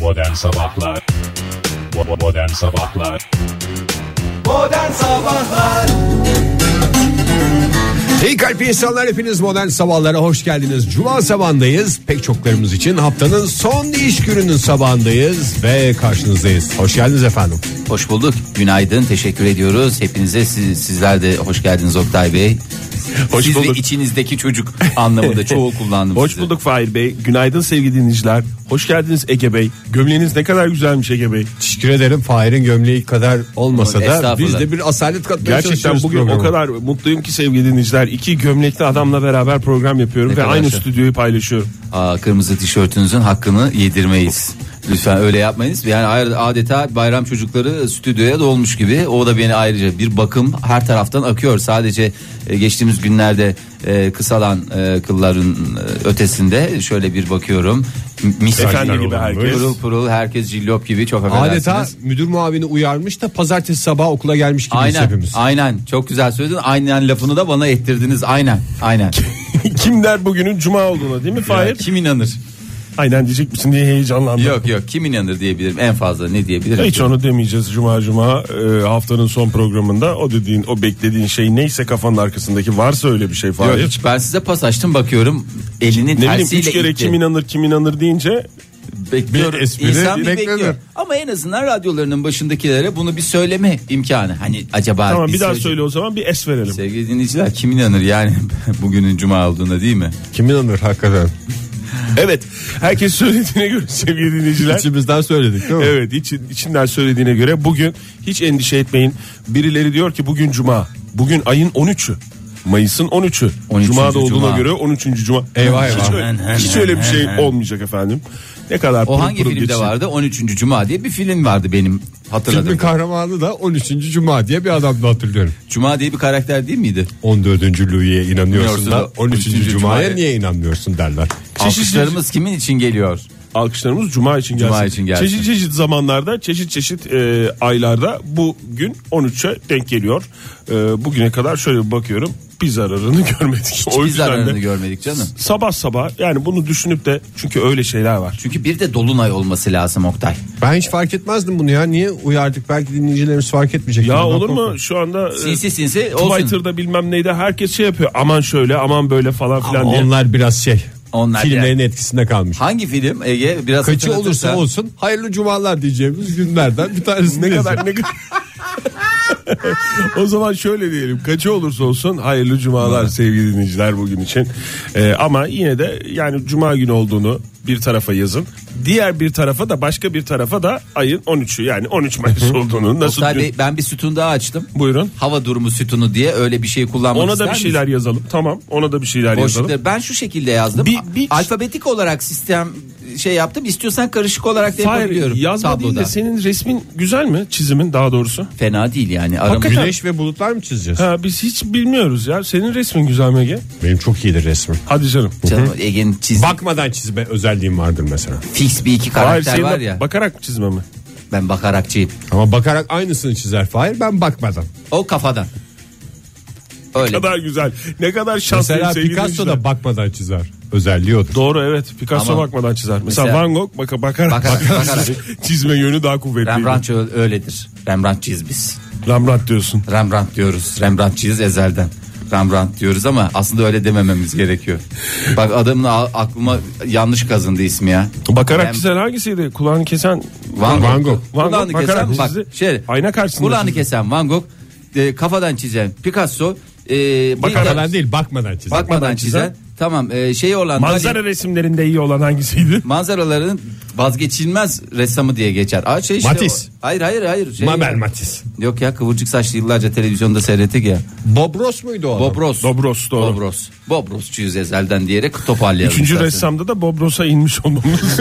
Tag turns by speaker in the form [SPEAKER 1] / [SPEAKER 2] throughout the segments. [SPEAKER 1] Modern Sabahlar Bo- Modern Sabahlar
[SPEAKER 2] Modern Sabahlar
[SPEAKER 3] İyi kalp insanlar hepiniz modern sabahlara hoş geldiniz. Cuma sabahındayız. Pek çoklarımız için haftanın son iş gününün sabahındayız ve karşınızdayız. Hoş geldiniz efendim.
[SPEAKER 4] Hoş bulduk. Günaydın. Teşekkür ediyoruz. Hepinize siz, Ee, sizler de hoş geldiniz Oktay Bey.
[SPEAKER 5] Hoş
[SPEAKER 4] Siz
[SPEAKER 5] bulduk.
[SPEAKER 4] ve içinizdeki çocuk anlamında çoğu kullandım
[SPEAKER 5] Hoş
[SPEAKER 4] sizi.
[SPEAKER 5] bulduk Fahir Bey. Günaydın sevgili dinleyiciler. Hoş geldiniz Ege Bey. Gömleğiniz ne kadar güzelmiş Ege Bey.
[SPEAKER 3] Teşekkür ederim. Fahir'in gömleği kadar olmasa da
[SPEAKER 4] Estağfurullah.
[SPEAKER 3] biz de bir asalet katmaya
[SPEAKER 5] Gerçekten
[SPEAKER 3] çalışıyoruz
[SPEAKER 5] bugün o
[SPEAKER 3] programa.
[SPEAKER 5] kadar mutluyum ki sevgili dinleyiciler. İki gömlekli adamla beraber program yapıyorum
[SPEAKER 4] Ne
[SPEAKER 5] ve
[SPEAKER 4] kadar
[SPEAKER 5] aynı
[SPEAKER 4] şey.
[SPEAKER 5] stüdyoyu paylaşıyorum.
[SPEAKER 4] Aa, kırmızı tişörtünüzün hakkını yedirmeyiz. Lütfen öyle yapmayınız. Yani ayrı- adeta bayram çocukları stüdyoya dolmuş gibi. O da beni ayrıca bir bakım her taraftan akıyor. Sadece e, geçtiğimiz günlerde e, kısalan e, kılların e, ötesinde şöyle bir bakıyorum. M- Mis
[SPEAKER 5] Efendi gibi herkes.
[SPEAKER 4] Pırıl pırıl herkes cillop gibi çok affedersiniz.
[SPEAKER 3] Adeta müdür muavini uyarmış da pazartesi sabahı okula gelmiş gibiyiz
[SPEAKER 4] Aynen,
[SPEAKER 3] hepimiz.
[SPEAKER 4] aynen. Çok güzel söyledin. Aynen lafını da bana ettirdiniz. Aynen, aynen.
[SPEAKER 5] Kim der bugünün cuma olduğuna değil mi Fahir?
[SPEAKER 4] Kim inanır?
[SPEAKER 5] Aynen diyecek misin diye heyecanlandım.
[SPEAKER 4] Yok yok, kim inanır diyebilirim. En fazla ne diyebilirim?
[SPEAKER 5] Hiç
[SPEAKER 4] ki?
[SPEAKER 5] onu demeyeceğiz cuma cuma e, haftanın son programında o dediğin o beklediğin şey neyse kafanın arkasındaki varsa öyle bir şey
[SPEAKER 4] Yok,
[SPEAKER 5] Fahir.
[SPEAKER 4] hiç. Ben size pas açtım bakıyorum. Elinin
[SPEAKER 5] ne bileyim
[SPEAKER 4] tersiyle
[SPEAKER 5] üç kere
[SPEAKER 4] itti.
[SPEAKER 5] kim inanır kim inanır deyince
[SPEAKER 4] Bekliyor.
[SPEAKER 3] Bir espri
[SPEAKER 4] İnsan bir
[SPEAKER 3] beklenir.
[SPEAKER 4] bekliyor. Ama en azından radyolarının başındakilere bunu bir söyleme imkanı. Hani acaba
[SPEAKER 5] tamam bir
[SPEAKER 4] biz
[SPEAKER 5] daha
[SPEAKER 4] söyleyecek-
[SPEAKER 5] söyle o zaman bir es verelim.
[SPEAKER 4] Sevgili dinleyiciler kim inanır yani bugünün cuma olduğuna değil mi?
[SPEAKER 3] Kim inanır hakikaten?
[SPEAKER 5] Evet. Herkes söylediğine göre sevgili dinleyiciler.
[SPEAKER 3] İçimizden söyledik değil mi?
[SPEAKER 5] Evet iç- içinden söylediğine göre bugün hiç endişe etmeyin. Birileri diyor ki bugün cuma. Bugün ayın 13'ü. Mayıs'ın 13'ü.
[SPEAKER 4] 13.
[SPEAKER 5] Cuma'da olduğuna
[SPEAKER 4] Cuma.
[SPEAKER 5] göre 13. Cuma.
[SPEAKER 3] Eyvah eyvah.
[SPEAKER 5] Hiç öyle, hiç öyle bir şey olmayacak efendim. Ne kadar
[SPEAKER 4] O
[SPEAKER 5] pırıl
[SPEAKER 4] hangi
[SPEAKER 5] pırıl
[SPEAKER 4] filmde
[SPEAKER 5] geçsin.
[SPEAKER 4] vardı? 13. Cuma diye bir film vardı benim
[SPEAKER 3] Filmin
[SPEAKER 4] hatırladım.
[SPEAKER 3] kahramanı da 13. Cuma diye bir adamdı hatırlıyorum.
[SPEAKER 4] Cuma diye bir karakter değil miydi?
[SPEAKER 3] 14. Louis'e inanıyorsun da
[SPEAKER 4] İnanıyorsun da
[SPEAKER 3] 13.
[SPEAKER 4] 13.
[SPEAKER 3] Cuma'ya
[SPEAKER 4] Cuma'ya
[SPEAKER 3] niye inanmıyorsun derler.
[SPEAKER 4] Alkışlarımız kimin için geliyor?
[SPEAKER 5] Alkışlarımız Cuma için gelsin.
[SPEAKER 4] Cuma için gelsin.
[SPEAKER 5] Çeşit çeşit zamanlarda, çeşit çeşit e, aylarda bu gün 13'e denk geliyor. E, bugüne kadar şöyle bir bakıyorum. Bir zararını görmedik. O
[SPEAKER 4] Biz
[SPEAKER 5] yüzden de
[SPEAKER 4] zararını görmedik canım.
[SPEAKER 5] Sabah sabah yani bunu düşünüp de çünkü öyle şeyler var.
[SPEAKER 4] Çünkü bir de dolunay olması lazım Oktay.
[SPEAKER 3] Ben hiç fark etmezdim bunu ya. Niye uyardık? Belki dinleyicilerimiz fark etmeyecek.
[SPEAKER 5] Ya
[SPEAKER 3] Ben
[SPEAKER 5] olur
[SPEAKER 3] korkuyorum.
[SPEAKER 5] mu şu anda e,
[SPEAKER 4] Sinsi sinsi olsun.
[SPEAKER 5] Twitter'da bilmem neydi herkes şey yapıyor. Aman şöyle aman böyle falan
[SPEAKER 3] Ama
[SPEAKER 5] filan diye.
[SPEAKER 3] onlar biraz şey.
[SPEAKER 4] Onlar
[SPEAKER 3] filmlerin etkisinde kalmış.
[SPEAKER 4] Hangi film Ege? Biraz
[SPEAKER 3] Kaçı
[SPEAKER 4] hatırlatırsa-
[SPEAKER 3] olursa olsun hayırlı cumalar diyeceğimiz günlerden bir tanesini
[SPEAKER 5] Ne
[SPEAKER 3] kadar
[SPEAKER 5] kadar ne kadar. o zaman şöyle diyelim kaçı olursa olsun hayırlı cumalar sevgili dinleyiciler bugün için. E, ama yine de yani cuma günü olduğunu bir tarafa yazın. Diğer bir tarafa da başka bir tarafa da ayın 13'ü yani 13 Mayıs olduğunu nasıl
[SPEAKER 4] Oktay
[SPEAKER 5] dün-
[SPEAKER 4] Bey ben bir sütun daha açtım.
[SPEAKER 5] Buyurun.
[SPEAKER 4] Hava durumu sütunu diye öyle bir şey kullanmak
[SPEAKER 5] Ona
[SPEAKER 4] ister
[SPEAKER 5] da bir şeyler yazalım. Tamam. Ona da bir şeyler
[SPEAKER 4] misiniz?
[SPEAKER 5] yazalım.
[SPEAKER 4] Boşlukları- Ben şu şekilde yazdım.
[SPEAKER 5] Bir- bir-
[SPEAKER 4] Alfabetik olarak sistem şey yaptım. İstiyorsan karışık olarak da
[SPEAKER 5] Hayır
[SPEAKER 4] yapabiliyorum.
[SPEAKER 5] yazma değil
[SPEAKER 4] tabloda.
[SPEAKER 5] de senin resmin güzel mi? Çizimin daha doğrusu.
[SPEAKER 4] Fena değil yani. Aramız...
[SPEAKER 5] Hakikaten-
[SPEAKER 3] Güneş ve bulutlar mı çizeceğiz?
[SPEAKER 5] Ha, biz hiç bilmiyoruz ya. Senin resmin güzel mi Ege?
[SPEAKER 3] Benim çok iyidir resmim.
[SPEAKER 5] Hadi canım.
[SPEAKER 4] Canım, Ege'nin çizdiği
[SPEAKER 3] Bakmadan çizme özelliğim vardır mesela.
[SPEAKER 4] fix bir iki
[SPEAKER 5] Hayır,
[SPEAKER 4] karakter
[SPEAKER 5] senin
[SPEAKER 4] var
[SPEAKER 5] de
[SPEAKER 4] ya.
[SPEAKER 5] Bakarak mı çizme mi?
[SPEAKER 4] Ben bakarakçıyım.
[SPEAKER 3] Ama bakarak aynısını çizer Fahir ben bakmadan.
[SPEAKER 4] O kafadan.
[SPEAKER 5] Ne
[SPEAKER 4] Öyle.
[SPEAKER 5] kadar güzel. Ne kadar şanslı.
[SPEAKER 3] Mesela Picasso da bakmadan çizer. Özelliği odur.
[SPEAKER 5] Doğru evet. Picasso
[SPEAKER 4] Ama-
[SPEAKER 5] bakmadan çizer. Mesela,
[SPEAKER 4] Mesela-
[SPEAKER 5] Van Gogh baka, bakarak,
[SPEAKER 4] Bakarak, bakarak.
[SPEAKER 5] çizme yönü daha kuvvetli.
[SPEAKER 4] Rembrandt ö- öyledir. Rembrandtçıyız biz.
[SPEAKER 5] Rembrandt diyorsun.
[SPEAKER 4] Rembrandt diyoruz. Rembrandtçıyız ezelden. Rembrandt diyoruz ama aslında öyle demememiz gerekiyor. Bak adamın a- aklıma yanlış kazındı ismi ya.
[SPEAKER 5] Bakarak
[SPEAKER 4] Rem-
[SPEAKER 5] çizen hangisiydi? Kulağını kesen
[SPEAKER 4] Van,
[SPEAKER 3] Van
[SPEAKER 4] Gogh.
[SPEAKER 3] Gogh.
[SPEAKER 5] Van
[SPEAKER 4] Kulağını
[SPEAKER 5] Gogh bakarak
[SPEAKER 4] kesen bak
[SPEAKER 5] çizdi.
[SPEAKER 4] şey.
[SPEAKER 5] Ayna karşısında
[SPEAKER 4] Kulağını
[SPEAKER 5] çizdi.
[SPEAKER 4] kesen Van Gogh. e, kafadan çizen Picasso. E,
[SPEAKER 5] Bakarak-
[SPEAKER 4] bir-
[SPEAKER 3] Bakadan değil bakmadan çizer.
[SPEAKER 4] bakmadan çizen. Tamam e, şey olan
[SPEAKER 5] manzara
[SPEAKER 4] Dali,
[SPEAKER 5] resimlerinde iyi olan hangisiydi?
[SPEAKER 4] manzaraların vazgeçilmez ressamı diye geçer. Aa, şey işte
[SPEAKER 3] Matisse.
[SPEAKER 4] o- hayır hayır hayır. Şey
[SPEAKER 3] Mabel Matiz.
[SPEAKER 4] Yok ya kıvırcık saçlı yıllarca televizyonda seyrettik ya.
[SPEAKER 3] Bob Ross muydu o adam?
[SPEAKER 4] Bob Ross.
[SPEAKER 5] Dobros doğru.
[SPEAKER 4] Bobros. Bobrosçuyuz ezelden diyerek toparlayalım.
[SPEAKER 5] Üçüncü
[SPEAKER 4] istersen.
[SPEAKER 5] ressamda da Bob Ross'a inmiş olmamız.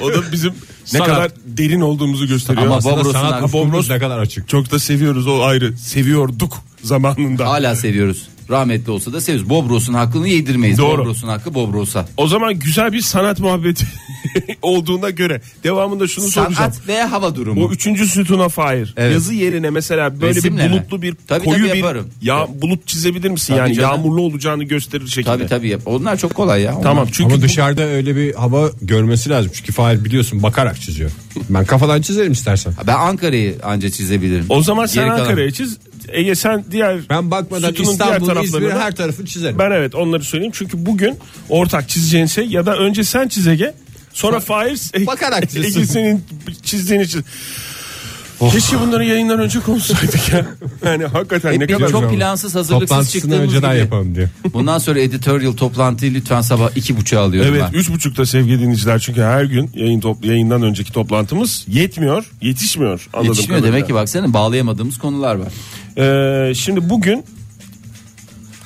[SPEAKER 5] o da bizim ne
[SPEAKER 3] Sanat.
[SPEAKER 5] kadar derin olduğumuzu gösteriyor.
[SPEAKER 4] Ama
[SPEAKER 5] Aslında
[SPEAKER 4] Bob Ross'un
[SPEAKER 5] sanat
[SPEAKER 4] arkasında-
[SPEAKER 5] Bob Ross
[SPEAKER 3] ne kadar açık.
[SPEAKER 5] çok da seviyoruz o ayrı. Seviyorduk zamanında.
[SPEAKER 4] Hala seviyoruz. Rahmetli olsa da seviyoruz. Bobros'un hakkını yedirmeyiz.
[SPEAKER 5] Doğru.
[SPEAKER 4] Bobros'un hakkı Bobros'a.
[SPEAKER 5] O zaman güzel bir sanat muhabbeti olduğuna göre devamında şunu soracağım.
[SPEAKER 4] Sanat ve hava durumu.
[SPEAKER 5] Bu üçüncü sütuna Fahir.
[SPEAKER 4] Evet.
[SPEAKER 5] Yazı yerine mesela böyle
[SPEAKER 4] Resimle
[SPEAKER 5] bir
[SPEAKER 4] mi?
[SPEAKER 5] bulutlu bir
[SPEAKER 4] Tabii,
[SPEAKER 5] koyu
[SPEAKER 4] tabii
[SPEAKER 5] bir
[SPEAKER 4] yaparım.
[SPEAKER 5] ya bulut çizebilir misin
[SPEAKER 4] Tabii
[SPEAKER 5] yani
[SPEAKER 4] canım.
[SPEAKER 5] yağmurlu olacağını gösterir şekilde.
[SPEAKER 4] Tabii tabii yap. Onlar çok kolay ya. Onlar-
[SPEAKER 5] Tamam çünkü
[SPEAKER 3] Ama dışarıda öyle bir hava görmesi lazım. Çünkü Fahir biliyorsun bakarak çiziyor. Ben kafadan çizerim istersen.
[SPEAKER 4] Ben Ankara'yı anca çizebilirim.
[SPEAKER 5] o zaman sen
[SPEAKER 4] Geri kalan-
[SPEAKER 5] Ankara'ya çiz. Ege sen diğer
[SPEAKER 3] Ben bakmadan
[SPEAKER 5] sütunun diğer
[SPEAKER 3] İstanbul, İzmir
[SPEAKER 5] taraflarına-
[SPEAKER 3] her tarafını çizerim.
[SPEAKER 5] Ben evet onları söyleyeyim. Çünkü bugün ortak çizeceğin şey ya da önce sen çiz Ege. Sonra Fahir
[SPEAKER 3] Bakarak çizsin.
[SPEAKER 5] Ege senin çizdiğini çiz. Oh. Keşke bunları yayından önce konuşsaydık ya. Yani hakikaten ne
[SPEAKER 4] Hep
[SPEAKER 5] kadar
[SPEAKER 4] bir çok
[SPEAKER 5] güzel.
[SPEAKER 4] plansız hazırlıksız
[SPEAKER 3] Toplantısını
[SPEAKER 4] çıktığımız
[SPEAKER 3] önceden
[SPEAKER 4] gibi.
[SPEAKER 3] yapalım diye.
[SPEAKER 4] Bundan sonra editorial toplantıyı lütfen sabah iki buçuğa alıyorum
[SPEAKER 5] Evet
[SPEAKER 4] ben.
[SPEAKER 5] üç buçukta sevgili dinleyiciler çünkü her gün yayın top, yayından önceki toplantımız yetmiyor yetişmiyor anladım.
[SPEAKER 4] Yetişmiyor demek ki baksana bağlayamadığımız konular var.
[SPEAKER 5] Ee, şimdi bugün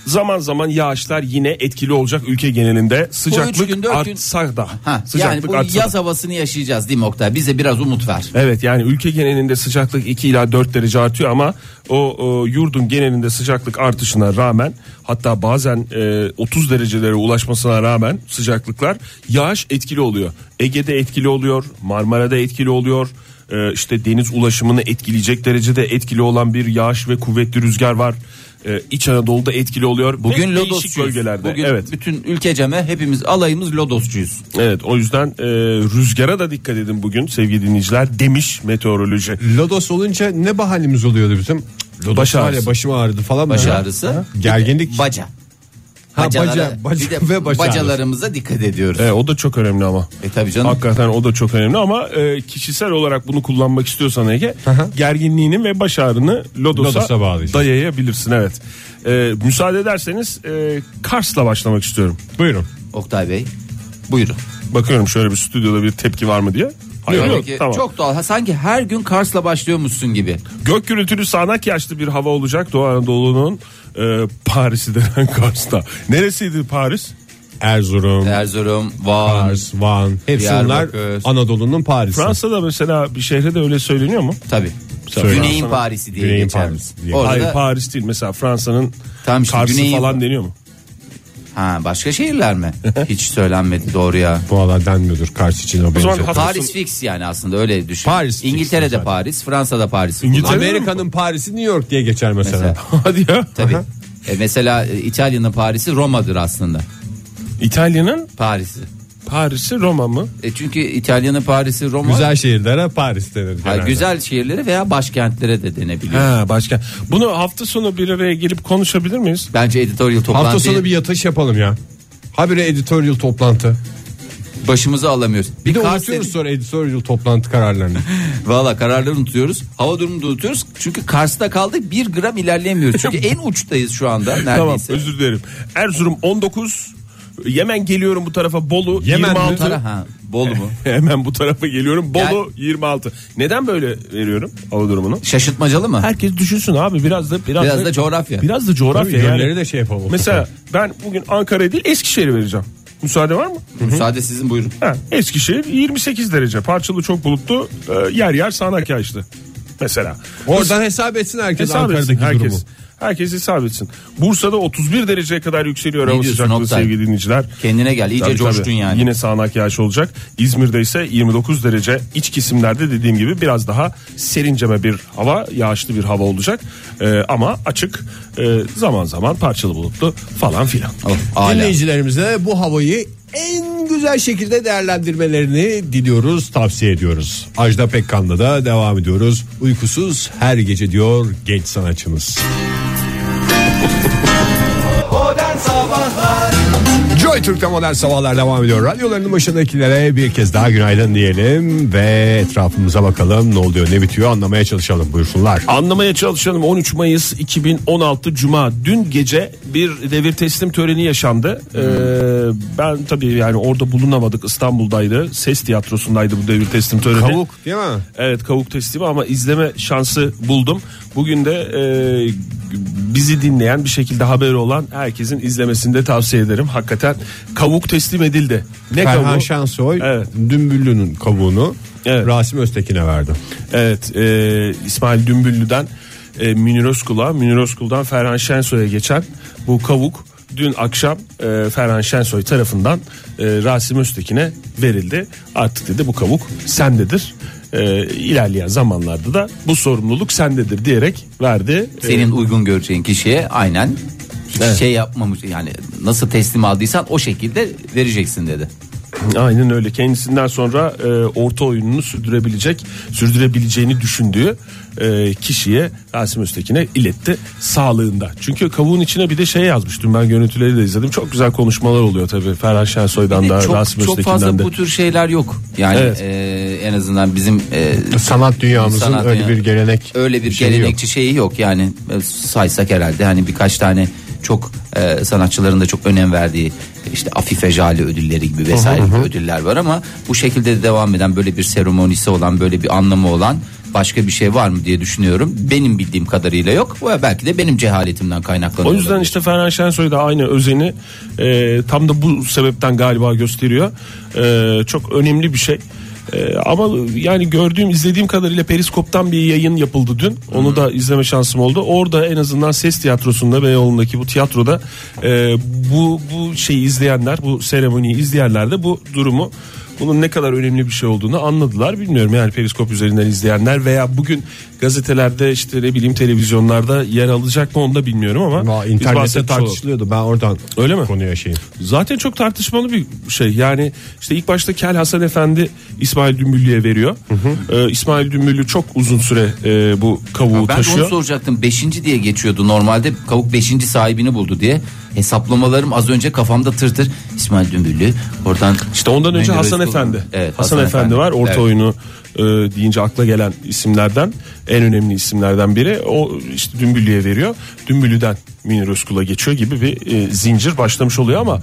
[SPEAKER 5] zaman zaman yağışlar yine etkili olacak ülke genelinde sıcaklık
[SPEAKER 4] gün, dört gün-
[SPEAKER 5] artsa da
[SPEAKER 4] Ha, yani
[SPEAKER 5] sıcaklık
[SPEAKER 4] bu
[SPEAKER 5] artsa da.
[SPEAKER 4] yaz havasını yaşayacağız değil mi Oktay? Bize biraz umut ver.
[SPEAKER 5] Evet yani ülke genelinde sıcaklık 2 ila 4 derece artıyor ama o, o, yurdun genelinde sıcaklık artışına rağmen hatta bazen e, 30 derecelere ulaşmasına rağmen sıcaklıklar yağış etkili oluyor. Ege'de etkili oluyor, Marmara'da etkili oluyor. E, işte deniz ulaşımını etkileyecek derecede etkili olan bir yağış ve kuvvetli rüzgar var. E, İç Anadolu'da etkili oluyor.
[SPEAKER 4] Bugün
[SPEAKER 5] Ve değişik
[SPEAKER 4] Lodos'cuyuz.
[SPEAKER 5] bölgelerde.
[SPEAKER 4] Bugün
[SPEAKER 5] evet.
[SPEAKER 4] bütün ülkeceme hepimiz alayımız Lodos'cuyuz.
[SPEAKER 5] Evet o yüzden e, rüzgara da dikkat edin bugün sevgili dinleyiciler demiş meteoroloji.
[SPEAKER 3] Lodos olunca ne bahanemiz oluyordu bizim? Cık, Lodos
[SPEAKER 5] Baş
[SPEAKER 3] var ya,
[SPEAKER 5] ağrısı.
[SPEAKER 3] başım ağrıdı falan.
[SPEAKER 4] Baş
[SPEAKER 3] böyle.
[SPEAKER 4] ağrısı.
[SPEAKER 3] Ha? Gerginlik.
[SPEAKER 4] Baca.
[SPEAKER 3] Ha, baca,
[SPEAKER 4] Bacalara-
[SPEAKER 3] baca
[SPEAKER 4] bir de
[SPEAKER 3] ve baş
[SPEAKER 4] bacalarımıza dikkat ediyoruz.
[SPEAKER 5] E, o da çok önemli ama.
[SPEAKER 4] E tabii canım.
[SPEAKER 5] Hakikaten o da çok önemli ama e, kişisel olarak bunu kullanmak istiyorsan Ege gerginliğini ve baş ağrını Lodos'a,
[SPEAKER 3] Lodos'a bağlayacaksın.
[SPEAKER 5] dayayabilirsin evet. E, müsaade ederseniz e, Kars'la başlamak istiyorum.
[SPEAKER 3] Buyurun.
[SPEAKER 4] Oktay Bey buyurun.
[SPEAKER 5] Bakıyorum şöyle bir stüdyoda bir tepki var mı diye. Hayır yok,
[SPEAKER 4] Demek ki
[SPEAKER 5] tamam.
[SPEAKER 4] Çok doğal. Ha, sanki her gün Kars'la başlıyormuşsun gibi.
[SPEAKER 5] Gök gürültülü sağanak yağışlı bir hava olacak Doğu Anadolu'nun e, Paris'i denen Kars'ta. Neresiydi Paris?
[SPEAKER 3] Erzurum,
[SPEAKER 4] Erzurum, Van.
[SPEAKER 3] Kars, Van. Hepsi bunlar
[SPEAKER 4] Diyarbakır.
[SPEAKER 3] Anadolu'nun Paris'i.
[SPEAKER 5] Fransa'da mesela bir şehre de öyle söyleniyor mu?
[SPEAKER 4] Tabii.
[SPEAKER 3] Söyle.
[SPEAKER 4] Güneyin Paris'i diye
[SPEAKER 3] Güneyin
[SPEAKER 4] geçer.
[SPEAKER 3] Paris'i diye.
[SPEAKER 4] Orada
[SPEAKER 5] Hayır Paris değil mesela Fransa'nın
[SPEAKER 4] Tamam işte
[SPEAKER 5] Kars'ı
[SPEAKER 4] güneyin-
[SPEAKER 5] falan deniyor mu?
[SPEAKER 4] ha başka şehirler mi? Hiç söylenmedi doğru ya.
[SPEAKER 3] Bu alan denmiyordur Kars için o
[SPEAKER 5] zaman
[SPEAKER 3] benzetme.
[SPEAKER 5] hafif-
[SPEAKER 4] Paris fix yani aslında öyle düşün.
[SPEAKER 3] Paris fix
[SPEAKER 4] İngiltere'de
[SPEAKER 3] zaten.
[SPEAKER 4] Paris, Fransa'da Paris.
[SPEAKER 5] İngiltere-
[SPEAKER 4] kullanılıyor.
[SPEAKER 3] Amerika'nın Paris'i New York diye geçer mesela.
[SPEAKER 4] Mesela.
[SPEAKER 5] Hadi ya.
[SPEAKER 4] Tabii. E, mesela e, İtalya'nın Paris'i Roma'dır aslında.
[SPEAKER 5] İtalya'nın
[SPEAKER 4] Paris'i.
[SPEAKER 5] Paris'i Roma mı?
[SPEAKER 4] E çünkü İtalya'nın Paris'i Roma.
[SPEAKER 3] Güzel şehirlere Paris denir.
[SPEAKER 4] Ha,
[SPEAKER 3] genelde.
[SPEAKER 4] güzel şehirlere veya başkentlere de denebiliyor.
[SPEAKER 5] Ha başka. Bunu hafta sonu bir araya gelip konuşabilir miyiz?
[SPEAKER 4] Bence editorial toplantı
[SPEAKER 3] Hafta sonu bir yatış yapalım ya. Habire editorial toplantı.
[SPEAKER 4] başımıza alamıyoruz.
[SPEAKER 3] Bir, de
[SPEAKER 4] Kars
[SPEAKER 3] unutuyoruz
[SPEAKER 4] dedi-
[SPEAKER 3] sonra editorial toplantı kararlarını.
[SPEAKER 4] Valla kararları unutuyoruz. Hava durumunu da unutuyoruz. Çünkü Kars'ta kaldık bir gram ilerleyemiyoruz. Çünkü en uçtayız şu anda
[SPEAKER 5] Tamam
[SPEAKER 4] neredeyse.
[SPEAKER 5] özür dilerim. Erzurum 19. Yemen geliyorum bu tarafa Bolu
[SPEAKER 3] Yemen mi?
[SPEAKER 5] 26.
[SPEAKER 4] Tara- ha, Bolu mu?
[SPEAKER 5] Hemen bu tarafa geliyorum. Bolu
[SPEAKER 4] Yani-
[SPEAKER 5] 26. Neden böyle veriyorum hava durumunu?
[SPEAKER 4] Şaşırtmacalı mı?
[SPEAKER 5] Herkes düşünsün abi biraz da biraz,
[SPEAKER 4] Biraz da coğrafya.
[SPEAKER 5] Biraz da coğrafya
[SPEAKER 3] Tabii,
[SPEAKER 5] yani.
[SPEAKER 3] yönleri de şey yapalım.
[SPEAKER 5] Mesela ben bugün Ankara değil Eskişehir'i vereceğim. Müsaade var mı?
[SPEAKER 4] Müsaade sizin buyurun.
[SPEAKER 5] Ha, Eskişehir 28 derece. Parçalı çok bulutlu. e, Yer yer sağanak yağışlı. Mesela.
[SPEAKER 3] Oradan hesap etsin herkes
[SPEAKER 5] Hesap
[SPEAKER 3] Ankara'daki
[SPEAKER 5] etsin herkes.
[SPEAKER 3] durumu.
[SPEAKER 5] Herkes hesap etsin. Bursa'da 31 dereceye kadar yükseliyor hava
[SPEAKER 4] diyorsun
[SPEAKER 5] sıcaklığı
[SPEAKER 4] Oktay?
[SPEAKER 5] sevgili dinleyiciler.
[SPEAKER 4] Kendine gel iyice
[SPEAKER 5] Tabii,
[SPEAKER 4] coştun
[SPEAKER 5] tabii.
[SPEAKER 4] yani.
[SPEAKER 5] Yine sağanak yağış olacak. İzmir'de ise 29 derece. İç kesimlerde dediğim gibi biraz daha serinceme bir hava, yağışlı bir hava olacak. Ee, ama açık e, zaman zaman parçalı bulutlu falan filan.
[SPEAKER 4] Of, hala.
[SPEAKER 3] Dinleyicilerimize bu havayı en güzel şekilde değerlendirmelerini diliyoruz, tavsiye ediyoruz. Ajda Pekkan'la da devam ediyoruz. Uykusuz her gece diyor genç sanatçımız.
[SPEAKER 2] Modern Sabahlar
[SPEAKER 3] Joy Türk'te modern sabahlar devam ediyor. Radyolarının başındakilere bir kez daha günaydın diyelim ve etrafımıza bakalım ne oluyor ne bitiyor anlamaya çalışalım buyursunlar.
[SPEAKER 5] Anlamaya çalışalım 13 Mayıs 2016 Cuma dün gece bir devir teslim töreni yaşandı. Ee, ben tabii yani orada bulunamadık İstanbul'daydı. Ses tiyatrosundaydı bu devir teslim töreni.
[SPEAKER 3] Kavuk değil mi?
[SPEAKER 5] Evet kavuk teslimi ama izleme şansı buldum. Bugün de e, bizi dinleyen bir şekilde haberi olan herkesin izlemesini de tavsiye ederim. Hakikaten kavuk teslim edildi. Ne
[SPEAKER 3] Ferhan
[SPEAKER 5] kavuğu?
[SPEAKER 3] Şansoy
[SPEAKER 5] Evet.
[SPEAKER 3] Dümbüllü'nün kabuğunu
[SPEAKER 5] Evet.
[SPEAKER 3] Rasim Öztekin'e verdi.
[SPEAKER 5] Evet e, İsmail Dümbüllü'den e, Münir Özkul'a Münir Özkul'dan Ferhan Şensoy'a geçen bu kavuk dün akşam e, Ferhan Şensoy tarafından e, Rasim Öztekin'e verildi. Artık dedi bu kavuk sendedir. E, ilerleyen zamanlarda da bu sorumluluk sendedir diyerek verdi. E,
[SPEAKER 4] Senin uygun göreceğin kişiye aynen hiç şey yapmamış yani nasıl teslim aldıysan o şekilde vereceksin dedi.
[SPEAKER 5] Aynen öyle. Kendisinden sonra e, orta oyununu sürdürebilecek, sürdürebileceğini düşündüğü e, kişiye Rasim Öztekin'e iletti sağlığında. Çünkü kavuğun içine bir de şey yazmıştım ben görüntüleri de izledim. Çok güzel konuşmalar oluyor tabii Ferhan Şensoy'dan
[SPEAKER 4] Bir de
[SPEAKER 5] da Rasim
[SPEAKER 4] çok, çok
[SPEAKER 5] Öztekin'den
[SPEAKER 4] fazla
[SPEAKER 5] de.
[SPEAKER 4] bu tür şeyler yok. Yani
[SPEAKER 5] Evet.
[SPEAKER 4] e, en azından bizim e,
[SPEAKER 3] Sanat dünyamızın
[SPEAKER 4] Sanat
[SPEAKER 3] öyle
[SPEAKER 4] dünya-
[SPEAKER 3] bir gelenek.
[SPEAKER 4] öyle bir
[SPEAKER 5] şey
[SPEAKER 3] şeyi yok.
[SPEAKER 4] gelenekçi şeyi yok yani e, saysak herhalde hani birkaç tane çok e, sanatçıların da çok önem verdiği işte Afife Jale ödülleri gibi vesaire gibi ödüller var ama bu şekilde devam eden böyle bir seremonisi olan böyle bir anlamı olan başka bir şey var mı diye düşünüyorum. Benim bildiğim kadarıyla yok. Bu belki de benim cehaletimden kaynaklanıyor.
[SPEAKER 5] O yüzden
[SPEAKER 4] olabilir.
[SPEAKER 5] işte Ferhan Şensoy da aynı özeni e, tam da bu sebepten galiba gösteriyor. E, çok önemli bir şey. E, ama yani gördüğüm izlediğim kadarıyla Periskop'tan bir yayın yapıldı dün. Onu da izleme şansım oldu. Orada en azından ses tiyatrosunda Beyoğlu'ndaki bu tiyatroda e, bu bu şeyi izleyenler, bu seremoniyi izleyenler de bu durumu bunun ne kadar önemli bir şey olduğunu anladılar. Bilmiyorum yani periskop üzerinden izleyenler veya bugün gazetelerde işte ne bileyim televizyonlarda yer alacak mı onu da bilmiyorum ama
[SPEAKER 3] Ama
[SPEAKER 5] biz
[SPEAKER 3] internette
[SPEAKER 5] bahsetmiş olalım.
[SPEAKER 3] tartışılıyordu. Ben oradan
[SPEAKER 5] Öyle mi?
[SPEAKER 3] konuya şeyim.
[SPEAKER 5] Zaten çok tartışmalı bir şey. Yani işte ilk başta Kel Hasan Efendi İsmail Dümbüllü'ye veriyor. Ee, İsmail Dümbüllü çok uzun süre e, bu kavuğu
[SPEAKER 4] Ben de onu
[SPEAKER 5] taşıyor.
[SPEAKER 4] soracaktım. Beşinci diye geçiyordu normalde. Kavuk beşinci sahibini buldu diye. Hesaplamalarım az önce kafamda tır tır. İsmail Dümbüllü oradan...
[SPEAKER 5] İşte ondan önce
[SPEAKER 4] Menderes
[SPEAKER 5] Hasan
[SPEAKER 4] buldu.
[SPEAKER 5] Efendi.
[SPEAKER 4] Evet,
[SPEAKER 5] Hasan, Efendi, var. Orta
[SPEAKER 4] Evet.
[SPEAKER 5] oyunu e, deyince akla gelen isimlerden en önemli isimlerden biri. O işte Dümbüllü'ye veriyor. Dümbüllü'den Münir Özkul'a geçiyor gibi bir e, zincir başlamış oluyor ama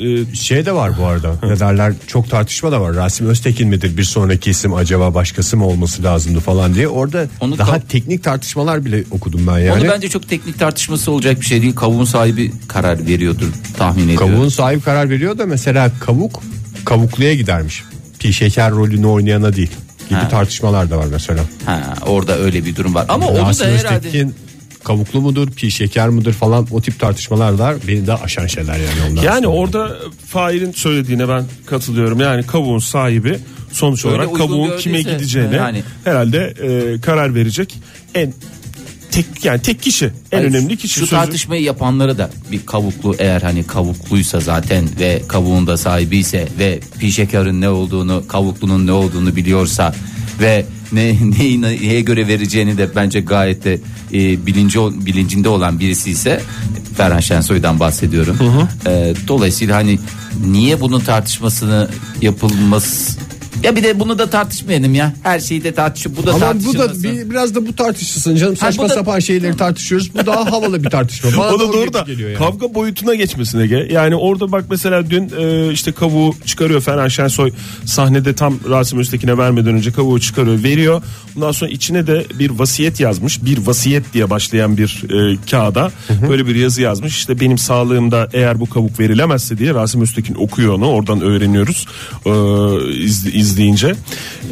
[SPEAKER 5] e,
[SPEAKER 3] Şey de var bu arada. ne derler? Çok tartışma da var. Rasim Öztekin midir? Bir sonraki isim acaba başkası mı olması lazımdı falan diye. Orada
[SPEAKER 4] Onu
[SPEAKER 3] daha
[SPEAKER 4] da-
[SPEAKER 3] teknik tartışmalar bile okudum ben yani.
[SPEAKER 4] Onu bence çok teknik tartışması olacak bir şey değil. Kavuğun sahibi karar veriyordur tahmin ediyorum.
[SPEAKER 3] Kavuğun sahibi karar veriyor da mesela kavuk kavukluya gidermiş. Pi şeker rolünü oynayana değil. Gibi
[SPEAKER 4] Ha.
[SPEAKER 3] tartışmalar da var mesela.
[SPEAKER 4] Ha, orada öyle bir durum var. Ama onu
[SPEAKER 3] Rasim
[SPEAKER 4] da herhalde...
[SPEAKER 3] Öztekin kavuklu mudur, pi şeker mudur falan o tip tartışmalar da beni de aşan şeyler yani onlar.
[SPEAKER 5] Yani
[SPEAKER 3] sonra.
[SPEAKER 5] orada Fahir'in söylediğine ben katılıyorum. Yani kavuğun sahibi sonuç
[SPEAKER 4] Öyle
[SPEAKER 5] olarak
[SPEAKER 4] uygun
[SPEAKER 5] kavuğun
[SPEAKER 4] gördüyse,
[SPEAKER 5] kime gideceğine
[SPEAKER 4] yani.
[SPEAKER 5] herhalde e, karar verecek en tek yani tek kişi en
[SPEAKER 4] Hayır,
[SPEAKER 5] önemli kişi
[SPEAKER 4] Şu
[SPEAKER 5] sözü.
[SPEAKER 4] tartışmayı yapanlara da bir kavuklu eğer hani kavukluysa zaten ve kavuğun da sahibi ise ve pişekarın ne olduğunu kavuklunun ne olduğunu biliyorsa ve ne, neyi neye göre vereceğini de bence gayet de e, bilinci bilincinde olan birisi ise Ferhan Şensoy'dan bahsediyorum. E, dolayısıyla hani niye bunun tartışmasını yapılması ya bir de bunu da tartışmayalım ya. Her şeyi de tartışıp bu da
[SPEAKER 3] Ama bu
[SPEAKER 4] tartışılmasın.
[SPEAKER 3] da bir- biraz da bu tartışılsın canım. Saçma
[SPEAKER 4] bu da-
[SPEAKER 3] sapan şeyleri tartışıyoruz. Bu daha havalı bir tartışma. Bana
[SPEAKER 5] O da
[SPEAKER 3] doğru
[SPEAKER 5] doğru
[SPEAKER 3] gibi
[SPEAKER 5] da
[SPEAKER 3] geliyor yani.
[SPEAKER 5] kavga boyutuna geçmesin Ege. Yani orada bak mesela dün e, işte kavuğu çıkarıyor Ferhan Şensoy sahnede tam Rasim Öztekin'e vermeden önce kavuğu çıkarıyor veriyor. Bundan sonra içine de bir vasiyet yazmış. Bir vasiyet diye başlayan bir e, kağıda böyle bir yazı yazmış. İşte benim sağlığımda eğer bu kavuk verilemezse diye Rasim Öztekin okuyor onu oradan öğreniyoruz e, iz- izleyince.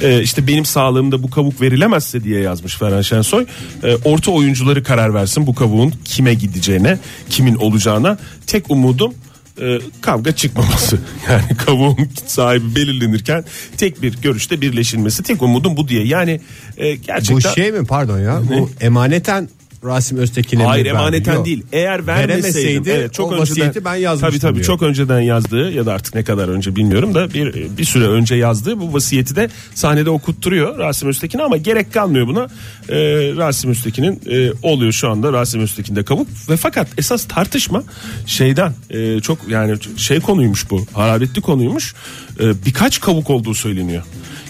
[SPEAKER 5] E, işte benim sağlığımda bu kavuk verilemezse diye yazmış Ferhan Şensoy. E, orta oyuncuları karar versin bu kavuğun kime gideceğine, kimin olacağına. Tek umudum e, kavga çıkmaması. Yani kavuğun sahibi belirlenirken tek bir görüşte birleşilmesi. Tek umudum bu diye. Yani e, gerçekten
[SPEAKER 3] Bu şey mi pardon ya? Bu emaneten Rasim Öztekin'e mi
[SPEAKER 5] Hayır
[SPEAKER 3] verdi?
[SPEAKER 5] emaneten
[SPEAKER 3] Yok.
[SPEAKER 5] değil. Eğer
[SPEAKER 3] Veremeseydi
[SPEAKER 5] vermeseydi evet, çok
[SPEAKER 3] o
[SPEAKER 5] önceden,
[SPEAKER 3] vasiyeti ben yazmıştım
[SPEAKER 5] Tabii tabii
[SPEAKER 3] diyor.
[SPEAKER 5] çok önceden yazdığı ya da artık ne kadar önce bilmiyorum da bir bir süre önce yazdığı bu vasiyeti de sahnede okutturuyor Rasim Öztekin'e ama gerek kalmıyor buna. Ee, Rasim Öztekin'in e, oluyor şu anda Rasim Öztekin'de kabuk ve fakat esas tartışma şeyden e, çok yani şey konuymuş bu hararetli konuymuş. E, birkaç kabuk olduğu söyleniyor.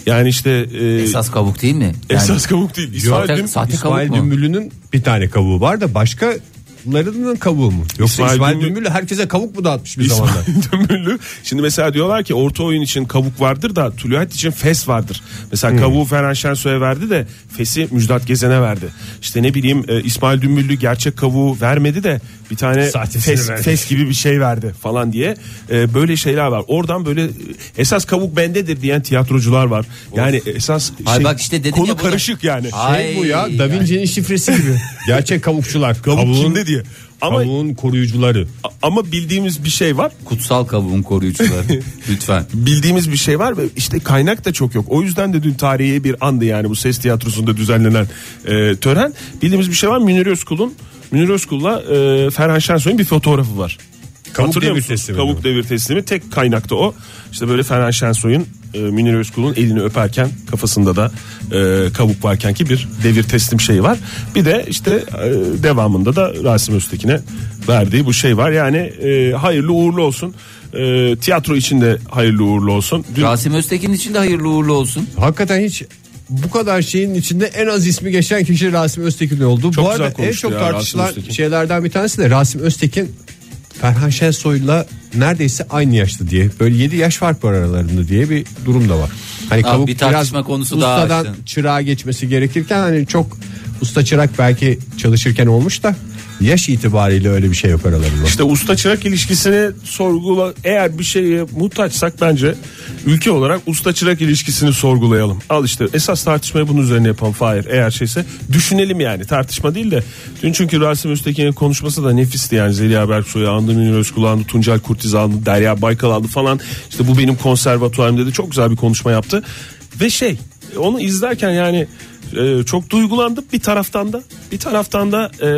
[SPEAKER 5] Yani işte e, esas,
[SPEAKER 4] Esas kavuk değil mi? Yani-
[SPEAKER 5] kabuk değil. İsmail
[SPEAKER 4] Sahte,
[SPEAKER 5] Dün-
[SPEAKER 4] sahte kavuk
[SPEAKER 3] İsmail
[SPEAKER 4] mu?
[SPEAKER 3] Dümbüllü'nün bir tane kabuğu var da başkalarının kabuğu mu? Yoksa İsmail,
[SPEAKER 5] İsmail Dümbü-
[SPEAKER 3] Dümbüllü herkese kavuk mu dağıtmış bir
[SPEAKER 5] İsmail
[SPEAKER 3] zamanlar?
[SPEAKER 5] Demirli. Şimdi mesela diyorlar ki orta oyun için kavuk vardır da tuluat için fes vardır.
[SPEAKER 3] Hmm.
[SPEAKER 5] Mesela kavuğu Ferhan Şensoy'a verdi de fesi Müjdat Gezen'e verdi. İşte ne bileyim e, İsmail Dümbüllü gerçek kavuğu vermedi de bir tane
[SPEAKER 3] Sahtesini
[SPEAKER 5] fes,
[SPEAKER 3] verdi.
[SPEAKER 5] fes gibi bir şey verdi falan diye e, böyle şeyler var. Oradan böyle e, esas kavuk bendedir diyen tiyatrocular var. Yani esas şey,
[SPEAKER 4] Ay bak işte dedim
[SPEAKER 5] konu
[SPEAKER 4] ya burada-
[SPEAKER 5] karışık yani.
[SPEAKER 4] Ay,
[SPEAKER 3] Şey Bu ya Da Vinci'nin şifresi gibi. Gerçek kavukçular.
[SPEAKER 5] Kavuk
[SPEAKER 3] Kavuğun
[SPEAKER 5] kimde diye. Ama
[SPEAKER 3] Kavuğun koruyucuları.
[SPEAKER 5] ama bildiğimiz bir şey var.
[SPEAKER 4] Kutsal kavuğun koruyucuları. Lütfen.
[SPEAKER 5] bildiğimiz bir şey var ve işte kaynak da çok yok. O yüzden de dün tarihi bir andı yani bu ses tiyatrosunda düzenlenen e, tören. Bildiğimiz bir şey var Münir Özkul'un Münir Özkul'la e, Ferhan Şensoy'un bir fotoğrafı var.
[SPEAKER 3] Kabuk
[SPEAKER 5] Hatırlıyor
[SPEAKER 3] devir
[SPEAKER 5] musun?
[SPEAKER 3] teslimi
[SPEAKER 5] Kabuk
[SPEAKER 3] mi?
[SPEAKER 5] devir teslimi tek kaynakta o. İşte böyle Ferhan Şensoy'un e, Münir Özkul'un elini öperken kafasında da e, kabuk varken ki bir devir teslim şeyi var. Bir de işte e, devamında da Rasim Öztekin'e verdiği bu şey var. Yani e, hayırlı uğurlu olsun. E, tiyatro için de hayırlı uğurlu olsun. Dün
[SPEAKER 4] Rasim Öztekin için de hayırlı uğurlu olsun.
[SPEAKER 3] Hakikaten hiç bu kadar şeyin içinde en az ismi geçen kişi Rasim Öztekin oldu.
[SPEAKER 5] Çok
[SPEAKER 3] bu arada
[SPEAKER 5] güzel
[SPEAKER 3] en
[SPEAKER 5] konuştu
[SPEAKER 3] çok
[SPEAKER 5] ya
[SPEAKER 3] tartışılan
[SPEAKER 5] Rasim Öztekin.
[SPEAKER 3] şeylerden bir tanesi de Rasim Öztekin Ferhan Şensoy'la neredeyse aynı yaşta diye böyle 7 yaş fark var aralarında diye bir durum da var. Hani
[SPEAKER 4] Abi
[SPEAKER 3] kabuk
[SPEAKER 4] bir tartışma
[SPEAKER 3] biraz
[SPEAKER 4] konusu daha
[SPEAKER 3] ustadan
[SPEAKER 4] işte.
[SPEAKER 3] çırağa geçmesi gerekirken hani çok usta çırak belki çalışırken olmuş da yaş itibariyle öyle bir şey yok aralarında.
[SPEAKER 5] İşte usta çırak ilişkisini sorgula eğer bir şeye muhtaçsak bence ülke olarak usta çırak ilişkisini sorgulayalım. Al işte esas tartışmayı bunun üzerine yapalım Fahir eğer şeyse düşünelim yani tartışma değil de dün çünkü Rasim Öztekin'in konuşması da nefisti yani Zeliha Berksoy'u andı Münir Özkul'u andı Tuncel Kurtiz'i andı Derya Baykal andı falan işte bu benim konservatuvarım dedi çok güzel bir konuşma yaptı ve şey onu izlerken yani e, çok duygulandım bir taraftan da bir taraftan da e,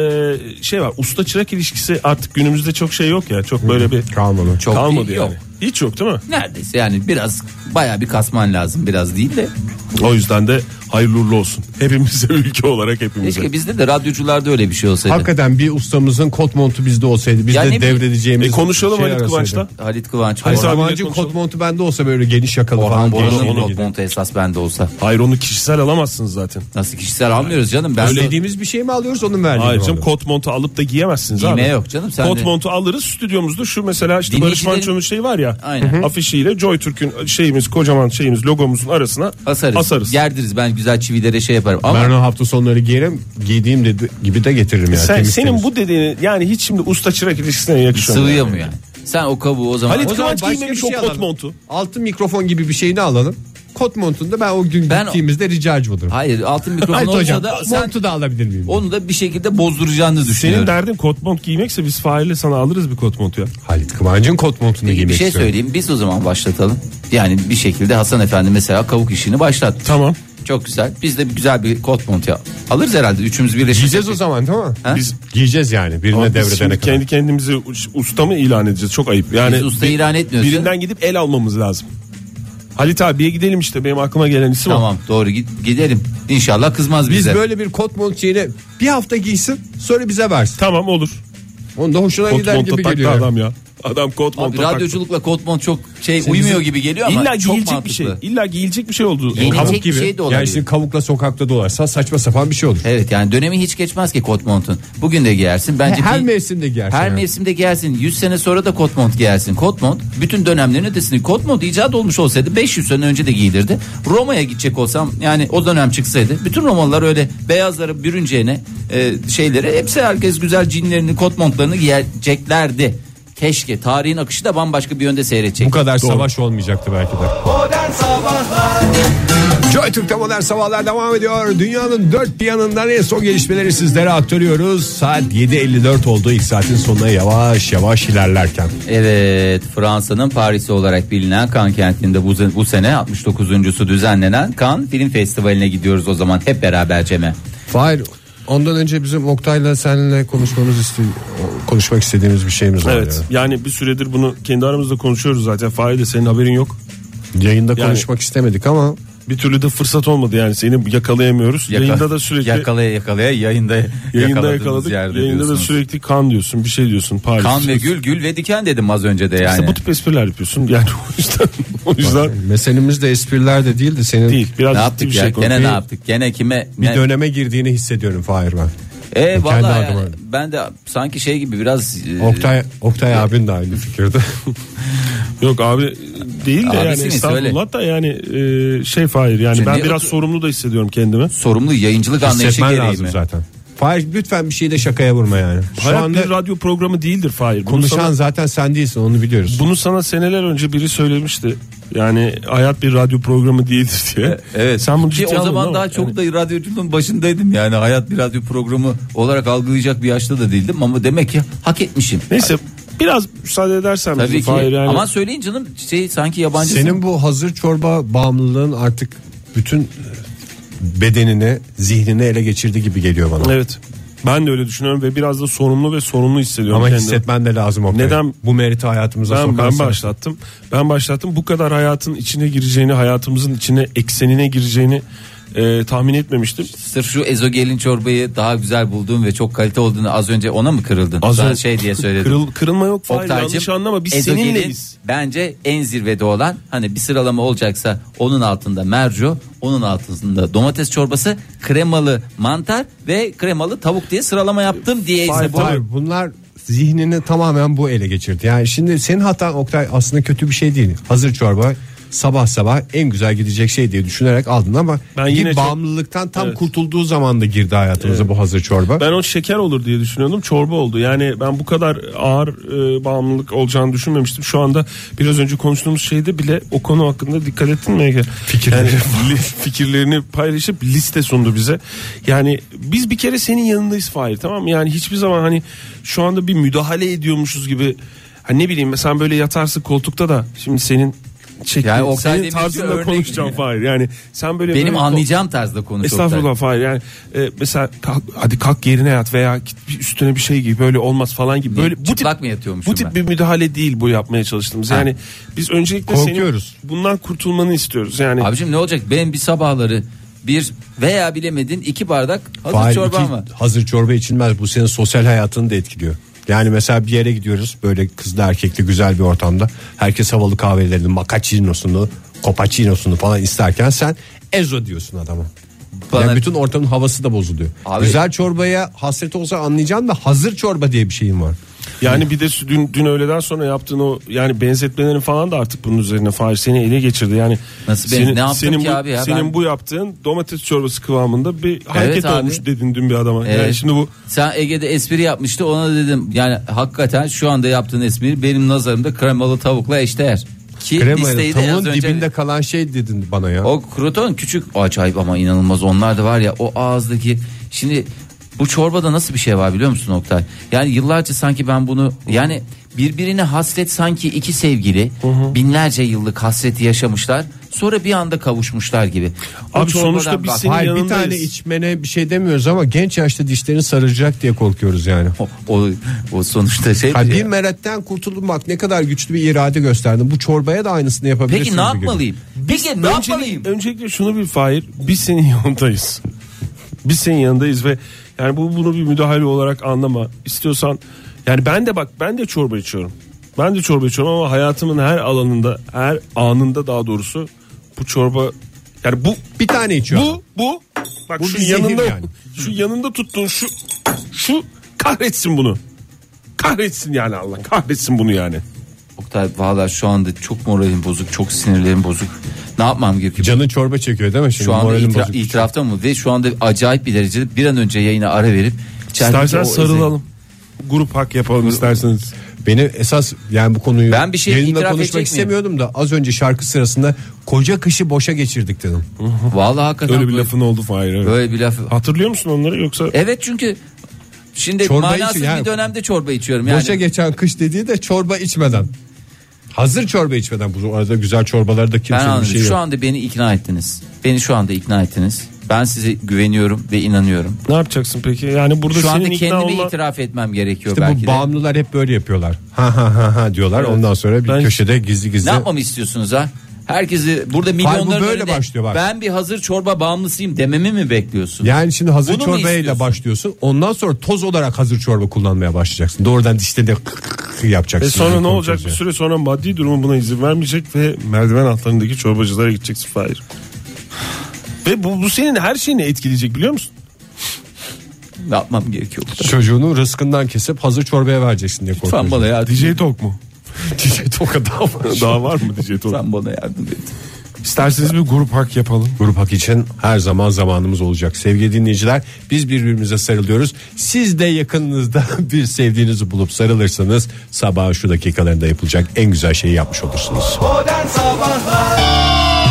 [SPEAKER 5] şey var usta çırak ilişkisi artık günümüzde çok şey yok ya çok böyle bir
[SPEAKER 3] Kalmadı.
[SPEAKER 4] Çok
[SPEAKER 5] kalmadı
[SPEAKER 4] değil,
[SPEAKER 5] yani.
[SPEAKER 4] yok.
[SPEAKER 5] Hiç yok değil mi?
[SPEAKER 4] Neredeyse yani biraz baya bir kasman lazım biraz değil de.
[SPEAKER 5] O yüzden de hayırlı uğurlu olsun. Hepimize ülke olarak hepimize.
[SPEAKER 4] Keşke bizde de radyocularda öyle bir şey olsaydı.
[SPEAKER 3] Hakikaten bir ustamızın kot montu bizde olsaydı biz
[SPEAKER 4] Ya ne
[SPEAKER 3] de
[SPEAKER 4] bileyim.
[SPEAKER 3] devredeceğimiz
[SPEAKER 5] E konuşalım
[SPEAKER 3] şeyler
[SPEAKER 5] Halit
[SPEAKER 3] arasaydı.
[SPEAKER 5] Kıvanç'la.
[SPEAKER 4] Halit Kıvanç,
[SPEAKER 3] Hayır,
[SPEAKER 5] Orhan
[SPEAKER 4] Orhan,
[SPEAKER 5] Bey'le
[SPEAKER 3] Sabancı kot
[SPEAKER 5] konuşalım.
[SPEAKER 3] montu bende olsa böyle geniş yakalı
[SPEAKER 4] Orhan
[SPEAKER 3] falan.
[SPEAKER 5] Orhan-
[SPEAKER 4] Bora'nın
[SPEAKER 5] Orhan-
[SPEAKER 4] kot montu esas bende olsa.
[SPEAKER 5] Hayır onu kişisel alamazsınız zaten.
[SPEAKER 4] Nasıl kişisel almıyoruz canım. Ben
[SPEAKER 3] Öyle dediğimiz bir şey mi alıyoruz onun verdiğini
[SPEAKER 5] Hayır
[SPEAKER 3] mi
[SPEAKER 5] canım
[SPEAKER 3] alıyoruz?
[SPEAKER 5] kot montu alıp da giyemezsiniz
[SPEAKER 4] Giyme
[SPEAKER 5] abi.
[SPEAKER 4] yok canım, sen
[SPEAKER 5] Kot
[SPEAKER 4] de-
[SPEAKER 5] montu alırız stüdyomuzda şu mesela işte Barış
[SPEAKER 4] Dinleyicilerin-
[SPEAKER 5] Manço'nun şeyi var ya.
[SPEAKER 4] Aynen. Hı
[SPEAKER 5] Afişiyle Joy Türk'ün şeyimiz kocaman şeyimiz logomuzun arasına
[SPEAKER 4] asarız.
[SPEAKER 5] asarız.
[SPEAKER 4] Gerdiriz ben güzel çivilere şey yaparım. Ama
[SPEAKER 3] Ben o hafta sonları giyerim giydiğim dedi, gibi de getiririm yani.
[SPEAKER 5] Sen,
[SPEAKER 3] temiz
[SPEAKER 5] senin
[SPEAKER 3] temiz.
[SPEAKER 5] bu dediğini yani hiç şimdi usta çırak ilişkisine yakışıyor. mu?
[SPEAKER 4] sıvıyor mu yani? Sen o kabuğu o zaman...
[SPEAKER 5] Halit
[SPEAKER 4] O zaman
[SPEAKER 5] Kıvanç
[SPEAKER 3] başka
[SPEAKER 5] giymemiş
[SPEAKER 3] bir şey
[SPEAKER 5] o kot
[SPEAKER 3] alalım.
[SPEAKER 5] montu.
[SPEAKER 3] altın mikrofon gibi bir şeyini alalım. Kot montunu da ben o gün
[SPEAKER 4] Ben-
[SPEAKER 3] gittiğimizde ricacı olurum.
[SPEAKER 4] Hayır altın mikrofon
[SPEAKER 3] Hayır
[SPEAKER 4] olsa
[SPEAKER 3] hocam
[SPEAKER 4] da sen
[SPEAKER 3] montu da alabilir miyim?
[SPEAKER 4] onu da bir şekilde bozduracağını
[SPEAKER 5] Senin
[SPEAKER 4] düşünüyorum.
[SPEAKER 5] derdin kot mont giymekse biz Fahir'le sana alırız bir kot montu ya.
[SPEAKER 3] Halit Kıvancı'nın kot montunu
[SPEAKER 4] Peki,
[SPEAKER 3] giymek
[SPEAKER 4] bir şey
[SPEAKER 3] istiyorum.
[SPEAKER 4] söyleyeyim biz o zaman başlatalım. Yani bir şekilde Hasan Efendi mesela kavuk işini başlattı.
[SPEAKER 5] Tamam.
[SPEAKER 4] Çok güzel. Biz de bir güzel bir kot montu al- alırız herhalde. Üçümüz birleşince.
[SPEAKER 3] Giyeceğiz o zaman tamam mı?
[SPEAKER 4] Ha?
[SPEAKER 3] Biz giyeceğiz yani birine
[SPEAKER 5] Ama biz
[SPEAKER 3] devredene
[SPEAKER 5] şimdi
[SPEAKER 3] kadar.
[SPEAKER 5] kendi kendimizi us- usta mı ilan edeceğiz? Çok ayıp. Yani
[SPEAKER 4] Biz usta
[SPEAKER 5] bir-
[SPEAKER 4] ilan etmiyoruz
[SPEAKER 5] Birinden
[SPEAKER 4] canım.
[SPEAKER 5] gidip el almamız lazım. Halit abiye gidelim işte benim aklıma gelen isim o.
[SPEAKER 4] Tamam doğru git gidelim. İnşallah kızmaz
[SPEAKER 3] Biz
[SPEAKER 4] bize.
[SPEAKER 3] böyle bir kot mont şeyini bir hafta giysin sonra bize versin.
[SPEAKER 5] Tamam olur.
[SPEAKER 3] Onu da hoşuna
[SPEAKER 5] Kot
[SPEAKER 3] gider
[SPEAKER 5] monta
[SPEAKER 3] gibi
[SPEAKER 5] taktı
[SPEAKER 3] geliyor.
[SPEAKER 5] adam ya. Adam kot
[SPEAKER 4] Abi
[SPEAKER 5] monta
[SPEAKER 4] radyoculukla kot mont çok şey uymuyor gibi geliyor ama
[SPEAKER 5] İlla
[SPEAKER 4] çok
[SPEAKER 5] giyilecek
[SPEAKER 4] mantıklı.
[SPEAKER 5] bir şey. İlla giyilecek bir şey oldu.
[SPEAKER 4] Giyilecek
[SPEAKER 5] Kabuk-
[SPEAKER 4] bir şey de olabilir.
[SPEAKER 3] yani şimdi kavukla sokakta dolarsan saçma sapan bir şey olur.
[SPEAKER 4] Evet yani dönemi hiç geçmez ki kot montun. Bugün de giyersin. Bence
[SPEAKER 3] Her şey
[SPEAKER 4] bir-
[SPEAKER 3] mevsimde giyersin.
[SPEAKER 4] Her
[SPEAKER 3] yani.
[SPEAKER 4] mevsimde giyersin. 100 sene sonra da kot mont giyersin. Kot mont bütün dönemlerin ötesinde. Kot mont icat olmuş olsaydı 500 sene önce de giyilirdi. Roma'ya gidecek olsam yani o dönem çıksaydı bütün Romalılar öyle beyazları bürünceğine e, şeyleri hepsi herkes güzel cinlerini kot montlarını giyeceklerdi. Keşke tarihin akışı da bambaşka bir yönde seyredecek.
[SPEAKER 3] Bu kadar savaş olmayacaktı belki de.
[SPEAKER 2] Modern Sabahlar
[SPEAKER 3] Joy Türk'te modern sabahlar devam ediyor. Dünyanın dört bir yanından en son gelişmeleri sizlere aktarıyoruz. Saat 7.54 oldu. İlk saatin sonuna yavaş yavaş ilerlerken.
[SPEAKER 4] Evet Fransa'nın Paris'i olarak bilinen Cannes kentinde bu, bu sene 69.sü düzenlenen Cannes Film Festivali'ne gidiyoruz o zaman hep beraber Cem'e.
[SPEAKER 3] Fahir ondan önce bizim Oktay'la seninle konuşmamız istiyor, konuşmak istediğimiz bir şeyimiz var.
[SPEAKER 5] Evet yani bir süredir bunu kendi aramızda konuşuyoruz zaten. Fahir de senin haberin yok.
[SPEAKER 3] yani. Yayında
[SPEAKER 5] Yani-
[SPEAKER 3] konuşmak istemedik ama
[SPEAKER 5] Bir türlü de fırsat olmadı yani seni yakalayamıyoruz.
[SPEAKER 4] Yaka-
[SPEAKER 5] Yayında da sürekli
[SPEAKER 4] yakalaya yakalaya yayında
[SPEAKER 5] yayında
[SPEAKER 4] yakaladığımız
[SPEAKER 5] yakaladık.
[SPEAKER 4] yerde
[SPEAKER 5] Yayında da
[SPEAKER 4] diyorsunuz.
[SPEAKER 5] sürekli kan diyorsun bir şey diyorsun. Paris.
[SPEAKER 4] kan ve gül gül ve diken dedim az önce de yani.
[SPEAKER 5] İşte bu tip espriler yapıyorsun. Yani o yüzden o yüzden
[SPEAKER 3] meselemiz de espriler de değildi. Senin
[SPEAKER 5] değil. Biraz
[SPEAKER 4] ne
[SPEAKER 5] ciddi
[SPEAKER 4] yaptık
[SPEAKER 5] bir
[SPEAKER 4] ya?
[SPEAKER 5] şey
[SPEAKER 4] Gene
[SPEAKER 5] konuşuyoruz.
[SPEAKER 4] ne yaptık? Gene kime?
[SPEAKER 3] bir
[SPEAKER 4] ne-
[SPEAKER 3] döneme girdiğini hissediyorum Fahir ben.
[SPEAKER 4] E
[SPEAKER 3] Kendi
[SPEAKER 4] vallahi
[SPEAKER 3] adıma.
[SPEAKER 4] yani ben de sanki şey gibi biraz e,
[SPEAKER 3] Oktay, Oktay abin de aynı fikirde.
[SPEAKER 5] Yok abi değil de yani
[SPEAKER 4] Abisiniz,
[SPEAKER 5] estağfurullah da yani e, şey Fahir yani
[SPEAKER 4] Şimdi
[SPEAKER 5] ben
[SPEAKER 4] ne-
[SPEAKER 5] biraz sorumlu da hissediyorum kendimi.
[SPEAKER 4] sorumlu yayıncılık anlayışı
[SPEAKER 3] Hissetmen
[SPEAKER 4] gereği
[SPEAKER 3] lazım
[SPEAKER 4] mi?
[SPEAKER 3] zaten. Fahir lütfen bir şeyi de şakaya vurma yani. Şu
[SPEAKER 5] Hayat
[SPEAKER 3] anda
[SPEAKER 5] bir radyo programı değildir Fahir. Bunu
[SPEAKER 3] konuşan
[SPEAKER 5] sana-
[SPEAKER 3] zaten sen değilsin onu biliyoruz.
[SPEAKER 5] Bunu sana seneler önce biri söylemişti. Yani hayat bir radyo programı değildir diye.
[SPEAKER 4] E, Evet.
[SPEAKER 5] Sen bunu
[SPEAKER 4] Ki
[SPEAKER 5] ciddi
[SPEAKER 4] o
[SPEAKER 5] almadın ama
[SPEAKER 4] zaman daha çok da
[SPEAKER 5] yani
[SPEAKER 4] radyocunun başındaydım yani hayat bir radyo programı olarak algılayacak bir yaşta da değildim ama demek ki hak etmişim.
[SPEAKER 5] Neyse biraz müsaade edersen bize
[SPEAKER 4] Tabii ki.
[SPEAKER 5] Fahir yani.
[SPEAKER 4] Ama söyleyin canım şey sanki yabancısın.
[SPEAKER 3] Senin bu hazır çorba bağımlılığın artık bütün e, bedenini, zihnini ele geçirdi gibi geliyor bana.
[SPEAKER 5] Evet. Ben de öyle düşünüyorum ve biraz da sorumlu ve sorumlu hissediyorum
[SPEAKER 3] Ama
[SPEAKER 5] kendimi.
[SPEAKER 3] hissetmen de lazım o.
[SPEAKER 5] Neden?
[SPEAKER 3] Bu meriti hayatımıza
[SPEAKER 5] Ben, ben
[SPEAKER 3] sokarsan.
[SPEAKER 5] başlattım. Ben başlattım. Bu kadar hayatın içine gireceğini, hayatımızın içine eksenine gireceğini e, tahmin etmemiştim.
[SPEAKER 4] Sırf şu ezogelin çorbayı daha güzel bulduğun ve çok kalite olduğunu az önce ona mı kırıldın?
[SPEAKER 5] Az
[SPEAKER 4] ben
[SPEAKER 5] önce-
[SPEAKER 4] şey diye söyledim.
[SPEAKER 5] Kırıl, kırılma yok. Fahir,
[SPEAKER 4] Oktaycığım,
[SPEAKER 5] yanlış anlama. Biz
[SPEAKER 4] ezogelin
[SPEAKER 5] seninle biz.
[SPEAKER 4] Bence en zirvede olan hani bir sıralama olacaksa onun altında merco, onun altında domates çorbası, kremalı mantar ve kremalı tavuk diye sıralama yaptım diye izle.
[SPEAKER 3] Hayır,
[SPEAKER 4] Bu-
[SPEAKER 3] hayır, bunlar zihnini tamamen bu ele geçirdi. Yani şimdi senin hatan Oktay aslında kötü bir şey değil. Hazır çorba sabah sabah en güzel gidecek şey diye düşünerek aldın ama
[SPEAKER 5] Ben
[SPEAKER 3] bir
[SPEAKER 5] yine çok-
[SPEAKER 3] bağımlılıktan tam
[SPEAKER 5] Evet.
[SPEAKER 3] kurtulduğu zaman da girdi hayatımıza bu hazır çorba.
[SPEAKER 5] Ben o şeker olur diye düşünüyordum. Çorba oldu. Yani ben bu kadar ağır e, bağımlılık olacağını düşünmemiştim. Şu anda biraz önce konuştuğumuz şeyde bile o konu hakkında dikkat ettin mi Ege? Fikirlerini. fikirlerini paylaşıp liste sundu bize. Yani biz bir kere senin yanındayız Fahir tamam mı? Yani hiçbir zaman hani şu anda bir müdahale ediyormuşuz gibi. Hani ne bileyim sen böyle yatarsın koltukta da şimdi senin şeklin,
[SPEAKER 4] Yani Oktay
[SPEAKER 5] senin
[SPEAKER 4] Demirci
[SPEAKER 5] tarzında
[SPEAKER 4] örnek-
[SPEAKER 5] konuşacağım Fahir. Yani sen böyle
[SPEAKER 4] Benim
[SPEAKER 5] böyle-
[SPEAKER 4] anlayacağım tarzda konuş.
[SPEAKER 5] Estağfurullah Fahir yani e, mesela kalk- hadi kalk yerine yat veya git bir üstüne bir şey giy böyle olmaz falan gibi. Böyle bu
[SPEAKER 4] çıplak
[SPEAKER 5] tip,
[SPEAKER 4] mı yatıyormuşum
[SPEAKER 5] Bu tip
[SPEAKER 4] ben?
[SPEAKER 5] bir müdahale değil bu yapmaya çalıştığımız.
[SPEAKER 4] Ha.
[SPEAKER 5] Yani biz öncelikle
[SPEAKER 3] Korkuyoruz.
[SPEAKER 5] senin bundan kurtulmanı istiyoruz. Yani
[SPEAKER 4] Abicim ne olacak ben bir sabahları bir veya bilemedin iki bardak hazır
[SPEAKER 3] Fahir,
[SPEAKER 4] çorba
[SPEAKER 3] iki
[SPEAKER 4] mı?
[SPEAKER 3] hazır çorba içilmez bu senin sosyal hayatını da etkiliyor. Yani mesela bir yere gidiyoruz böyle kızlı erkekli güzel bir ortamda. Herkes havalı kahvelerini, macchiato'sunu, copaccinosunu falan isterken sen ezo diyorsun adama.
[SPEAKER 4] Bana-
[SPEAKER 3] Yani bütün ortamın havası da bozuluyor.
[SPEAKER 4] Abi-
[SPEAKER 3] Güzel çorbaya hasret olsa anlayacaksın da hazır çorba diye bir şeyin var.
[SPEAKER 5] yani bir de sü- dün, dün öğleden sonra yaptığın o yani benzetmelerin falan da artık bunun üzerine Fahir seni ele geçirdi. Yani
[SPEAKER 4] Nasıl ben-
[SPEAKER 5] senin,
[SPEAKER 4] ne yaptım
[SPEAKER 5] senin
[SPEAKER 4] ki
[SPEAKER 5] bu,
[SPEAKER 4] abi ya?
[SPEAKER 5] senin
[SPEAKER 4] Ben-
[SPEAKER 5] bu yaptığın domates çorbası kıvamında bir hareket
[SPEAKER 4] abi.
[SPEAKER 5] olmuş dedin dün bir adama. Yani
[SPEAKER 4] Evet.
[SPEAKER 5] şimdi bu
[SPEAKER 4] Sen Ege'de espri yapmıştı ona da dedim yani hakikaten şu anda yaptığın espri benim nazarımda kremalı tavukla eşdeğer. Ki
[SPEAKER 3] Kremayla
[SPEAKER 4] listeyi de az
[SPEAKER 3] tavuğun
[SPEAKER 4] önce-
[SPEAKER 3] dibinde kalan şey dedin bana ya.
[SPEAKER 4] O kruton küçük acayip ama inanılmaz onlar da var ya o ağızdaki şimdi bu çorbada nasıl bir şey var biliyor musun Oktay? Yani yıllarca sanki ben bunu yani birbirine hasret sanki iki sevgili binlerce yıllık hasreti yaşamışlar sonra bir anda kavuşmuşlar gibi. O
[SPEAKER 5] Abi sonuçta
[SPEAKER 4] çorbadan
[SPEAKER 5] biz
[SPEAKER 4] bak-
[SPEAKER 5] senin
[SPEAKER 3] Hayır bir
[SPEAKER 5] yanındayız.
[SPEAKER 3] tane içmene bir şey demiyoruz ama genç yaşta dişlerin sarılacak diye korkuyoruz yani.
[SPEAKER 4] o, o, o sonuçta şey
[SPEAKER 3] Ha,
[SPEAKER 4] bir-
[SPEAKER 3] bir meretten kurtulmak ne kadar güçlü bir irade gösterdin. Bu çorbaya da aynısını yapabilirsin.
[SPEAKER 4] Peki ne yapmalıyım? Peki ne
[SPEAKER 5] Öncelik-
[SPEAKER 4] yapmalıyım?
[SPEAKER 5] Öncelikle şunu bir Fahir. Biz senin yanındayız. Biz senin yanındayız ve yani bu bunu bir müdahale olarak anlama. İstiyorsan yani ben de bak ben de çorba içiyorum. Ben de çorba içiyorum ama hayatımın her alanında, her anında daha doğrusu bu çorba yani bu
[SPEAKER 3] Bir tane içiyor.
[SPEAKER 5] bu bu bak
[SPEAKER 3] Bu
[SPEAKER 5] şu
[SPEAKER 3] bir zehir
[SPEAKER 5] yanında
[SPEAKER 3] yani.
[SPEAKER 5] şu yanında tuttuğun şu şu kahretsin bunu. Kahretsin yani Allah kahretsin bunu yani.
[SPEAKER 4] Oktay valla şu anda çok moralim bozuk çok sinirlerim bozuk. Ne yapmam gerekiyor?
[SPEAKER 3] Canın çorba çekiyor değil mi? Şimdi
[SPEAKER 4] Şu anda
[SPEAKER 3] moralim
[SPEAKER 4] itira-
[SPEAKER 3] bozuk.
[SPEAKER 4] itirafta mı ve şu anda acayip bir derecede bir an önce yayına ara verip içerideki
[SPEAKER 5] İstersen
[SPEAKER 4] o ezeli-
[SPEAKER 5] sarılalım. Grup hak yapalım isterseniz.
[SPEAKER 3] Beni esas yani bu konuyu
[SPEAKER 4] Ben bir şey
[SPEAKER 3] yayında
[SPEAKER 4] itiraf edecek
[SPEAKER 3] konuşmak
[SPEAKER 4] miyim?
[SPEAKER 3] istemiyordum da az önce şarkı sırasında koca kışı boşa geçirdik dedim.
[SPEAKER 4] Vallahi hakikaten
[SPEAKER 5] Öyle bir
[SPEAKER 4] böyle-
[SPEAKER 5] lafın oldu Fahir. evet.
[SPEAKER 4] Böyle bir laf.
[SPEAKER 5] Hatırlıyor musun onları yoksa?
[SPEAKER 4] Evet çünkü şimdi
[SPEAKER 3] Çorba
[SPEAKER 4] manasız
[SPEAKER 3] içiyor, yani-
[SPEAKER 4] bir dönemde çorba içiyorum yani.
[SPEAKER 3] Boşa geçen kış dediği de çorba içmeden. Hazır çorba içmeden bu arada güzel çorbalarda da
[SPEAKER 4] ben
[SPEAKER 3] kimsenin bir
[SPEAKER 4] anladım.
[SPEAKER 3] şey
[SPEAKER 4] şu
[SPEAKER 3] yok.
[SPEAKER 4] anda beni ikna ettiniz. Beni şu anda ikna ettiniz. Ben size güveniyorum ve inanıyorum.
[SPEAKER 5] Ne yapacaksın peki? Yani burada
[SPEAKER 4] Şu anda
[SPEAKER 5] senin ikna
[SPEAKER 4] kendimi
[SPEAKER 5] olma...
[SPEAKER 4] itiraf etmem gerekiyor
[SPEAKER 3] İşte
[SPEAKER 4] belki
[SPEAKER 3] bu
[SPEAKER 4] de.
[SPEAKER 3] bağımlılar hep böyle yapıyorlar. Ha ha ha ha diyorlar. Ondan sonra bir
[SPEAKER 5] Ben-
[SPEAKER 3] köşede gizli gizli.
[SPEAKER 4] Ne yapmamı istiyorsunuz ha? Herkesi burada milyonların
[SPEAKER 3] böyle
[SPEAKER 4] önünde
[SPEAKER 3] başlıyor bak.
[SPEAKER 4] ben bir hazır çorba bağımlısıyım dememi mi bekliyorsun?
[SPEAKER 3] Yani şimdi hazır
[SPEAKER 4] Bunu mu
[SPEAKER 3] çorbayla
[SPEAKER 4] istiyorsun?
[SPEAKER 3] başlıyorsun. Ondan sonra toz olarak hazır çorba kullanmaya başlayacaksın. Doğrudan dişte de yapacaksın.
[SPEAKER 5] E sonra ne olacak? Bir
[SPEAKER 3] Korkuyorsun.
[SPEAKER 5] süre sonra maddi durumun buna izin vermeyecek ve merdiven altlarındaki çorbacılara gideceksin Fahir. Ve bu, bu senin her şeyini etkileyecek biliyor musun?
[SPEAKER 4] Ne yapmam gerekiyor?
[SPEAKER 3] Çocuğunu rızkından kesip hazır çorbaya vereceksin diye
[SPEAKER 4] Lütfen
[SPEAKER 3] korkuyorsun.
[SPEAKER 4] bana yardım
[SPEAKER 5] DJ Talk mu?
[SPEAKER 3] Diyecek o kadar var.
[SPEAKER 5] Daha var mı DJ Talk?
[SPEAKER 4] Lütfen bana yardım et.
[SPEAKER 6] İsterseniz bir grup hak yapalım.
[SPEAKER 3] Grup Hak için her zaman zamanımız olacak. Sevgili dinleyiciler biz birbirimize sarılıyoruz. Siz de yakınınızda bir sevdiğinizi bulup sarılırsanız sabah şu dakikalarında yapılacak en güzel şeyi yapmış olursunuz.
[SPEAKER 2] Modern Sabahlar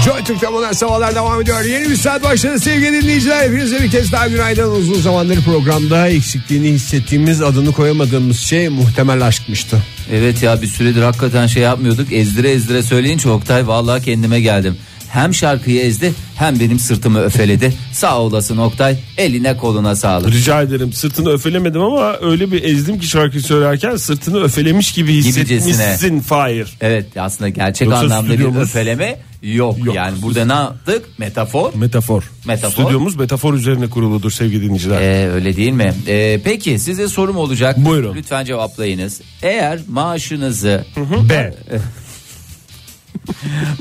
[SPEAKER 3] Joy Türk'te modern sabahlar devam ediyor. Yeni bir saat başladı sevgili dinleyiciler. Hepinize bir kez daha günaydın. Uzun zamandır programda eksikliğini hissettiğimiz adını koyamadığımız şey muhtemel aşkmıştı.
[SPEAKER 4] Evet ya bir süredir hakikaten şey yapmıyorduk. Ezdire ezdire söyleyince Oktay vallahi kendime geldim. Hem şarkıyı ezdi hem benim sırtımı öfeledi. Sağ olasın Oktay. Eline koluna sağlık.
[SPEAKER 5] Rica ederim sırtını öfelemedim ama öyle bir ezdim ki şarkıyı söylerken sırtını öfelemiş gibi
[SPEAKER 4] Gibicesine.
[SPEAKER 5] hissetmişsin Fahir.
[SPEAKER 4] Evet aslında gerçek
[SPEAKER 5] Yoksa
[SPEAKER 4] anlamda bir
[SPEAKER 5] stüdyomuz-
[SPEAKER 4] öfeleme yok.
[SPEAKER 5] Yok.
[SPEAKER 4] Yani burada ne yaptık? Metafor.
[SPEAKER 5] Metafor.
[SPEAKER 4] Metafor.
[SPEAKER 5] Stüdyomuz metafor üzerine kuruludur sevgili dinleyiciler.
[SPEAKER 4] Ee, öyle değil mi? Ee, peki size sorum olacak.
[SPEAKER 5] Buyurun.
[SPEAKER 4] Lütfen cevaplayınız. Eğer maaşınızı
[SPEAKER 5] B.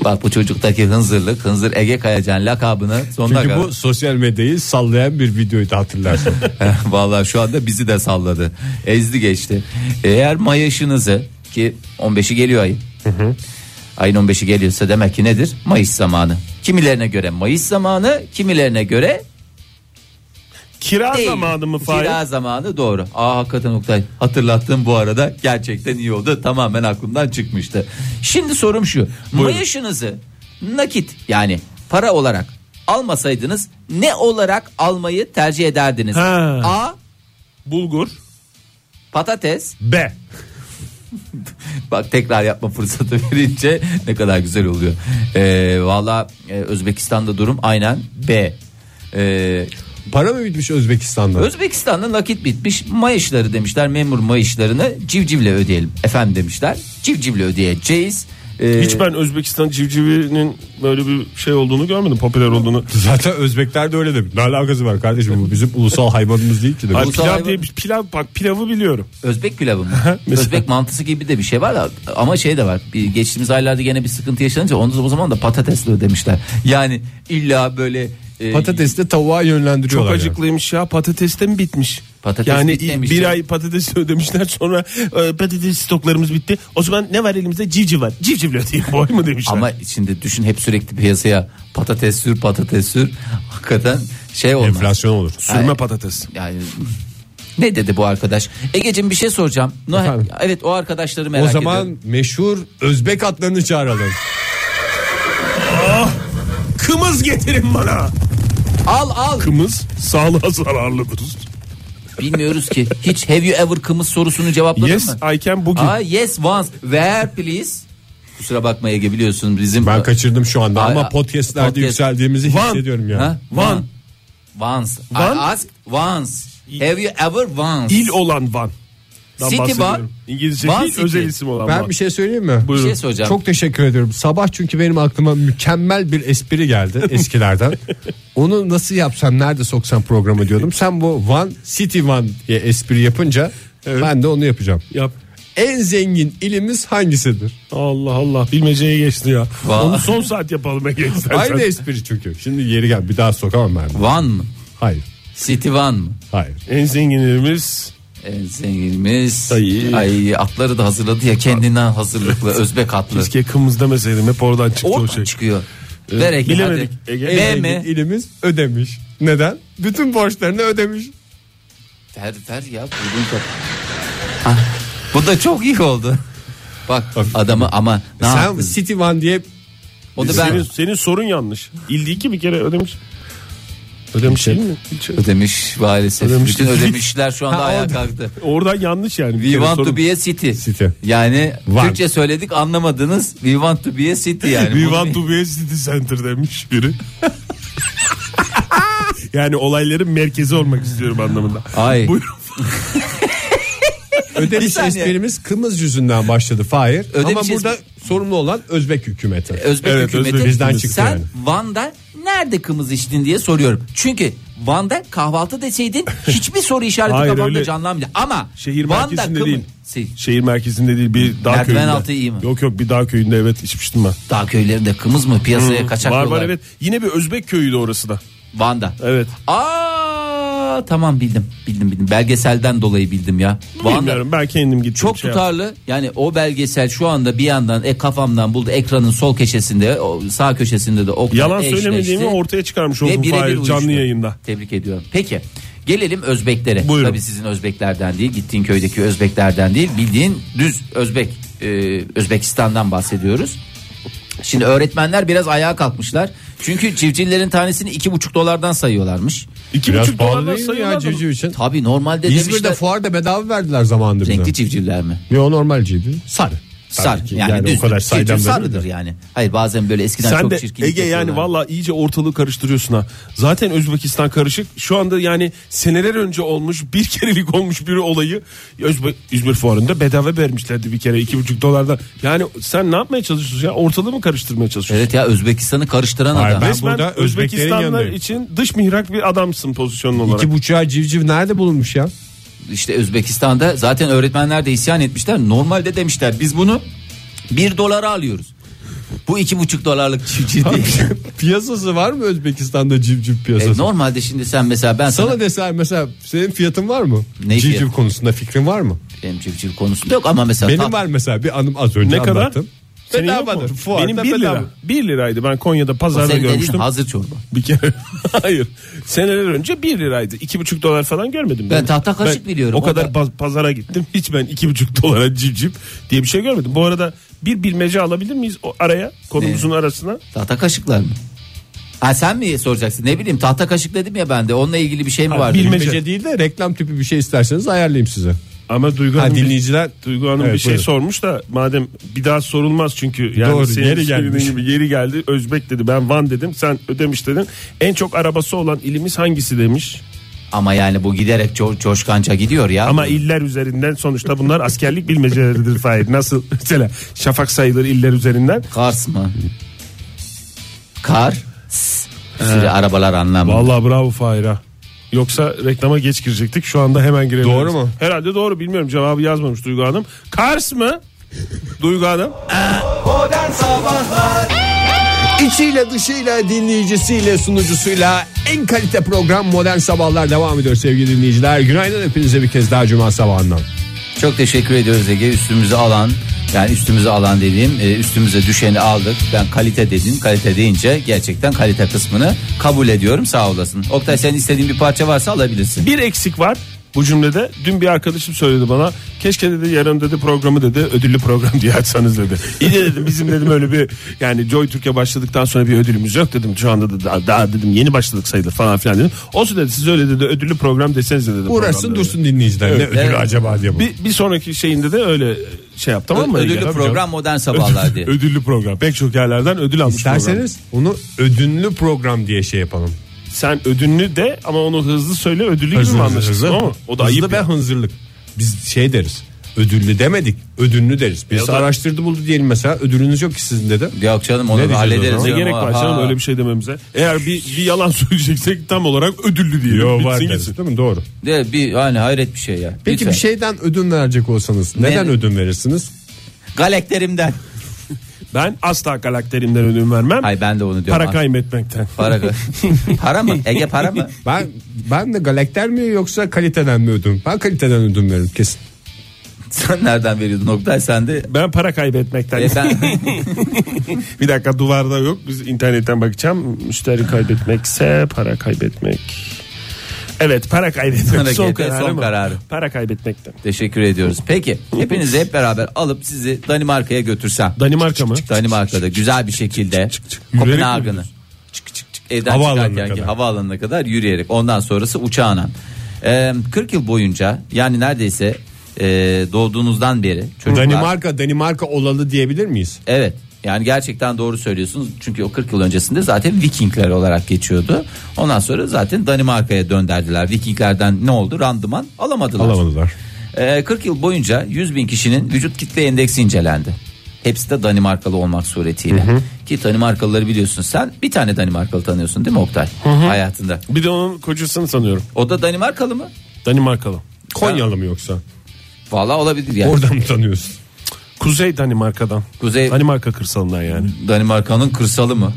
[SPEAKER 4] bak bu çocuktaki hınzırlık hınzır Ege Kayacan lakabını sonuna
[SPEAKER 3] Çünkü
[SPEAKER 4] kadar.
[SPEAKER 3] bu sosyal medyayı sallayan bir videoydu hatırlarsın.
[SPEAKER 4] Vallahi şu anda bizi de salladı. Ezdi geçti. Eğer mayaşınızı ki 15'i geliyor ayın. Ayın 15'i geliyorsa demek ki nedir? Mayıs zamanı. Kimilerine göre Mayıs zamanı, kimilerine göre
[SPEAKER 5] Kira
[SPEAKER 4] değil.
[SPEAKER 5] zamanı mı Fahir?
[SPEAKER 4] Kira zamanı doğru. Aa hakikaten Oktay hatırlattın bu arada. Gerçekten iyi oldu. Tamamen aklımdan çıkmıştı. Şimdi sorum şu. Maaşınızı nakit yani para olarak almasaydınız ne olarak almayı tercih ederdiniz?
[SPEAKER 5] Ha.
[SPEAKER 4] A
[SPEAKER 5] Bulgur.
[SPEAKER 4] patates
[SPEAKER 5] B.
[SPEAKER 4] Bak tekrar yapma fırsatı verince ne kadar güzel oluyor. Ee, Valla e, Özbekistan'da durum aynen B. Ee,
[SPEAKER 3] Para mı bitmiş Özbekistan'da?
[SPEAKER 4] Özbekistan'da nakit bitmiş mayışları demişler memur mayışlarını civcivle ödeyelim efendim demişler. Civcivle ödeyeceğiz. Ee,
[SPEAKER 5] Hiç ben Özbekistan civcivinin böyle bir şey olduğunu görmedim popüler olduğunu.
[SPEAKER 3] Zaten Özbekler de öyle demiş. Ne alakası var kardeşim bu bizim ulusal hayvanımız değil ki demiş.
[SPEAKER 5] Ay,
[SPEAKER 4] Ulusal
[SPEAKER 5] pilav
[SPEAKER 4] hayvan-
[SPEAKER 5] diye bir pilav bak pilavı biliyorum.
[SPEAKER 4] Özbek pilavı mı? Özbek mantısı gibi de bir şey var da ama şey de var. Bir geçtiğimiz aylarda gene bir sıkıntı yaşanınca onu o zaman da patatesle ödemişler. Yani illa böyle e,
[SPEAKER 3] Patatesi de tavuğa
[SPEAKER 5] Çok
[SPEAKER 3] yönlendiriyorlar. yani.
[SPEAKER 5] acıklıymış ya patatesten mi bitmiş?
[SPEAKER 4] Patates
[SPEAKER 5] yani
[SPEAKER 4] bitmemiş
[SPEAKER 5] bir
[SPEAKER 4] ya.
[SPEAKER 5] ay patates ödemişler sonra e, patates stoklarımız bitti. O zaman ne var elimizde? Civciv var. Civcivle ödeyeyim boy mu demişler.
[SPEAKER 4] Ama şimdi düşün hep sürekli piyasaya patates sür patates sür. Hakikaten şey olmaz.
[SPEAKER 3] Enflasyon olur.
[SPEAKER 4] e-
[SPEAKER 5] Sürme patates.
[SPEAKER 4] Yani ne dedi bu arkadaş? Egeciğim bir şey soracağım. No-
[SPEAKER 3] Efendim?
[SPEAKER 4] evet o arkadaşları merak
[SPEAKER 3] O
[SPEAKER 4] ediyorum.
[SPEAKER 3] zaman meşhur Özbek atlarını çağıralım.
[SPEAKER 5] Kımız getirin bana.
[SPEAKER 4] al al.
[SPEAKER 5] Kımız sağlığa zararlıdır.
[SPEAKER 4] Bilmiyoruz ki. Hiç have you ever kımız sorusunu cevapladın
[SPEAKER 5] yes
[SPEAKER 4] mı?
[SPEAKER 5] I can boogie.
[SPEAKER 4] Aa, yes once. Where please? Kusura bakma Ege biliyorsun bizim.
[SPEAKER 3] Ben kaçırdım şu anda
[SPEAKER 4] Ay,
[SPEAKER 3] ama
[SPEAKER 4] ay,
[SPEAKER 3] podcastlerde
[SPEAKER 4] podcast.
[SPEAKER 3] yükseldiğimizi
[SPEAKER 5] Van.
[SPEAKER 3] hissediyorum yani.
[SPEAKER 4] Ha?
[SPEAKER 5] One.
[SPEAKER 4] Once. I
[SPEAKER 5] One?
[SPEAKER 4] asked once. Have you ever once?
[SPEAKER 5] İl olan Van.
[SPEAKER 4] City Van.
[SPEAKER 5] İngilizce
[SPEAKER 4] Van
[SPEAKER 5] değil
[SPEAKER 4] City.
[SPEAKER 5] özel isim olan
[SPEAKER 3] Ben
[SPEAKER 5] Van.
[SPEAKER 3] bir şey söyleyeyim mi?
[SPEAKER 4] Bir şey soracağım.
[SPEAKER 3] Çok teşekkür ediyorum. Sabah çünkü benim aklıma mükemmel bir espri geldi eskilerden. Onu nasıl yapsam nerede soksam programı diyordum. Sen bu Van City Van diye espri yapınca ben de onu yapacağım.
[SPEAKER 4] şey-
[SPEAKER 5] Yap.
[SPEAKER 3] En zengin ilimiz hangisidir?
[SPEAKER 5] Allah Allah bilmeceye geçti ya.
[SPEAKER 4] Van.
[SPEAKER 5] Onu son saat yapalım Ege istersen.
[SPEAKER 3] Aynı espri çünkü. Şimdi yeri gel bir daha sokamam ben. bunu.
[SPEAKER 4] Van mı?
[SPEAKER 3] Hayır.
[SPEAKER 4] City Van mı?
[SPEAKER 3] Hayır.
[SPEAKER 5] En zenginimiz
[SPEAKER 4] En zenginimiz.
[SPEAKER 5] Ay.
[SPEAKER 4] Ay atları da hazırladı ya kendinden hazırlıklı Özbek atlı.
[SPEAKER 5] keşke kımız demeseydim hep oradan çıktı o
[SPEAKER 4] Oradan
[SPEAKER 5] şey.
[SPEAKER 4] çıkıyor. Ver Ege
[SPEAKER 5] bilemedik.
[SPEAKER 4] hadi.
[SPEAKER 5] Ege.
[SPEAKER 4] Ege.
[SPEAKER 3] En
[SPEAKER 4] B
[SPEAKER 3] zengin
[SPEAKER 4] mi?
[SPEAKER 3] ilimiz ödemiş. Neden? Bütün borçlarını ödemiş.
[SPEAKER 4] Ver ver ya. buldun da. Ah, bu da çok iyi oldu. Bak adamı ama ne
[SPEAKER 3] Sen
[SPEAKER 4] yaptın?
[SPEAKER 3] City Van diye
[SPEAKER 4] O da
[SPEAKER 5] Senin,
[SPEAKER 4] ben
[SPEAKER 5] senin sorun yanlış. İl değil ki bir kere ödemiş. Ödemiş değil mi? şey- Hiç-
[SPEAKER 4] ödemiş maalesef.
[SPEAKER 5] Ödemiş.
[SPEAKER 4] Bütün ödemişler şu anda
[SPEAKER 3] Ha,
[SPEAKER 4] ayağa
[SPEAKER 3] oldu.
[SPEAKER 4] kalktı.
[SPEAKER 5] Oradan yanlış yani. bir
[SPEAKER 4] We
[SPEAKER 5] kere
[SPEAKER 4] want
[SPEAKER 5] sorun.
[SPEAKER 4] to be a city.
[SPEAKER 3] City.
[SPEAKER 4] Yani
[SPEAKER 3] Van.
[SPEAKER 4] Türkçe söyledik anlamadınız. We want to be a city yani.
[SPEAKER 5] We
[SPEAKER 4] Bunu
[SPEAKER 5] want
[SPEAKER 4] bir-
[SPEAKER 5] to be a city center demiş biri. yani olayların merkezi olmak istiyorum anlamında.
[SPEAKER 4] Ay.
[SPEAKER 5] Buyurun.
[SPEAKER 4] Bir
[SPEAKER 3] Ödemiş
[SPEAKER 4] saniye.
[SPEAKER 3] esprimiz Kımız yüzünden başladı Fahir.
[SPEAKER 4] Ödemiş
[SPEAKER 3] Ama burada sorumlu olan Özbek hükümeti.
[SPEAKER 4] Özbek
[SPEAKER 5] Evet,
[SPEAKER 4] hükümeti.
[SPEAKER 5] Özbek
[SPEAKER 3] bizden çıktı
[SPEAKER 4] Sen
[SPEAKER 3] yani.
[SPEAKER 4] Van'da nerede kımız içtin diye soruyorum. Çünkü Van'da kahvaltı deseydin hiçbir soru işareti
[SPEAKER 5] Hayır,
[SPEAKER 4] kafamda
[SPEAKER 5] öyle-
[SPEAKER 4] canlanmıyor. Ama
[SPEAKER 5] Şehir
[SPEAKER 4] Van'da
[SPEAKER 5] merkezinde
[SPEAKER 4] kımı-
[SPEAKER 5] değil.
[SPEAKER 4] Şey,
[SPEAKER 5] Şehir merkezinde değil bir dağ
[SPEAKER 4] Merdiven
[SPEAKER 5] köyünde.
[SPEAKER 4] altı iyi mi?
[SPEAKER 5] Yok yok bir dağ köyünde evet içmiştim ben.
[SPEAKER 4] Dağ köylerinde kımız mı piyasaya kaçak
[SPEAKER 5] var var
[SPEAKER 4] yollar?
[SPEAKER 5] evet. Yine bir Özbek köyüydü orası da.
[SPEAKER 4] Van'da.
[SPEAKER 5] Evet.
[SPEAKER 4] Aa Aa tamam bildim. Bildim bildim. Belgeselden dolayı bildim ya. Vallahi-
[SPEAKER 5] Bilmiyorum ben kendim gittim.
[SPEAKER 4] çok
[SPEAKER 5] şey yaptım.
[SPEAKER 4] tutarlı. Yani o belgesel şu anda bir yandan e, kafamdan buldu ekranın sol köşesinde, o sağ köşesinde de Oktay
[SPEAKER 5] Yalan
[SPEAKER 4] eşleşti.
[SPEAKER 5] söylemediğimi ortaya çıkarmış
[SPEAKER 4] Ve
[SPEAKER 5] oldum
[SPEAKER 4] birebir
[SPEAKER 5] Fahir
[SPEAKER 4] uyuştu.
[SPEAKER 5] canlı yayında.
[SPEAKER 4] Tebrik ediyorum. Peki gelelim Özbeklere.
[SPEAKER 5] Buyurun.
[SPEAKER 4] Tabii sizin Özbeklerden değil, gittiğin köydeki Özbeklerden değil, bildiğin düz Özbek, e, Özbekistan'dan bahsediyoruz. Şimdi öğretmenler biraz ayağa kalkmışlar. Çünkü civcivlerin tanesini iki buçuk dolardan sayıyorlarmış.
[SPEAKER 5] İki
[SPEAKER 3] Biraz
[SPEAKER 5] buçuk
[SPEAKER 3] pahalı
[SPEAKER 5] dolardan
[SPEAKER 3] değil mi ya
[SPEAKER 5] sayıyorlar.
[SPEAKER 3] civciv için?
[SPEAKER 4] Tabii normalde
[SPEAKER 3] İzmir'de
[SPEAKER 4] demişler
[SPEAKER 3] fuarda bedava verdiler zamanında bize.
[SPEAKER 4] renkli civcivler mi?
[SPEAKER 3] Yo normal civciv. Sarı.
[SPEAKER 4] Sar
[SPEAKER 3] Tabii ki.
[SPEAKER 4] yani, düz.
[SPEAKER 3] o kadar
[SPEAKER 4] Civciv
[SPEAKER 3] saydam
[SPEAKER 4] sarıdır yani. Hayır bazen böyle eskiden
[SPEAKER 5] Sen
[SPEAKER 4] çok
[SPEAKER 5] de
[SPEAKER 4] çirkin.
[SPEAKER 5] Ege yani valla iyice ortalığı karıştırıyorsun ha. Zaten Özbekistan karışık. Şu anda yani seneler önce olmuş bir kerelik olmuş bir olayı Özbe İzmir fuarında bedava vermişlerdi bir kere iki buçuk dolarda. Yani sen ne yapmaya çalışıyorsun ya ortalığı mı karıştırmaya çalışıyorsun?
[SPEAKER 4] Evet ya Özbekistan'ı karıştıran
[SPEAKER 3] Hayır,
[SPEAKER 4] adam.
[SPEAKER 3] ben-
[SPEAKER 5] Resmen
[SPEAKER 3] burada Özbeklerin
[SPEAKER 5] Özbekistanlılar
[SPEAKER 3] yanındayım.
[SPEAKER 5] için dış mihrak bir adamsın pozisyonlu olarak.
[SPEAKER 3] İki buçuğa civciv nerede bulunmuş ya?
[SPEAKER 4] İşte Özbekistan'da zaten öğretmenler de isyan etmişler. Normalde demişler biz bunu bir dolara alıyoruz. Bu iki buçuk dolarlık çiftçi değil.
[SPEAKER 3] Piyasası var mı Özbekistan'da civciv
[SPEAKER 4] E,
[SPEAKER 3] piyasası?
[SPEAKER 4] normalde şimdi sen mesela ben sana,
[SPEAKER 3] Sana deseler mesela senin fiyatın var mı?
[SPEAKER 4] Ne
[SPEAKER 3] civciv
[SPEAKER 4] fiyatı?
[SPEAKER 3] konusunda fikrin var mı?
[SPEAKER 4] benim çiftçi konusunda yok ama mesela
[SPEAKER 3] Benim
[SPEAKER 4] tat-
[SPEAKER 3] var mesela bir anım az önce
[SPEAKER 5] Ne kadar?
[SPEAKER 3] anlattım.
[SPEAKER 5] Senin yok mu?
[SPEAKER 3] Bedavadır. Fuarda
[SPEAKER 5] Benim 1
[SPEAKER 3] bedava.
[SPEAKER 5] lira. 1 liraydı. Ben Konya'da
[SPEAKER 4] Senin
[SPEAKER 5] pazarda
[SPEAKER 4] dediğin
[SPEAKER 5] görmüştüm.
[SPEAKER 4] hazır çorba.
[SPEAKER 5] Bir kere. Hayır. Seneler önce 1 liraydı. 2,5 dolar falan görmedim.
[SPEAKER 4] Ben tahta kaşık biliyorum.
[SPEAKER 5] O kadar
[SPEAKER 4] O
[SPEAKER 5] pa- pazara gittim. Hiç ben 2,5 dolara civciv diye bir şey görmedim. Bu arada bir bilmece alabilir miyiz o araya? Konumuzun arasına.
[SPEAKER 4] Tahta kaşıklar mı? Ha sen mi soracaksın? Ne bileyim tahta kaşık dedim ya ben de. Onunla ilgili bir şey mi
[SPEAKER 5] Ha,
[SPEAKER 4] vardı?
[SPEAKER 5] bilme-
[SPEAKER 3] Bilmece değil de reklam tipi bir şey isterseniz ayarlayayım size.
[SPEAKER 5] Ama Duygu
[SPEAKER 3] Ha,
[SPEAKER 5] Hanım, bir-
[SPEAKER 3] dinleyiciler
[SPEAKER 5] Duygu Hanım
[SPEAKER 3] Evet,
[SPEAKER 5] bir şey
[SPEAKER 3] buyurun.
[SPEAKER 5] sormuş da madem bir daha sorulmaz çünkü yani
[SPEAKER 3] Doğru,
[SPEAKER 5] senin
[SPEAKER 3] yeri
[SPEAKER 5] söylediğin
[SPEAKER 3] gelmiş.
[SPEAKER 5] gibi yeri geldi. Özbek dedi ben Van dedim sen ödemiş dedin. En çok arabası olan ilimiz hangisi demiş.
[SPEAKER 4] Ama yani bu giderek co- coşkanca gidiyor ya.
[SPEAKER 5] Ama iller üzerinden sonuçta bunlar askerlik bilmeceleridir Fahir. Nasıl mesela şafak sayılır iller üzerinden.
[SPEAKER 4] Kars mı? Kar. s- Sürü arabalar anlamı.
[SPEAKER 5] Vallahi bravo Fahir'a. Yoksa reklama geç girecektik. Şu anda hemen girelim.
[SPEAKER 3] Doğru mu?
[SPEAKER 5] Herhalde doğru. Bilmiyorum cevabı yazmamış Duygu Hanım. Kars mı? Duygu Hanım.
[SPEAKER 2] Modern Sabahlar
[SPEAKER 3] İçiyle dışıyla dinleyicisiyle sunucusuyla en kalite program Modern Sabahlar devam ediyor sevgili dinleyiciler. Günaydın hepinize bir kez daha Cuma sabahından.
[SPEAKER 4] Çok teşekkür ediyoruz Ege. Üstümüze alan yani üstümüze alan dediğim e, üstümüze düşeni aldık. Ben kalite dedim. Kalite deyince gerçekten kalite kısmını kabul ediyorum. Sağ olasın. Oktay senin istediğin bir parça varsa alabilirsin.
[SPEAKER 5] Bir eksik var bu cümlede. Dün bir arkadaşım söyledi bana. Keşke dedi yarın dedi programı dedi ödüllü program diye açsanız dedi. İyi de dedim bizim dedim öyle bir yani Joy Türkiye başladıktan sonra bir ödülümüz yok dedim. Şu anda da daha, daha dedim yeni başladık sayılır falan filan dedim. Olsun dedi siz öyle dedi ödüllü program deseniz dedi.
[SPEAKER 3] Uğraşsın
[SPEAKER 5] programda dedi.
[SPEAKER 3] dursun dinleyiciler. Ne ödülü
[SPEAKER 4] Evet.
[SPEAKER 3] acaba diye bu.
[SPEAKER 5] Bir, bir sonraki şeyinde de öyle şey yap tamam mı?
[SPEAKER 4] Ödüllü
[SPEAKER 5] Ege? Tabii
[SPEAKER 4] program
[SPEAKER 5] canım.
[SPEAKER 4] modern sabahlar diye.
[SPEAKER 5] ödüllü program. Pek çok yerlerden ödül almış program.
[SPEAKER 3] İsterseniz onu ödünlü program diye şey yapalım.
[SPEAKER 5] Sen ödünlü de ama onu hızlı söyle ödüllü gibi mi
[SPEAKER 3] Hızlı,
[SPEAKER 5] anlaşılsın
[SPEAKER 3] hızlı.
[SPEAKER 5] ama o da
[SPEAKER 3] Hızlı
[SPEAKER 5] ayıp.
[SPEAKER 3] ve
[SPEAKER 5] ya.
[SPEAKER 3] hınzırlık. Biz şey deriz. Ödüllü demedik. Ödünlü deriz. Birisi
[SPEAKER 5] da-
[SPEAKER 3] araştırdı buldu diyelim mesela. Ödülünüz yok ki sizin dedi.
[SPEAKER 4] Yok canım
[SPEAKER 3] Ne
[SPEAKER 4] onu
[SPEAKER 3] diyeceğiz o
[SPEAKER 4] hallederiz.
[SPEAKER 3] zaman?
[SPEAKER 5] Ne
[SPEAKER 4] canım.
[SPEAKER 5] gerek var
[SPEAKER 4] Ha.
[SPEAKER 5] canım öyle bir şey dememize. Eğer bir, bir yalan söyleyeceksek tam olarak ödüllü diyelim.
[SPEAKER 3] Yo
[SPEAKER 5] Bitsin
[SPEAKER 3] var deriz.
[SPEAKER 5] gitsin.
[SPEAKER 3] Değil mi? Doğru.
[SPEAKER 4] De, bir, yani hayret bir şey ya.
[SPEAKER 3] Peki
[SPEAKER 4] Lütfen.
[SPEAKER 3] bir şeyden ödün verecek olsanız neden
[SPEAKER 4] Ne-
[SPEAKER 3] ödün verirsiniz?
[SPEAKER 4] Galeklerimden.
[SPEAKER 5] Ben asla karakterimden ödün vermem.
[SPEAKER 4] Ay ben de onu diyorum.
[SPEAKER 5] Para kaybetmekten.
[SPEAKER 4] Para, para mı? Ege para mı?
[SPEAKER 3] Ben ben de galakter mi yoksa kaliteden mi ödün? Ben kaliteden ödün veririm kesin.
[SPEAKER 4] Sen nereden veriyordun Oktay sen de?
[SPEAKER 5] Ben para kaybetmekten.
[SPEAKER 4] E ben,
[SPEAKER 5] bir dakika duvarda yok. Biz internetten bakacağım. Müşteri kaybetmekse para kaybetmek. Evet para kaybetmek
[SPEAKER 4] Para
[SPEAKER 5] son
[SPEAKER 4] kaybetmek,
[SPEAKER 5] kararı,
[SPEAKER 4] son
[SPEAKER 5] mı?
[SPEAKER 4] kararı.
[SPEAKER 5] Para kaybetmekten.
[SPEAKER 4] teşekkür ediyoruz. Peki hepinizi hep beraber alıp sizi Danimarka'ya götürsem.
[SPEAKER 5] Danimarka mı?
[SPEAKER 4] Danimarka'da güzel bir şekilde
[SPEAKER 5] Yürüyerek
[SPEAKER 4] Kopenhag'ını çık çık çık evden
[SPEAKER 3] Havaalanına
[SPEAKER 4] çıkarken ki
[SPEAKER 3] kadar.
[SPEAKER 4] havaalanına kadar yürüyerek ondan sonrası uçağına. Ee, 40 yıl boyunca yani neredeyse e, doğduğunuzdan beri çocuklar
[SPEAKER 3] Danimarka Danimarka olalı diyebilir miyiz?
[SPEAKER 4] Evet. Yani gerçekten doğru söylüyorsunuz. Çünkü o 40 yıl öncesinde zaten Vikingler olarak geçiyordu. Ondan sonra zaten Danimarka'ya dönderdiler. Vikinglerden ne oldu? Randıman alamadılar.
[SPEAKER 3] Alamadılar.
[SPEAKER 4] Ee, 40 yıl boyunca 100 bin kişinin vücut kitle endeksi incelendi. Hepsi de Danimarkalı olmak suretiyle. Ki Danimarkalıları biliyorsun sen bir tane Danimarkalı tanıyorsun değil mi Oktay? Hayatında.
[SPEAKER 5] Bir de onun kocasını sanıyorum.
[SPEAKER 4] O da Danimarkalı mı?
[SPEAKER 5] Danimarkalı.
[SPEAKER 3] Konyalı mı yoksa?
[SPEAKER 4] Valla olabilir yani.
[SPEAKER 3] Oradan mı tanıyorsun?
[SPEAKER 5] Kuzey Danimarka'dan.
[SPEAKER 4] Kuzey
[SPEAKER 5] Danimarka kırsalından yani.
[SPEAKER 4] Danimarka'nın kırsalı mı?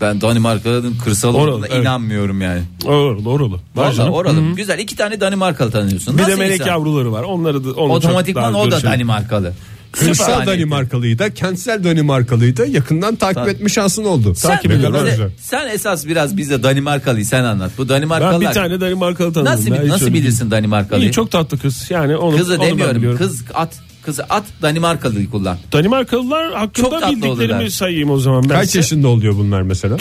[SPEAKER 4] Ben Danimarka'nın kırsal
[SPEAKER 5] Oralı,
[SPEAKER 4] olduğuna
[SPEAKER 5] evet.
[SPEAKER 4] inanmıyorum yani.
[SPEAKER 5] Oralı oralı. Var
[SPEAKER 4] Valla
[SPEAKER 5] canım.
[SPEAKER 4] oralı. Güzel iki tane Danimarkalı tanıyorsun.
[SPEAKER 5] Bir
[SPEAKER 4] Nasıl
[SPEAKER 5] de melek
[SPEAKER 4] insan?
[SPEAKER 5] yavruları var. Onları da onu
[SPEAKER 4] Otomatikman
[SPEAKER 5] çok daha şey.
[SPEAKER 4] o da
[SPEAKER 5] görüşelim.
[SPEAKER 4] Danimarkalı.
[SPEAKER 3] Kırsal
[SPEAKER 4] Süper. hani.
[SPEAKER 3] Danimarkalıyı da kentsel Danimarkalıyı da yakından takip
[SPEAKER 4] Tabii.
[SPEAKER 3] etme şansın oldu.
[SPEAKER 4] Sen,
[SPEAKER 3] Takip ediyorum,
[SPEAKER 4] bize-
[SPEAKER 3] o güzel.
[SPEAKER 4] sen esas biraz bize Danimarkalıyı sen anlat. Bu
[SPEAKER 5] Ben
[SPEAKER 4] Danimarkalılar
[SPEAKER 5] bir tane Danimarkalı tanıdım.
[SPEAKER 4] nasıl
[SPEAKER 5] Ben hiç
[SPEAKER 4] nasıl
[SPEAKER 5] öyle-
[SPEAKER 4] bilirsin Danimarkalıyı?
[SPEAKER 5] İyi çok tatlı kız. Yani onu,
[SPEAKER 4] Kızı
[SPEAKER 5] onu ben
[SPEAKER 4] demiyorum.
[SPEAKER 5] biliyorum.
[SPEAKER 4] Kız at kızı at Danimarkalıyı kullan.
[SPEAKER 5] Danimarkalılar
[SPEAKER 4] Çok
[SPEAKER 5] hakkında
[SPEAKER 4] tatlı olurlar.
[SPEAKER 5] bildiklerimi sayayım o zaman. Ben
[SPEAKER 3] Kaç
[SPEAKER 5] size.
[SPEAKER 3] yaşında oluyor bunlar mesela?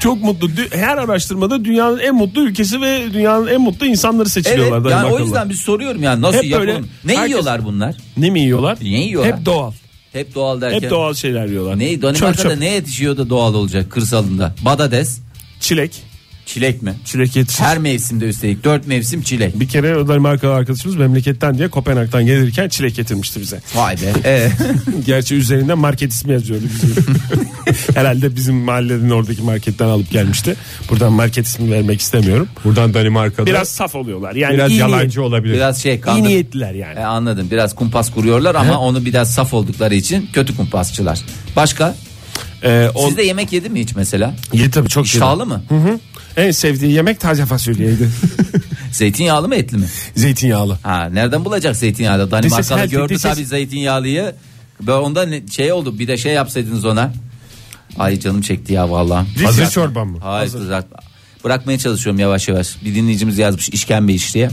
[SPEAKER 5] Çok mutlu. Dü- Her araştırmada dünyanın en mutlu ülkesi ve dünyanın en mutlu insanları
[SPEAKER 4] Evet.
[SPEAKER 5] seçiliyorlar
[SPEAKER 4] Yani
[SPEAKER 5] Danimarkalılar.
[SPEAKER 4] o yüzden bir soruyorum yani nasıl
[SPEAKER 5] Hep
[SPEAKER 4] yapalım?
[SPEAKER 5] böyle,
[SPEAKER 4] ne
[SPEAKER 5] herkes-
[SPEAKER 4] yiyorlar bunlar?
[SPEAKER 5] Ne mi yiyorlar?
[SPEAKER 4] Ne yiyorlar?
[SPEAKER 5] Hep doğal.
[SPEAKER 4] Hep doğal derken.
[SPEAKER 5] Hep doğal şeyler yiyorlar.
[SPEAKER 4] Ne
[SPEAKER 5] Çöp
[SPEAKER 4] Danimarka'da
[SPEAKER 5] çöp.
[SPEAKER 4] ne yetişiyor da doğal olacak kırsalında? Badades,
[SPEAKER 5] Çilek.
[SPEAKER 4] çilek mi?
[SPEAKER 5] Çilek yetişir.
[SPEAKER 4] Her mevsimde üstelik dört mevsim çilek.
[SPEAKER 5] Bir kere o Danimarkalı arkadaşımız memleketten diye Kopenhag'dan gelirken çilek getirmişti bize.
[SPEAKER 4] Vay be. Ee,
[SPEAKER 5] Gerçi üzerinde market ismi yazıyordu bizim. Herhalde bizim mahallenin oradaki marketten alıp gelmişti. Buradan market ismi vermek istemiyorum.
[SPEAKER 3] Buradan Danimarka'da
[SPEAKER 5] Biraz saf oluyorlar. Yani
[SPEAKER 3] biraz
[SPEAKER 5] iyi
[SPEAKER 3] yalancı olabilir.
[SPEAKER 4] biraz şey
[SPEAKER 5] niyet- iyi
[SPEAKER 4] kandım.
[SPEAKER 5] niyetliler yani.
[SPEAKER 4] E, anladım. Biraz kumpas kuruyorlar ama onu biraz saf oldukları için kötü kumpasçılar. Başka?
[SPEAKER 5] Ee, o-
[SPEAKER 4] Siz de yemek yedi mi hiç mesela?
[SPEAKER 5] Yedi tabii çok yedi.
[SPEAKER 4] Şahlı mı?
[SPEAKER 5] Hı hı. En sevdiği yemek taze fasulyeydi.
[SPEAKER 4] Zeytinyağlı mı etli mi?
[SPEAKER 5] Zeytinyağlı.
[SPEAKER 4] Ha nereden bulacak zeytinyağı da?
[SPEAKER 5] This is
[SPEAKER 4] Danimarkalı
[SPEAKER 5] healthy,
[SPEAKER 4] gördü
[SPEAKER 5] this is-
[SPEAKER 4] tabii zeytinyağlıyı. Ve ondan ne- şey oldu. Bir de şey yapsaydınız ona. Ay canım çekti ya vallahi.
[SPEAKER 5] Hazır çorba mı?
[SPEAKER 4] Hayır kızartma. Bırakmaya çalışıyorum yavaş yavaş. Bir dinleyicimiz yazmış işkembe iş diye.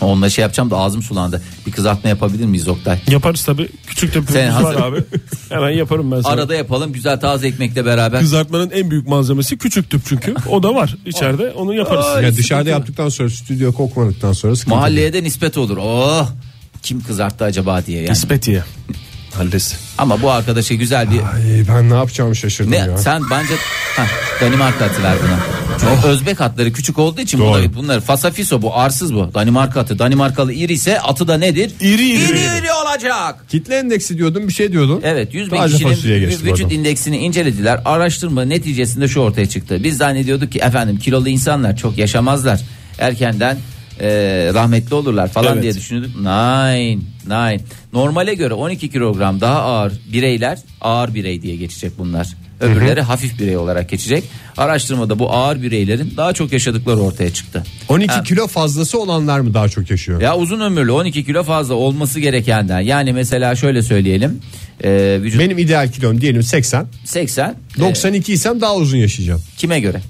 [SPEAKER 4] Onunla şey yapacağım da ağzım sulandı. Bir kızartma yapabilir miyiz Oktay?
[SPEAKER 5] Yaparız tabii. Küçük de
[SPEAKER 4] Sen
[SPEAKER 5] var
[SPEAKER 4] hazır-
[SPEAKER 5] abi. Hemen yaparım ben sana.
[SPEAKER 4] Arada yapalım güzel taze ekmekle beraber.
[SPEAKER 5] Kızartmanın en büyük malzemesi küçük tüp çünkü. O da var içeride. Onu yaparız.
[SPEAKER 4] Ay,
[SPEAKER 3] Ya
[SPEAKER 4] sıkıntı
[SPEAKER 3] dışarıda
[SPEAKER 4] yok.
[SPEAKER 3] yaptıktan sonra stüdyo kokmadıktan sonra sıkıntı.
[SPEAKER 4] Mahalleye de nispet olur. Oh kim kızarttı acaba diye yani.
[SPEAKER 5] İspetiye. Hallesi.
[SPEAKER 4] Ama bu arkadaşa güzel bir
[SPEAKER 3] Ay, ben ne yapacağımı şaşırdım
[SPEAKER 4] ne
[SPEAKER 3] ya.
[SPEAKER 4] sen bence Hah, Danimarka atı ver buna. Çünkü Özbek atları küçük olduğu için
[SPEAKER 3] Oh. Doğru.
[SPEAKER 4] bunlar, bunlar fasafiso bu arsız bu. Danimarka atı. Danimarkalı iri ise atı da nedir?
[SPEAKER 3] İri, iri,
[SPEAKER 4] iri,
[SPEAKER 3] iri.
[SPEAKER 4] iri olacak.
[SPEAKER 3] Kitle endeksi diyordun bir şey diyordun.
[SPEAKER 4] Evet 100 bin
[SPEAKER 3] Taze fasulyeye
[SPEAKER 4] kişinin
[SPEAKER 3] geçti
[SPEAKER 4] vücut
[SPEAKER 3] pardon.
[SPEAKER 4] indeksini incelediler. Araştırma neticesinde şu ortaya çıktı. Biz zannediyorduk ki efendim kilolu insanlar çok yaşamazlar. Erkenden e, rahmetli olurlar falan
[SPEAKER 5] Evet.
[SPEAKER 4] diye düşünüyorduk. Nine, nine. Normale göre 12 kilogram daha ağır bireyler ağır birey diye geçecek bunlar. Öbürleri hafif birey olarak geçecek. Araştırmada bu ağır bireylerin daha çok yaşadıkları ortaya çıktı.
[SPEAKER 3] 12
[SPEAKER 4] Ha.
[SPEAKER 3] kilo fazlası olanlar mı daha çok yaşıyor?
[SPEAKER 4] Ya uzun ömürlü 12 kilo fazla olması gerekenden. Yani mesela şöyle söyleyelim. E, vücut
[SPEAKER 3] Benim ideal kilom diyelim 80.
[SPEAKER 4] 80. e,
[SPEAKER 3] 92 isem daha uzun yaşayacağım.
[SPEAKER 4] Kime göre?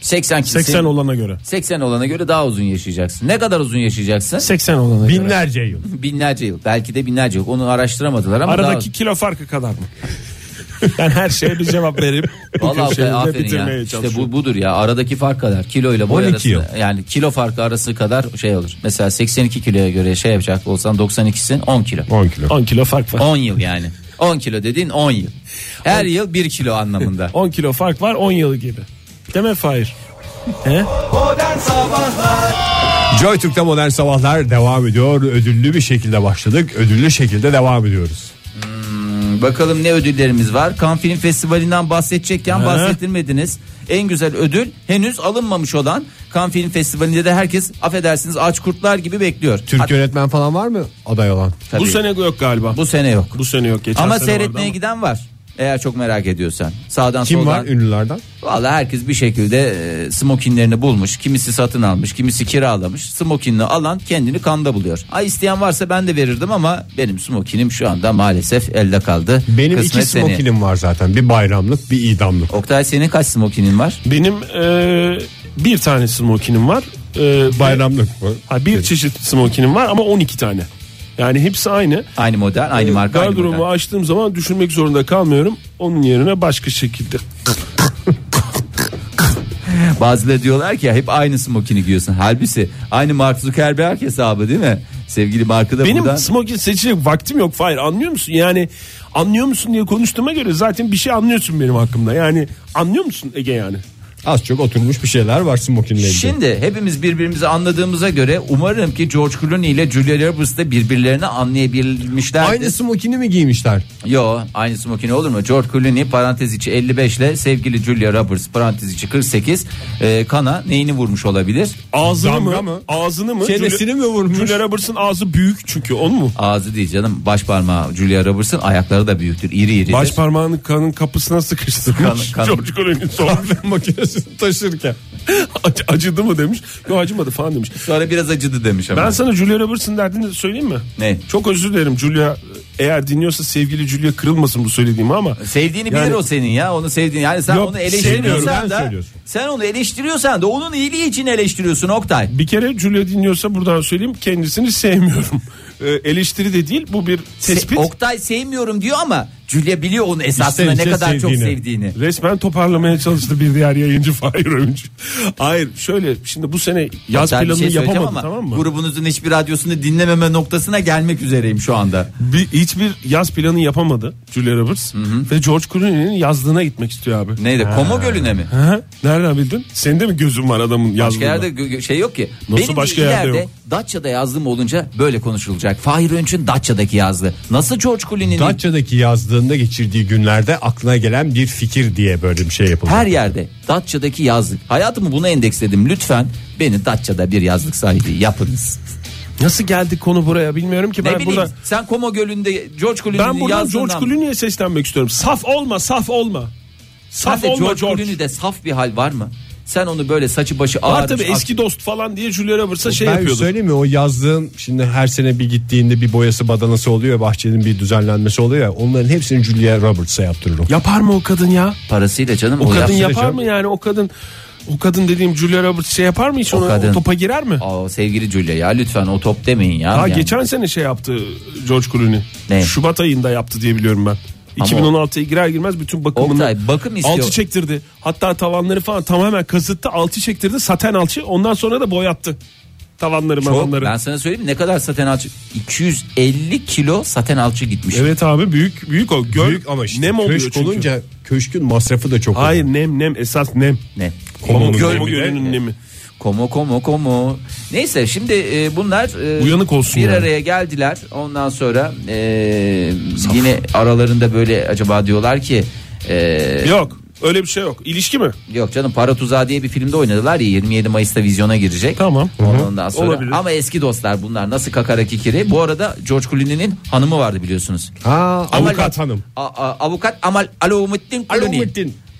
[SPEAKER 4] 80 kişi.
[SPEAKER 5] 80 olana göre.
[SPEAKER 4] 80 olana göre daha uzun yaşayacaksın. Ne kadar uzun yaşayacaksın?
[SPEAKER 5] 80 olana göre.
[SPEAKER 3] Binlerce yıl.
[SPEAKER 4] Binlerce yıl. Belki de binlerce yıl. Onu araştıramadılar ama daha
[SPEAKER 5] Aradaki kilo farkı kadar mı? ben her şeye bir cevap verip
[SPEAKER 4] Vallahi be, aferin ya. İşte bu budur ya. Aradaki fark kadar kilo ile boy
[SPEAKER 3] 12
[SPEAKER 4] arası
[SPEAKER 3] yıl.
[SPEAKER 4] yani kilo farkı arası kadar şey olur. Mesela 82 kiloya göre şey yapacak olsan 92'sin 10 kilo.
[SPEAKER 3] 10 kilo.
[SPEAKER 5] 10 kilo fark var.
[SPEAKER 4] 10 yıl yani. 10 kilo dediğin 10 yıl. Her yıl 1 kilo anlamında.
[SPEAKER 5] 10 kilo fark var 10 yıl gibi. Değil mi Fahir?
[SPEAKER 2] Modern Sabahlar
[SPEAKER 3] Joy Türk'te modern sabahlar devam ediyor. Ödüllü bir şekilde başladık. Ödüllü şekilde devam ediyoruz.
[SPEAKER 4] Bakalım ne ödüllerimiz var. Cannes Film Festivali'nden bahsedecekken bahsettirmediniz. En güzel ödül henüz alınmamış olan Cannes Film Festivali'nde de herkes affedersiniz aç kurtlar gibi bekliyor.
[SPEAKER 3] Türk
[SPEAKER 4] Hat-
[SPEAKER 3] yönetmen falan var mı aday olan?
[SPEAKER 4] Tabii.
[SPEAKER 5] Bu sene yok galiba. Bu,
[SPEAKER 4] bu sene yok.
[SPEAKER 5] sene yok. Geçen
[SPEAKER 4] ama
[SPEAKER 5] sene vardı
[SPEAKER 4] seyretmeye giden var. Eğer çok merak ediyorsan. Sağdan
[SPEAKER 3] Kim
[SPEAKER 4] soldan.
[SPEAKER 3] var ünlülerden?
[SPEAKER 4] Valla herkes bir şekilde e, smokinlerini bulmuş. Kimisi satın almış, kimisi kiralamış. Smokinini alan kendini kanda buluyor. Ay isteyen varsa ben de verirdim ama benim smokinim şu anda maalesef elde kaldı.
[SPEAKER 3] Benim
[SPEAKER 4] Kısmet
[SPEAKER 3] iki
[SPEAKER 4] seneye.
[SPEAKER 3] smokinim var zaten. Bir bayramlık bir idamlık.
[SPEAKER 4] Oktay senin kaç smokinin var?
[SPEAKER 5] Benim e, bir tane smokinim var. E,
[SPEAKER 3] Bayramlık mı?
[SPEAKER 5] Ha, bir çeşit smokinim var ama 12 tane. Yani hepsi aynı.
[SPEAKER 4] Aynı model, aynı marka, aynı
[SPEAKER 5] Gardırobu
[SPEAKER 4] model.
[SPEAKER 5] açtığım zaman düşünmek zorunda kalmıyorum. Onun yerine başka şekilde.
[SPEAKER 4] Bazıları diyorlar ki ya hep aynı smokini giyiyorsun. Halbuki aynı Mark Zuckerberg hesabı değil mi? Sevgili marka da
[SPEAKER 5] Benim
[SPEAKER 4] buradan.
[SPEAKER 5] smokin seçecek vaktim yok. Hayır anlıyor musun? Yani anlıyor musun diye konuştuğuma göre zaten bir şey anlıyorsun benim hakkımda. Yani anlıyor musun Ege yani?
[SPEAKER 3] Az çok oturmuş bir şeyler var smokinlerinde.
[SPEAKER 4] Şimdi hepimiz birbirimizi anladığımıza göre umarım ki George Clooney ile Julia Roberts da birbirlerini anlayabilmişlerdir.
[SPEAKER 3] Aynı smokini mi giymişler?
[SPEAKER 4] Yo aynı smokini olur mu? George Clooney parantez içi 55 ile sevgili Julia Roberts parantez içi 48 e, kana neyini vurmuş olabilir?
[SPEAKER 5] Ağzını
[SPEAKER 3] Damga
[SPEAKER 5] mı?
[SPEAKER 3] mı?
[SPEAKER 5] Ağzını mı?
[SPEAKER 3] Çenesini mi vurmuş?
[SPEAKER 5] Julia Roberts'ın ağzı büyük çünkü onu mu?
[SPEAKER 4] Ağzı değil canım baş parmağı Julia Roberts'ın ayakları da büyüktür iri iri.
[SPEAKER 5] Baş parmağını kanın kapısına
[SPEAKER 4] Kan-
[SPEAKER 5] sıkıştırmış.
[SPEAKER 4] kan-
[SPEAKER 5] George Clooney'in soğuk makinesini taşırken. Ac- acıdı mı demiş. Yok acımadı falan demiş.
[SPEAKER 4] Sonra biraz acıdı demiş ama.
[SPEAKER 5] Ben sana Julia Roberts'ın derdini söyleyeyim mi?
[SPEAKER 4] Ne?
[SPEAKER 5] Çok özür dilerim Julia. Eğer dinliyorsa sevgili Julia kırılmasın bu söylediğimi ama.
[SPEAKER 4] Sevdiğini bilir
[SPEAKER 5] Yani-
[SPEAKER 4] o senin ya onu sevdiğin yani sen
[SPEAKER 5] Yok,
[SPEAKER 4] onu
[SPEAKER 5] sevmiyorum,
[SPEAKER 4] eleştiriyorsan
[SPEAKER 5] ben
[SPEAKER 4] da
[SPEAKER 5] söylüyorsun.
[SPEAKER 4] sen onu eleştiriyorsan da onun iyiliği için eleştiriyorsun Oktay.
[SPEAKER 5] Bir kere Julia dinliyorsa buradan söyleyeyim kendisini sevmiyorum. Ee, eleştiri de değil bu bir
[SPEAKER 4] Se-
[SPEAKER 5] tespit.
[SPEAKER 4] Oktay sevmiyorum diyor ama Julia biliyor onu esasında
[SPEAKER 5] şey
[SPEAKER 3] İşte
[SPEAKER 4] ne kadar çok
[SPEAKER 3] sevdiğini.
[SPEAKER 4] sevdiğini.
[SPEAKER 5] Resmen toparlamaya çalıştı bir diğer yayıncı Fahir Öğüncü. Hayır şöyle şimdi bu sene yaz
[SPEAKER 4] Ben bir
[SPEAKER 5] planını
[SPEAKER 4] şey söyleyeceğim
[SPEAKER 5] yapamadı
[SPEAKER 4] ama
[SPEAKER 5] tamam mı?
[SPEAKER 4] Grubunuzun hiçbir radyosunu dinlememe noktasına gelmek üzereyim şu anda.
[SPEAKER 5] Bir, hiçbir yaz planı yapamadı Julia Roberts. Ve George Clooney'nin yazlığına gitmek istiyor abi.
[SPEAKER 4] Neydi? Komo Gölü'ne mi?
[SPEAKER 5] Hı? Nereden bildin? Senin de mi gözün var adamın
[SPEAKER 4] Başka
[SPEAKER 5] yazlığına?
[SPEAKER 4] yerde gö- gö- şey yok ki.
[SPEAKER 5] Nasıl
[SPEAKER 4] Benim
[SPEAKER 5] başka
[SPEAKER 4] de
[SPEAKER 5] yerde
[SPEAKER 4] ileride
[SPEAKER 5] yok?
[SPEAKER 4] Datça'da yazdığım olunca böyle konuşulacak. Fahir Önç'ün Datça'daki yazdı. Nasıl George Clooney'nin
[SPEAKER 3] Datça'daki yazdığında geçirdiği günlerde aklına gelen bir fikir diye böyle bir şey yapıldı.
[SPEAKER 4] her yerde Datça'daki yazlık. Hayatımı buna endeksledim. Lütfen beni Datça'da bir yazlık sahibi yapınız.
[SPEAKER 5] Nasıl geldi konu buraya bilmiyorum ki.
[SPEAKER 4] Ne
[SPEAKER 5] ben
[SPEAKER 4] bileyim
[SPEAKER 5] burada,
[SPEAKER 4] sen Komo Gölü'nde George Clooney'nin
[SPEAKER 5] ben buradan
[SPEAKER 4] yazdığından-
[SPEAKER 5] George Clooney'e seslenmek istiyorum. Saf olma saf olma. Saf
[SPEAKER 4] Sen de
[SPEAKER 5] olma
[SPEAKER 4] George,
[SPEAKER 5] George.
[SPEAKER 4] Clooney'de saf bir hal var mı? Sen onu böyle saçı başı ağır.
[SPEAKER 5] Var tabii eski dost falan diye Julia Roberts'a şey
[SPEAKER 3] ben
[SPEAKER 5] yapıyordu.
[SPEAKER 3] söyleyeyim mi o yazdığın şimdi her sene bir gittiğinde bir boyası badanası oluyor ya, bahçenin bir düzenlenmesi oluyor ya onların hepsini Julia Roberts'a yaptırırım.
[SPEAKER 5] Yapar mı o kadın ya?
[SPEAKER 4] parasıyla canım
[SPEAKER 5] O kadın
[SPEAKER 4] yaptı.
[SPEAKER 5] yapar
[SPEAKER 3] canım.
[SPEAKER 5] mı yani o kadın o kadın dediğim Julia Roberts şey yapar mı hiç
[SPEAKER 4] O
[SPEAKER 5] ona
[SPEAKER 4] kadın.
[SPEAKER 5] o topa girer mi?
[SPEAKER 4] Aa, sevgili Julia ya lütfen o top demeyin ya.
[SPEAKER 5] Ha
[SPEAKER 4] Yani.
[SPEAKER 5] geçen sene şey yaptı George Clooney.
[SPEAKER 4] Ne?
[SPEAKER 5] Şubat ayında yaptı diye biliyorum ben.
[SPEAKER 4] Ama
[SPEAKER 5] 2016'ya girer girmez bütün bakımını
[SPEAKER 4] Oktay, bakım istiyor.
[SPEAKER 5] altı çektirdi. Hatta tavanları falan tamamen kazıttı. Altı çektirdi saten alçı. Ondan sonra da boyattı. Tavanları
[SPEAKER 4] Çok,
[SPEAKER 5] mavanları.
[SPEAKER 4] ben sana söyleyeyim mi? ne kadar saten alçı 250 kilo saten alçı gitmiş.
[SPEAKER 5] Evet abi büyük büyük o. Göl,
[SPEAKER 3] Büyük ama işte
[SPEAKER 5] nem oluyor
[SPEAKER 3] köşk
[SPEAKER 5] çünkü.
[SPEAKER 3] olunca köşkün masrafı da çok
[SPEAKER 5] Hayır
[SPEAKER 3] oluyor.
[SPEAKER 5] nem nem esas nem.
[SPEAKER 4] Ne?
[SPEAKER 5] Komo
[SPEAKER 3] Komo'nun
[SPEAKER 5] göl-
[SPEAKER 3] nemi.
[SPEAKER 5] gölünün nemi.
[SPEAKER 4] Komo komo komo. Neyse şimdi e, bunlar e,
[SPEAKER 5] Uyanık olsun
[SPEAKER 4] bir
[SPEAKER 5] yani.
[SPEAKER 4] araya geldiler. Ondan sonra e, yine aralarında böyle acaba diyorlar ki e,
[SPEAKER 5] Yok öyle bir şey yok. İlişki mi?
[SPEAKER 4] Yok canım Para Tuzağı diye bir filmde oynadılar ya 27 Mayıs'ta vizyona girecek.
[SPEAKER 5] Tamam.
[SPEAKER 4] Ondan sonra
[SPEAKER 5] Olabilir.
[SPEAKER 4] ama eski dostlar bunlar nasıl kakara kikiri. Bu arada George Clooney'nin hanımı vardı biliyorsunuz.
[SPEAKER 3] Ha, avukat
[SPEAKER 4] Amal-
[SPEAKER 3] hanım.
[SPEAKER 4] A- a- avukat Amal Alaumuddin Clooney.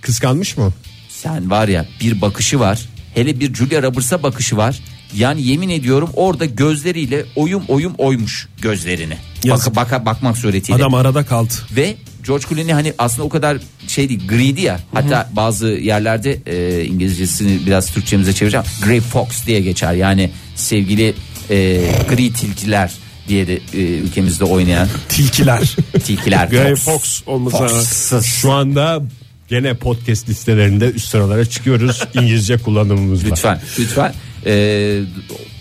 [SPEAKER 3] Kıskanmış mı?
[SPEAKER 4] Sen var ya bir bakışı var. Hele bir Julia Roberts'a bakışı var. Yani yemin ediyorum orada gözleriyle oyum oyum oymuş gözlerini. Baka,
[SPEAKER 5] Yazık.
[SPEAKER 4] baka bakmak suretiyle
[SPEAKER 5] Adam arada kaldı.
[SPEAKER 4] ve George Clooney hani aslında o kadar şey değil greedy ya hatta bazı yerlerde e, İngilizcesini biraz Türkçemize çevireceğim Grey Fox diye geçer yani sevgili e, gri tilkiler diye de e, ülkemizde oynayan
[SPEAKER 5] Tilkiler.
[SPEAKER 4] tilkiler
[SPEAKER 5] Grey Fox olması
[SPEAKER 4] Fox.
[SPEAKER 3] Şu anda gene podcast listelerinde üst sıralara çıkıyoruz İngilizce kullanımımızla.
[SPEAKER 4] lütfen lütfen E,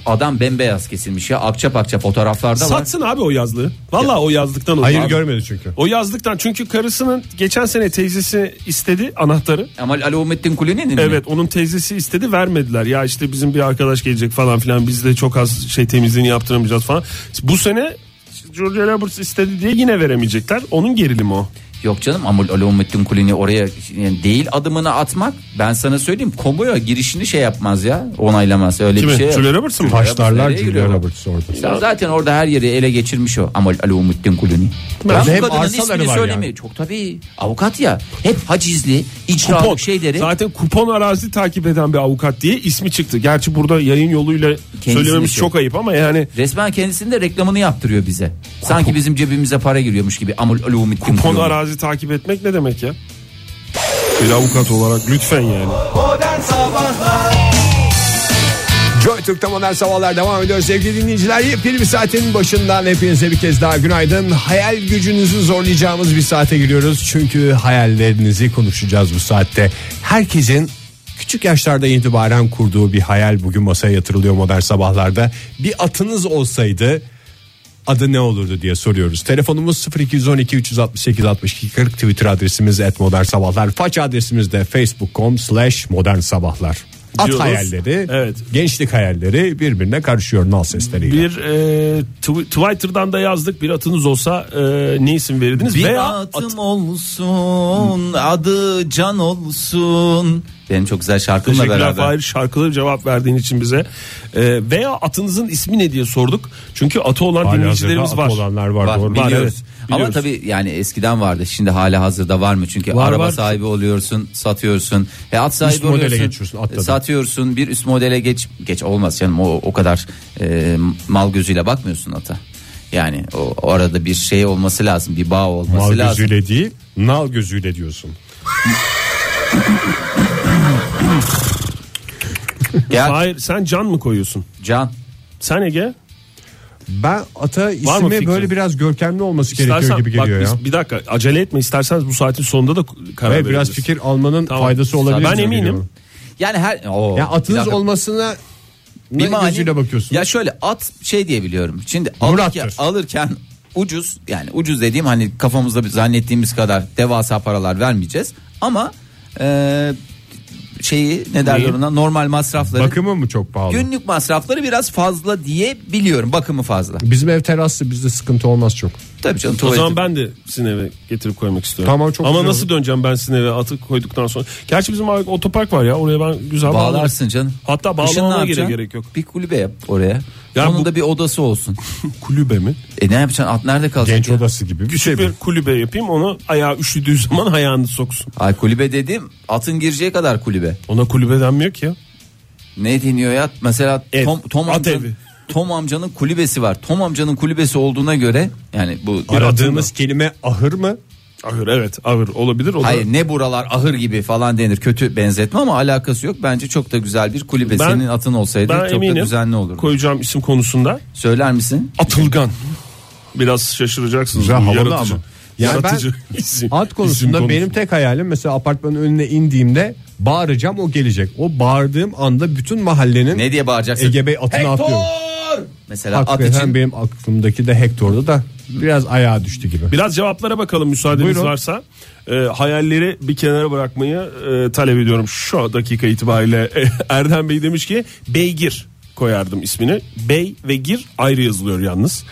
[SPEAKER 4] adam bembeyaz kesilmiş ya akça pakça fotoğraflarda var
[SPEAKER 5] Satsın abi o yazlığı. Valla o yazlıktan olur.
[SPEAKER 3] Hayır
[SPEAKER 5] abi.
[SPEAKER 3] görmedi çünkü.
[SPEAKER 5] O yazlıktan çünkü karısının geçen sene teyzesi istedi anahtarı.
[SPEAKER 4] ama Alaomettin Clooney'nin mi?
[SPEAKER 5] Evet onun teyzesi istedi vermediler. Ya işte bizim bir arkadaş gelecek falan filan biz de çok az şey temizliğini yaptıramayacağız falan. Bu sene Julia Roberts istedi diye yine veremeyecekler. Onun gerilimi o.
[SPEAKER 4] Yok canım ama Alaomettin Kulini oraya yani değil adımını atmak ben sana söyleyeyim komoya girişini şey yapmaz ya onaylamaz öyle
[SPEAKER 5] Kimi?
[SPEAKER 4] bir şey. yok.
[SPEAKER 5] Julia Roberts'ı mı?
[SPEAKER 3] Taşlarlar
[SPEAKER 4] nereye
[SPEAKER 3] Julia
[SPEAKER 4] giriyor?
[SPEAKER 3] Roberts orada.
[SPEAKER 4] Ya zaten orada her yeri ele geçirmiş o ama Alaomettin Kulini. Ben
[SPEAKER 3] Hem
[SPEAKER 4] bu kadının
[SPEAKER 3] arsaları
[SPEAKER 4] ismini
[SPEAKER 3] var
[SPEAKER 4] söylemiyorum.
[SPEAKER 3] yani.
[SPEAKER 4] Çok tabii avukat ya hep hacizli
[SPEAKER 5] Kupon.
[SPEAKER 4] icra şeyleri
[SPEAKER 5] Zaten kupon arazi takip eden bir avukat diye ismi çıktı. Gerçi burada yayın yoluyla söylememiz
[SPEAKER 4] şey-
[SPEAKER 5] çok ayıp ama yani
[SPEAKER 4] resmen kendisinin de reklamını yaptırıyor bize. Sanki bizim cebimize para giriyormuş gibi amul Alaomettin
[SPEAKER 5] Kupon
[SPEAKER 4] Kulini.
[SPEAKER 5] arazi takip etmek ne demek ya? Bir avukat olarak lütfen yani.
[SPEAKER 2] Modern Sabahlar
[SPEAKER 3] Joy Türk'te modern sabahlar devam ediyor sevgili dinleyiciler. Yepyeni bir saatin başından hepinize bir kez daha günaydın. Hayal gücünüzü zorlayacağımız bir saate giriyoruz. Çünkü hayallerinizi konuşacağız bu saatte. Herkesin küçük yaşlarda itibaren kurduğu bir hayal bugün masaya yatırılıyor modern sabahlarda. Bir atınız olsaydı adı ne olurdu diye soruyoruz. Telefonumuz 0212 368 62 40 Twitter adresimiz et modern sabahlar. Faç adresimiz de facebook.com slash modern sabahlar. At
[SPEAKER 5] Diyoruz.
[SPEAKER 3] hayalleri,
[SPEAKER 5] Evet.
[SPEAKER 3] gençlik hayalleri birbirine karışıyor nal sesleriyle.
[SPEAKER 5] Bir e, tw- Twitter'dan da yazdık bir atınız olsa e, ne isim verirdiniz?
[SPEAKER 4] Bir
[SPEAKER 5] Veya
[SPEAKER 4] atım olsun adı Can olsun. Benim çok güzel şarkımla
[SPEAKER 5] Teşekkürler
[SPEAKER 4] beraber.
[SPEAKER 5] Fahir şarkıları cevap verdiğin için bize. Ee, veya atınızın ismi ne diye sorduk. Çünkü atı olan
[SPEAKER 3] Hali
[SPEAKER 5] dinleyicilerimiz
[SPEAKER 3] hazırda
[SPEAKER 5] var.
[SPEAKER 3] atı olanlar var,
[SPEAKER 4] Var,
[SPEAKER 3] doğru.
[SPEAKER 4] biliyoruz.
[SPEAKER 5] Var, evet,
[SPEAKER 4] Ama
[SPEAKER 5] biliyoruz.
[SPEAKER 4] tabii yani eskiden vardı. Şimdi hala hazırda var mı? Çünkü
[SPEAKER 5] Var,
[SPEAKER 4] araba
[SPEAKER 5] var.
[SPEAKER 4] sahibi oluyorsun, satıyorsun. E at sahibi
[SPEAKER 3] Üst modele
[SPEAKER 4] oluyorsun,
[SPEAKER 3] geçiyorsun, atladın.
[SPEAKER 4] e, Satıyorsun, bir üst modele geç geç olmaz canım. O o kadar e, mal gözüyle bakmıyorsun ata. Yani o, o arada bir şey olması lazım, bir bağ olması
[SPEAKER 3] Mal
[SPEAKER 4] lazım.
[SPEAKER 3] gözüyle değil, nal gözüyle diyorsun.
[SPEAKER 4] Gel
[SPEAKER 5] Hayır sen can mı koyuyorsun?
[SPEAKER 4] Can.
[SPEAKER 5] Sen Ege?
[SPEAKER 3] Ben ata
[SPEAKER 5] mı
[SPEAKER 3] ismi
[SPEAKER 5] fikrin?
[SPEAKER 3] böyle biraz görkemli olması gerekiyor gibi
[SPEAKER 5] bak,
[SPEAKER 3] geliyor ya.
[SPEAKER 5] biz- bir dakika acele etme isterseniz bu saatin sonunda da
[SPEAKER 3] Hayır,
[SPEAKER 5] karar veririz.
[SPEAKER 3] biraz fikir almanın
[SPEAKER 5] Tamam.
[SPEAKER 3] faydası olabilir.
[SPEAKER 5] Ben
[SPEAKER 3] diye
[SPEAKER 5] eminim.
[SPEAKER 3] biliyorum.
[SPEAKER 4] Yani her Oo,
[SPEAKER 3] Ya
[SPEAKER 4] bir
[SPEAKER 3] atınız
[SPEAKER 4] dakika.
[SPEAKER 3] olmasına
[SPEAKER 4] Bir
[SPEAKER 3] ne
[SPEAKER 4] mani-
[SPEAKER 3] gözüyle bakıyorsun?
[SPEAKER 4] Ya şöyle at şey diye biliyorum. Şimdi
[SPEAKER 3] Murat'tır.
[SPEAKER 4] alırken, alırken ucuz yani ucuz dediğim hani kafamızda bir zannettiğimiz kadar devasa paralar vermeyeceğiz ama e, şeyi ne derler
[SPEAKER 5] Neyi?
[SPEAKER 4] ona normal masrafları
[SPEAKER 3] Bakımı mı çok pahalı?
[SPEAKER 4] günlük masrafları biraz fazla diye biliyorum bakımı fazla.
[SPEAKER 3] Bizim ev teraslı bizde sıkıntı olmaz çok.
[SPEAKER 4] Tabii canım
[SPEAKER 5] O
[SPEAKER 4] tuvaleti.
[SPEAKER 5] zaman ben de sizin eve getirip koymak istiyorum.
[SPEAKER 3] Tamam, çok
[SPEAKER 5] Ama
[SPEAKER 3] güzel
[SPEAKER 5] nasıl
[SPEAKER 3] olur.
[SPEAKER 5] döneceğim ben sizin eve atı koyduktan sonra? Gerçi bizim ar- otopark var ya oraya ben güzel bağlarım.
[SPEAKER 4] bağlarsın canım.
[SPEAKER 5] Hatta
[SPEAKER 4] Kışın ne
[SPEAKER 5] bağlamama gerek,
[SPEAKER 4] yapacaksın?
[SPEAKER 5] gerek yok.
[SPEAKER 4] Bir kulübe yap oraya.
[SPEAKER 5] Ya
[SPEAKER 4] Onun
[SPEAKER 5] bu-
[SPEAKER 4] da bir odası olsun.
[SPEAKER 5] Kulübe mi?
[SPEAKER 4] E ne yapacaksın? At nerede kalacak?
[SPEAKER 3] Genç
[SPEAKER 4] ya?
[SPEAKER 3] odası gibi bir şey
[SPEAKER 5] Küçük
[SPEAKER 3] mi?
[SPEAKER 5] bir kulübe yapayım onu ayağı üşüdüğü zaman ayağını soksun.
[SPEAKER 4] Ay kulübe dedim. Atın gireceği kadar kulübe.
[SPEAKER 5] Ona kulübe denmiyor ki ya.
[SPEAKER 4] Ne deniyor ya? Mesela
[SPEAKER 5] Ev,
[SPEAKER 4] Tom, Tom
[SPEAKER 5] at
[SPEAKER 4] amcanın,
[SPEAKER 5] evi.
[SPEAKER 4] Tom amcanın kulübesi var. Tom amcanın kulübesi olduğuna göre yani bu
[SPEAKER 3] Aradığımız kelime ahır mı?
[SPEAKER 5] Ahır evet ahır olabilir. O da-
[SPEAKER 4] Hayır ne buralar ahır gibi falan denir. Kötü benzetme ama alakası yok. Bence çok da güzel bir kulübe.
[SPEAKER 5] Ben-
[SPEAKER 4] Senin atın olsaydı
[SPEAKER 5] ben
[SPEAKER 4] çok da
[SPEAKER 5] eminim
[SPEAKER 4] düzenli olurdu.
[SPEAKER 5] koyacağım isim konusunda
[SPEAKER 4] Söyler misin?
[SPEAKER 5] Atılgan. Biraz şaşıracaksınız.
[SPEAKER 3] Güzel,
[SPEAKER 5] Bu
[SPEAKER 3] havalı
[SPEAKER 5] yaratıcı.
[SPEAKER 3] ama. Yani ben
[SPEAKER 5] yaratıcı isim-
[SPEAKER 3] At
[SPEAKER 5] isim
[SPEAKER 3] konusunda
[SPEAKER 5] konusu.
[SPEAKER 3] benim tek hayalim mesela apartmanın önüne indiğimde bağıracağım o gelecek. O bağırdığım anda bütün mahallenin
[SPEAKER 4] Ne diye bağıracaksın?
[SPEAKER 3] Ege Bey atını atıyor.
[SPEAKER 4] Mesela at
[SPEAKER 3] Hakikaten
[SPEAKER 4] için
[SPEAKER 3] benim aklımdaki de Hector'da da biraz ayağa düştü gibi.
[SPEAKER 5] Biraz cevaplara bakalım müsaadeniz
[SPEAKER 3] Buyurun.
[SPEAKER 5] varsa. Ee, hayalleri bir kenara bırakmayı e, talep ediyorum şu dakika itibariyle. e, Erdem Bey demiş ki Beygir koyardım ismini. Bey ve Gir ayrı yazılıyor yalnız.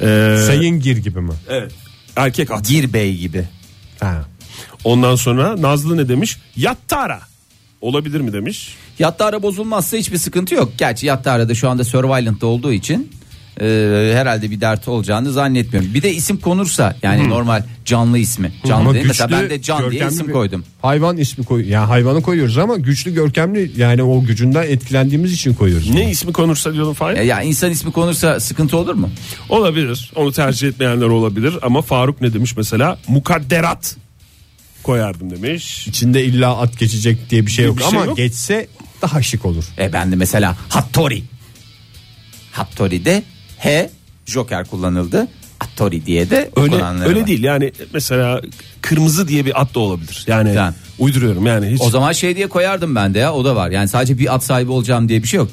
[SPEAKER 5] Ee,
[SPEAKER 3] Sayın Gir gibi mi?
[SPEAKER 5] evet, erkek at.
[SPEAKER 4] Gir Bey gibi.
[SPEAKER 3] Ha.
[SPEAKER 5] Ondan sonra Nazlı ne demiş? Yattara. Olabilir mi demiş.
[SPEAKER 4] Yatta ara bozulmazsa hiçbir sıkıntı yok. Gerçi yatta ara da şu anda Survivalent'da olduğu için e, herhalde bir dert olacağını zannetmiyorum. Bir de isim konursa yani normal canlı ismi. Canlı
[SPEAKER 3] Hmm. Ama
[SPEAKER 4] değil. Mesela
[SPEAKER 3] güçlü,
[SPEAKER 4] ben de can diye
[SPEAKER 3] görkemli
[SPEAKER 4] isim
[SPEAKER 3] bir-
[SPEAKER 4] koydum.
[SPEAKER 3] Hayvan ismi koy. Yani hayvanı koyuyoruz ama güçlü görkemli yani o gücünden etkilendiğimiz için koyuyoruz.
[SPEAKER 5] Ne ismi konursa diyorum Fahir.
[SPEAKER 4] Ya, E, ya insan ismi konursa sıkıntı olur mu?
[SPEAKER 5] Olabilir. Onu tercih etmeyenler olabilir. Ama Faruk ne demiş mesela? Mukadderat koyardım demiş.
[SPEAKER 3] İçinde illa at geçecek diye bir şey yok
[SPEAKER 5] Bir şey
[SPEAKER 3] ama
[SPEAKER 5] yok.
[SPEAKER 3] geçse daha şık olur.
[SPEAKER 4] E ben de mesela Hattori. Hattori'de H Joker kullanıldı. Hattori diye de
[SPEAKER 5] Öyle,
[SPEAKER 4] kullananları
[SPEAKER 5] öyle
[SPEAKER 4] var.
[SPEAKER 5] değil yani mesela kırmızı diye bir at da olabilir. Yani
[SPEAKER 4] Tamam.
[SPEAKER 5] uyduruyorum yani hiç.
[SPEAKER 4] O zaman şey diye koyardım ben de ya o da var. Yani sadece bir at sahibi olacağım diye bir şey yok.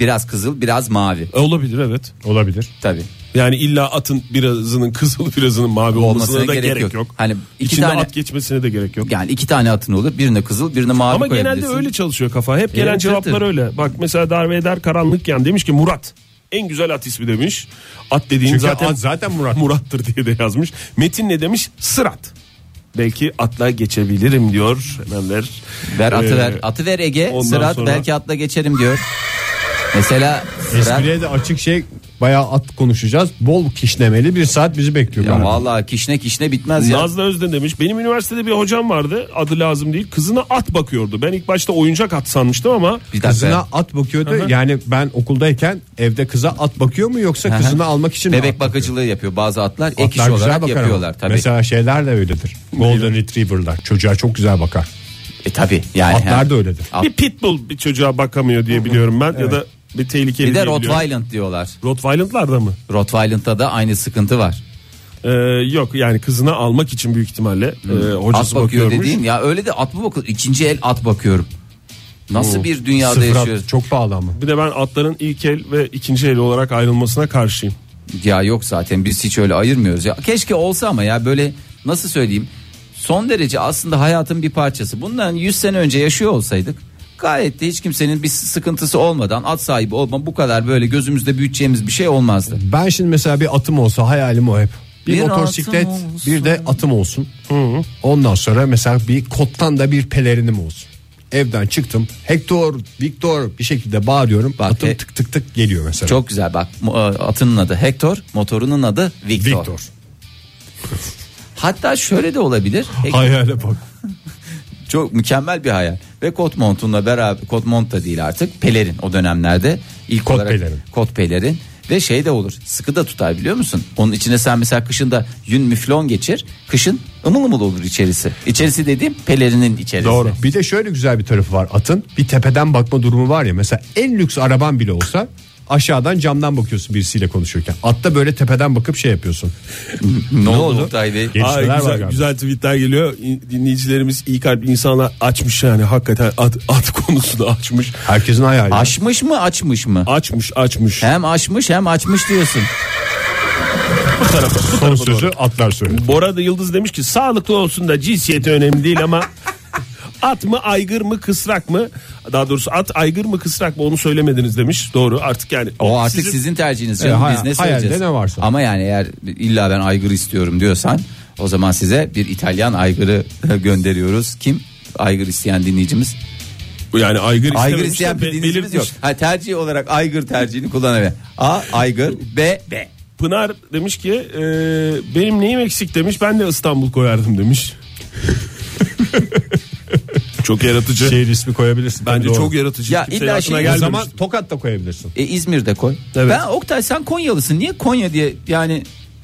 [SPEAKER 4] Biraz kızıl biraz mavi
[SPEAKER 5] E, Olabilir evet.
[SPEAKER 3] Olabilir.
[SPEAKER 4] tabii.
[SPEAKER 5] Yani illa atın birazının kızıl birazının mavi olmasına, da gerek, yok.
[SPEAKER 4] Hani iki
[SPEAKER 5] İçinde
[SPEAKER 4] tane-
[SPEAKER 5] at geçmesine de gerek yok.
[SPEAKER 4] Yani iki tane atın olur birine kızıl birine mavi
[SPEAKER 5] Ama
[SPEAKER 4] koyabilirsin.
[SPEAKER 5] genelde öyle çalışıyor kafa. Hep gelen
[SPEAKER 4] Evet, evet.
[SPEAKER 5] cevaplar öyle. Bak mesela Darve Eder Karanlıkken demiş ki Murat. En güzel at ismi demiş. At dediğin
[SPEAKER 3] Çünkü
[SPEAKER 5] zaten
[SPEAKER 3] at zaten Murat.
[SPEAKER 5] Murat'tır diye de yazmış. Metin ne demiş? Sırat. Belki atla geçebilirim diyor. Hemen ver.
[SPEAKER 4] Ver atı
[SPEAKER 5] Ee,
[SPEAKER 4] ver. Atı ver Ege.
[SPEAKER 5] ondan
[SPEAKER 4] Sırat
[SPEAKER 5] sonra-
[SPEAKER 4] belki atla geçerim diyor. Mesela Sırat.
[SPEAKER 3] Espriye de açık şey bayağı at konuşacağız. Bol kişnemeli bir saat bizi bekliyor.
[SPEAKER 4] Ya
[SPEAKER 3] galiba.
[SPEAKER 4] vallahi kişne kişne bitmez ya.
[SPEAKER 5] Nazlı Özden demiş benim üniversitede bir hocam vardı adı lazım değil kızına at bakıyordu ben ilk başta oyuncak at sanmıştım ama
[SPEAKER 4] Bir dakika.
[SPEAKER 3] Kızına at bakıyordu. Yani ben okuldayken evde kıza at bakıyor mu yoksa
[SPEAKER 4] Aha.
[SPEAKER 3] kızını almak için mi at
[SPEAKER 4] Bebek
[SPEAKER 3] bakıyor?
[SPEAKER 4] bakıcılığı yapıyor bazı atlar. ek iş
[SPEAKER 3] Atlar güzel
[SPEAKER 4] olarak
[SPEAKER 3] bakar ama.
[SPEAKER 4] yapıyorlar tabii.
[SPEAKER 3] Mesela şeyler de öyledir. Golden Retriever'lar çocuğa çok güzel bakar.
[SPEAKER 4] E tabii yani.
[SPEAKER 3] Atlar da öyledir.
[SPEAKER 4] At-
[SPEAKER 5] bir pitbull bir çocuğa bakamıyor diye biliyorum ben ya da bir tehlikeli
[SPEAKER 4] Bir de
[SPEAKER 5] diye biliyorum.
[SPEAKER 4] Rottweiler diyorlar.
[SPEAKER 5] Rottweiler'larda mı?
[SPEAKER 4] Rottweiler'da da aynı sıkıntı var.
[SPEAKER 5] Ee, yok yani kızına almak için büyük ihtimalle e,
[SPEAKER 4] At
[SPEAKER 5] hocası
[SPEAKER 4] bakıyor
[SPEAKER 5] bakıyormuş.
[SPEAKER 4] dediğin ya öyle de at mı bakıyor? İkinci el at bakıyorum. Nasıl bir dünyada
[SPEAKER 3] Sıfır at
[SPEAKER 4] yaşıyoruz?
[SPEAKER 3] çok pahalı ama.
[SPEAKER 5] Bir de ben atların ilk el ve ikinci el olarak ayrılmasına karşıyım.
[SPEAKER 4] Ya yok zaten biz hiç öyle ayırmıyoruz ya. Keşke olsa ama ya böyle nasıl söyleyeyim? Son derece aslında hayatın bir parçası. Bundan 100 sene önce yaşıyor olsaydık gayet de hiç kimsenin bir sıkıntısı olmadan at sahibi olma bu kadar böyle gözümüzde büyüteceğimiz bir şey olmazdı.
[SPEAKER 3] Ben şimdi mesela bir atım olsa hayalim o hep. Bir,
[SPEAKER 4] Bir
[SPEAKER 3] motosiklet
[SPEAKER 4] atım olsun.
[SPEAKER 3] bir de atım olsun. Ondan sonra mesela bir kottan da bir pelerinim olsun. Evden çıktım. Hector, Victor bir şekilde bağırıyorum.
[SPEAKER 4] Bak,
[SPEAKER 3] atım
[SPEAKER 4] e-
[SPEAKER 3] tık tık tık geliyor mesela.
[SPEAKER 4] Çok güzel bak mo- atının adı Hector, motorunun adı Victor.
[SPEAKER 3] Victor.
[SPEAKER 4] Hatta şöyle de olabilir. Hector-
[SPEAKER 3] Hayale bak.
[SPEAKER 4] Çok mükemmel bir hayal. Ve kot montunla beraber kot mont da değil artık pelerin o dönemlerde ilk
[SPEAKER 3] Kot
[SPEAKER 4] olarak
[SPEAKER 3] pelerin.
[SPEAKER 4] kot pelerin ve şey de olur sıkı da tutar biliyor musun? Onun içine sen mesela kışında yün müflon geçir kışın ımıl ımıl olur içerisi. İçerisi dediğim pelerinin içerisi.
[SPEAKER 3] Doğru. Bir de şöyle güzel bir tarafı var atın. Bir tepeden bakma durumu var ya. Mesela en lüks araban bile olsa aşağıdan camdan bakıyorsun birisiyle konuşurken. Atta böyle tepeden bakıp şey yapıyorsun.
[SPEAKER 4] Ne oldu? Oktay Bey?
[SPEAKER 3] Gelişmeler
[SPEAKER 5] Ay,
[SPEAKER 3] var
[SPEAKER 5] güzel,
[SPEAKER 3] galiba.
[SPEAKER 5] güzel tweetler geliyor. İn- Dinleyicilerimiz iyi kalp insanlar açmış yani hakikaten at, at konusunu açmış.
[SPEAKER 3] Herkesin hayali.
[SPEAKER 4] Aşmış mı açmış mı?
[SPEAKER 5] Açmış açmış.
[SPEAKER 4] Hem aşmış hem açmış diyorsun.
[SPEAKER 3] Son sözü atlar söylüyor.
[SPEAKER 5] Bora da Yıldız demiş ki sağlıklı olsun da cinsiyeti önemli değil ama at mı aygır mı kısrak mı daha doğrusu at aygır mı kısrak mı onu söylemediniz demiş doğru artık yani
[SPEAKER 4] O artık sizin,
[SPEAKER 5] sizin-
[SPEAKER 4] tercihiniz canım.
[SPEAKER 3] hay-
[SPEAKER 4] Biz ne
[SPEAKER 3] hayalde
[SPEAKER 4] söyleyeceğiz?
[SPEAKER 3] ne varsa.
[SPEAKER 4] Ama yani eğer illa ben aygır istiyorum diyorsan o zaman size bir İtalyan aygırı e, gönderiyoruz. Kim? Aygır isteyen dinleyicimiz.
[SPEAKER 5] yani aygır,
[SPEAKER 4] Aygır
[SPEAKER 5] istememiş
[SPEAKER 4] isteyen
[SPEAKER 5] de
[SPEAKER 4] bir
[SPEAKER 5] be-
[SPEAKER 4] dinleyicimiz yok.
[SPEAKER 5] belirtmiş.
[SPEAKER 4] Ha, tercih olarak aygır tercihini kullanabilir. A. Aygır. B. B.
[SPEAKER 5] Pınar demiş ki e, benim neyim eksik demiş ben de İstanbul koyardım demiş. çok yaratıcı.
[SPEAKER 3] Şehir ismi koyabilirsin.
[SPEAKER 5] Bence
[SPEAKER 3] Doğru.
[SPEAKER 5] çok yaratıcı.
[SPEAKER 4] Şey, Ya
[SPEAKER 5] Kimsenin
[SPEAKER 4] illa
[SPEAKER 5] aklına
[SPEAKER 4] şey-
[SPEAKER 3] O
[SPEAKER 5] gelmemiş.
[SPEAKER 3] zaman Tokat da koyabilirsin.
[SPEAKER 4] E, İzmir'de koy.
[SPEAKER 5] Evet.
[SPEAKER 4] Ben Oktay sen Konyalısın. Niye Konya diye yani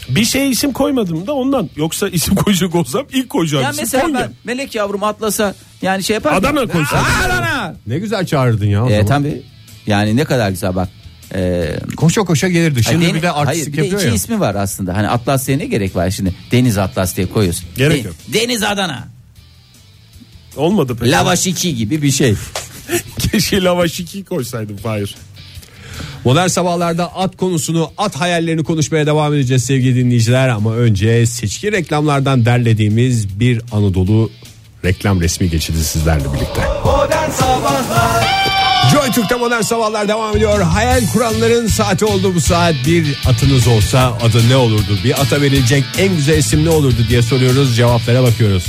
[SPEAKER 5] bir şey isim koymadım da ondan. Yoksa isim koyacak olsam ilk koyacağım
[SPEAKER 4] ya
[SPEAKER 5] isim
[SPEAKER 4] mesela
[SPEAKER 5] Konya.
[SPEAKER 4] ben Melek yavrum atlasa yani şey yapar mı?
[SPEAKER 5] Adana koysam.
[SPEAKER 4] Aa, Adana.
[SPEAKER 3] Ne güzel çağırdın ya. o
[SPEAKER 4] E
[SPEAKER 3] zaman.
[SPEAKER 4] tabii. Yani ne kadar güzel bak. Ee,
[SPEAKER 3] Koşa koşa gelirdi. Şimdi
[SPEAKER 4] Deniz-
[SPEAKER 3] bir de
[SPEAKER 4] hayır,
[SPEAKER 3] artistik
[SPEAKER 4] bir de
[SPEAKER 3] yapıyor
[SPEAKER 4] iki
[SPEAKER 3] ya.
[SPEAKER 4] ismi var aslında. Hani Atlas diye ne gerek var şimdi? Deniz Atlas diye koyuyorsun.
[SPEAKER 5] Gerek
[SPEAKER 4] De-
[SPEAKER 5] yok.
[SPEAKER 4] Deniz Adana.
[SPEAKER 5] Olmadı peki.
[SPEAKER 4] Lavaş 2 gibi bir şey.
[SPEAKER 5] Keşke lavaş 2 koysaydım Fahir.
[SPEAKER 3] Modern sabahlarda at konusunu, at hayallerini konuşmaya devam edeceğiz sevgili dinleyiciler. Ama önce seçki reklamlardan derlediğimiz bir Anadolu reklam resmi geçidi sizlerle birlikte.
[SPEAKER 2] Modern Sabahlar
[SPEAKER 3] Joy Türk'te modern sabahlar devam ediyor. Hayal kuranların saati oldu bu saat. Bir atınız olsa adı ne olurdu? Bir ata verilecek en güzel isim ne olurdu diye soruyoruz. Cevaplara bakıyoruz.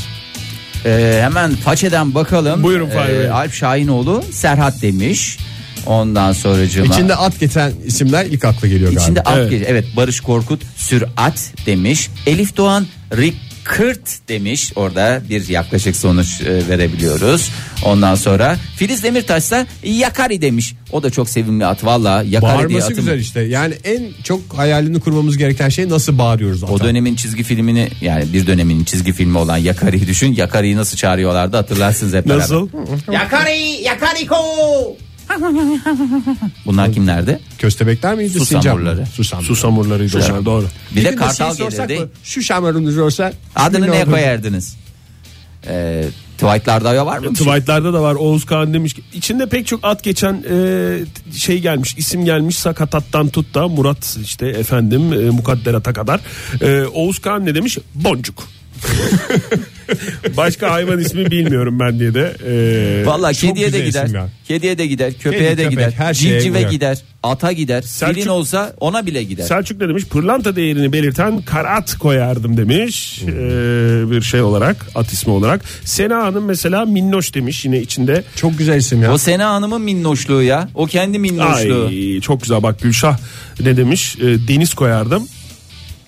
[SPEAKER 4] Ee, hemen façeden bakalım. Ee,
[SPEAKER 5] Buyurun Fahri Bey.
[SPEAKER 4] Alp Şahinoğlu Serhat demiş. Ondan sonracığıma.
[SPEAKER 3] İçinde at geçen isimler ilk akla geliyor galiba.
[SPEAKER 4] İçinde alt
[SPEAKER 5] Evet.
[SPEAKER 4] gece- evet Barış Korkut sürat demiş. Elif Doğan Rikırt demiş. Orada bir yaklaşık sonuç e, verebiliyoruz. Ondan sonra Filiz Demirtaş ise Yakari demiş. O da çok sevimli at valla. Yakari diye
[SPEAKER 3] Bağırması
[SPEAKER 4] atım.
[SPEAKER 3] güzel işte. Yani en çok hayalini kurmamız gereken şey nasıl bağırıyoruz ata.
[SPEAKER 4] O dönemin çizgi filmini yani bir dönemin çizgi filmi olan Yakari'yi düşün. Yakari'yi nasıl çağırıyorlardı hatırlarsınız hep beraber.
[SPEAKER 5] Nasıl?
[SPEAKER 7] Yakari, yakariko.
[SPEAKER 4] Bunlar kimlerdi?
[SPEAKER 3] Köstebekler miydi?
[SPEAKER 4] Su
[SPEAKER 3] Sincap
[SPEAKER 4] samurları.
[SPEAKER 3] mı? Su samurları.
[SPEAKER 5] Susamurlarıydı onlar doğru.
[SPEAKER 4] Bir de
[SPEAKER 3] gün
[SPEAKER 4] kartal
[SPEAKER 3] şey sorsak
[SPEAKER 4] gelirdi.
[SPEAKER 3] mı? Şu şamarımız olsa.
[SPEAKER 4] Adını
[SPEAKER 3] kimin
[SPEAKER 4] neye
[SPEAKER 3] olduğunu-
[SPEAKER 4] koyardınız? Ee, Twilight'larda var mı? bir şey?
[SPEAKER 5] Tweet'lerde de var Oğuz Kağan demiş ki içinde pek çok at geçen e, şey gelmiş isim gelmiş Sakatat'tan tut da Murat işte efendim e, Mukadderat'a kadar. E, Oğuz Kağan ne demiş? Boncuk. Başka hayvan ismi bilmiyorum ben diye de. E,
[SPEAKER 4] Valla
[SPEAKER 3] Çok
[SPEAKER 4] kediye de
[SPEAKER 3] güzel
[SPEAKER 4] gider.
[SPEAKER 3] isim ya.
[SPEAKER 4] Kediye de gider, köpeğe
[SPEAKER 3] Kedi,
[SPEAKER 4] de
[SPEAKER 3] köpek,
[SPEAKER 4] gider,
[SPEAKER 3] her şeye
[SPEAKER 4] civcive
[SPEAKER 3] uyar.
[SPEAKER 4] gider, ata gider,
[SPEAKER 5] Selçuk-
[SPEAKER 4] filin olsa ona bile gider.
[SPEAKER 5] Selçuk ne demiş? Pırlanta değerini belirten karat koyardım demiş. E, bir şey olarak at ismi olarak. Sena Hanım mesela minnoş demiş yine içinde.
[SPEAKER 3] Çok güzel isim ya.
[SPEAKER 4] O Sena Hanım'ın minnoşluğu ya. O kendi minnoşluğu.
[SPEAKER 5] Ay çok güzel bak Gülşah ne demiş? E, deniz koyardım.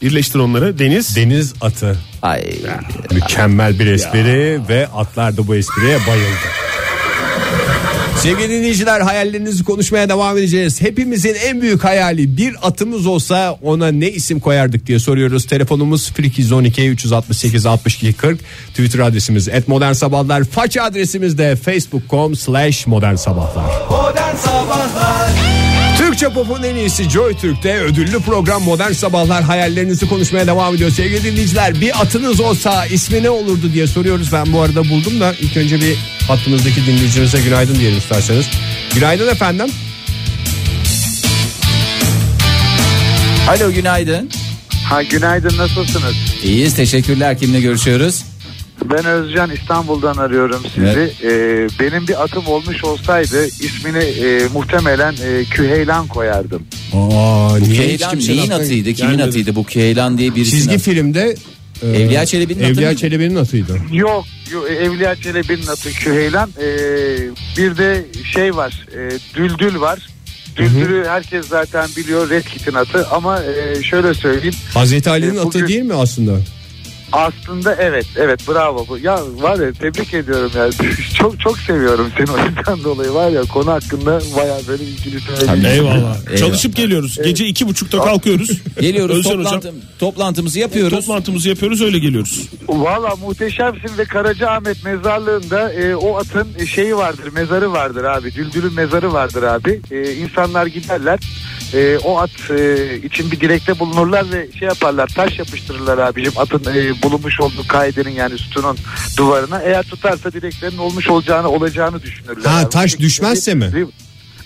[SPEAKER 5] Birleştir onları. Deniz.
[SPEAKER 3] Deniz atı.
[SPEAKER 4] Ay.
[SPEAKER 3] Mükemmel bir espri ve atlar da bu espriye bayıldı. Sevgili dinleyiciler hayallerinizi konuşmaya devam edeceğiz. Hepimizin en büyük hayali bir atımız olsa ona ne isim koyardık diye soruyoruz. Telefonumuz 0212 368 62 40. Twitter adresimiz @modernsabahlar. Faça adresimiz de facebook.com slash modern sabahlar.
[SPEAKER 2] Modern Sabahlar
[SPEAKER 3] Türkçe pop'un en iyisi Joy Türk'te ödüllü program Modern Sabahlar hayallerinizi konuşmaya devam ediyor. Sevgili dinleyiciler bir atınız olsa ismi ne olurdu diye soruyoruz. Ben bu arada buldum da ilk önce bir hattımızdaki dinleyicimize günaydın diyelim isterseniz. Günaydın efendim.
[SPEAKER 4] Alo günaydın.
[SPEAKER 8] Ha günaydın nasılsınız?
[SPEAKER 4] İyiyiz teşekkürler. Kimle görüşüyoruz?
[SPEAKER 8] Ben Özcan İstanbul'dan arıyorum sizi.
[SPEAKER 4] Evet.
[SPEAKER 8] Ee, benim bir atım olmuş olsaydı ismini e, muhtemelen e, Küheylan koyardım.
[SPEAKER 3] Aa, niye hiç
[SPEAKER 4] Keylan
[SPEAKER 3] kimsenin
[SPEAKER 4] neyin
[SPEAKER 3] aklına-
[SPEAKER 4] atıydı? Kimin
[SPEAKER 5] gelmedi.
[SPEAKER 4] atıydı bu Keylan diye birisinin
[SPEAKER 3] Çizgi
[SPEAKER 4] atı.
[SPEAKER 3] filmde e,
[SPEAKER 4] Evliya Çelebi'nin atı
[SPEAKER 3] Evliya
[SPEAKER 4] mıydı?
[SPEAKER 3] Çelebi'nin atıydı.
[SPEAKER 8] Yok, yok, Evliya Çelebi'nin atı Küheylan. Ee, bir de şey var e, Düldül var. Düldül'ü herkes zaten biliyor Red Kit'in atı ama e, şöyle söyleyeyim
[SPEAKER 3] Hazreti Ali'nin
[SPEAKER 8] E,
[SPEAKER 3] atı
[SPEAKER 8] bugün-
[SPEAKER 3] değil mi aslında?
[SPEAKER 8] aslında evet evet bravo bu ya var ya tebrik ediyorum ya çok çok seviyorum seni o yüzden dolayı var ya konu hakkında bayağı böyle ilgili söyleyeyim.
[SPEAKER 5] Eyvallah.
[SPEAKER 4] Eyvallah.
[SPEAKER 5] Çalışıp geliyoruz. Gece iki buçukta kalkıyoruz.
[SPEAKER 4] Geliyoruz
[SPEAKER 5] Özcan
[SPEAKER 4] toplantı,
[SPEAKER 5] hocam.
[SPEAKER 4] toplantımızı yapıyoruz.
[SPEAKER 5] Toplantımızı yapıyoruz öyle geliyoruz.
[SPEAKER 8] Valla muhteşemsin ve Karacaahmet mezarlığında e, o atın şeyi vardır, mezarı vardır abi. Düldül'ün mezarı vardır abi. E, insanlar giderler, e, o at e, için bir dilekte bulunurlar ve şey yaparlar, taş yapıştırırlar abicim. Atın e, bulunmuş olduğu kaidenin yani sütunun duvarına. Eğer tutarsa dileklerin olmuş olacağını, olacağını düşünürler.
[SPEAKER 3] Ha,
[SPEAKER 8] abi.
[SPEAKER 3] taş
[SPEAKER 8] Şekilde
[SPEAKER 3] düşmezse mi?
[SPEAKER 8] bir-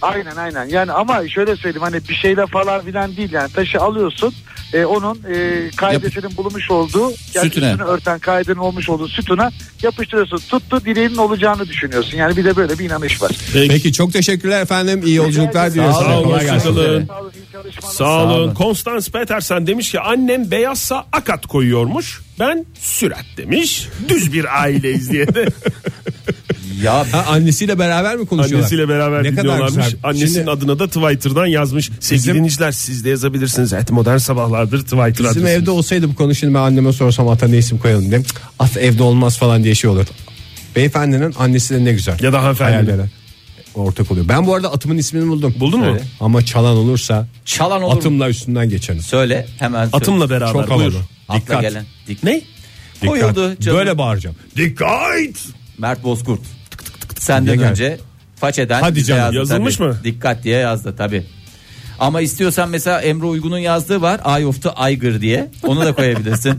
[SPEAKER 8] Aynen aynen yani ama şöyle söyleyeyim hani bir şeyle falan filan değil yani taşı alıyorsun e, onun e, kaidesinin bulunmuş olduğu yani
[SPEAKER 4] Sütüne.
[SPEAKER 8] üstünü örten kaidenin olmuş olduğu sütuna yapıştırıyorsun tuttu dileğinin olacağını düşünüyorsun yani bir de böyle bir inanış var.
[SPEAKER 3] Peki çok teşekkürler efendim. İyi yolculuklar diliyoruz.
[SPEAKER 4] Sağ
[SPEAKER 3] size.
[SPEAKER 4] olun,
[SPEAKER 3] Kolay
[SPEAKER 5] hoşça
[SPEAKER 3] gelsin.
[SPEAKER 5] kalın.
[SPEAKER 8] Sağ olun, iyi çalışmalar.
[SPEAKER 5] Sağ
[SPEAKER 4] Sağ
[SPEAKER 5] olun.
[SPEAKER 4] olun.
[SPEAKER 5] Konstans Petersen demiş ki annem beyazsa akat koyuyormuş. Ben sürat demiş. Düz bir aileyiz diye de
[SPEAKER 4] Ya
[SPEAKER 3] Ha, annesiyle beraber mi konuşuyorlar?
[SPEAKER 5] annesiyle beraber
[SPEAKER 3] ne kadar
[SPEAKER 5] dinliyorlarmış.
[SPEAKER 3] güzel.
[SPEAKER 5] Annesinin
[SPEAKER 3] Şimdi
[SPEAKER 5] adına da Twitter'dan yazmış. Sevgili
[SPEAKER 3] Bizim-
[SPEAKER 5] dinleyiciler siz de yazabilirsiniz. Et modern sabahlardır Twitter
[SPEAKER 3] bizim
[SPEAKER 5] adresimiz.
[SPEAKER 3] evde olsaydı bu konu şimdi ben anneme sorsam ata ne isim koyalım dedim. At evde olmaz falan diye şey olur. Beyefendinin annesi de ne güzel.
[SPEAKER 5] Ya da hanımefendi.
[SPEAKER 3] Hayallere ortak oluyor. Ben bu arada atımın ismini buldum.
[SPEAKER 5] Buldun mu?
[SPEAKER 3] Söyle. Ama çalan olursa
[SPEAKER 4] çalan olur. mu?
[SPEAKER 3] atımla üstünden geçerim.
[SPEAKER 4] Söyle hemen. söyle.
[SPEAKER 5] Atımla beraber.
[SPEAKER 3] Çok havalı.
[SPEAKER 5] Buyur.
[SPEAKER 4] Atla
[SPEAKER 3] Dikkat.
[SPEAKER 4] gelen. Dik-
[SPEAKER 5] Ne?
[SPEAKER 3] Dikkat.
[SPEAKER 4] Koyuldu. canım.
[SPEAKER 3] Böyle bağıracağım. Dikkat.
[SPEAKER 4] Mert Bozkurt. Tık tık tık tık Senden
[SPEAKER 3] Yener.
[SPEAKER 4] önce façeden
[SPEAKER 3] Hadi
[SPEAKER 4] bize
[SPEAKER 3] canım,
[SPEAKER 4] yazdı
[SPEAKER 5] yazılmış
[SPEAKER 4] tabii.
[SPEAKER 5] mı?
[SPEAKER 4] Dikkat diye yazdı tabi. Ama istiyorsan mesela Emre Uygun'un yazdığı var. Eye of the Aygır diye. Onu da koyabilirsin.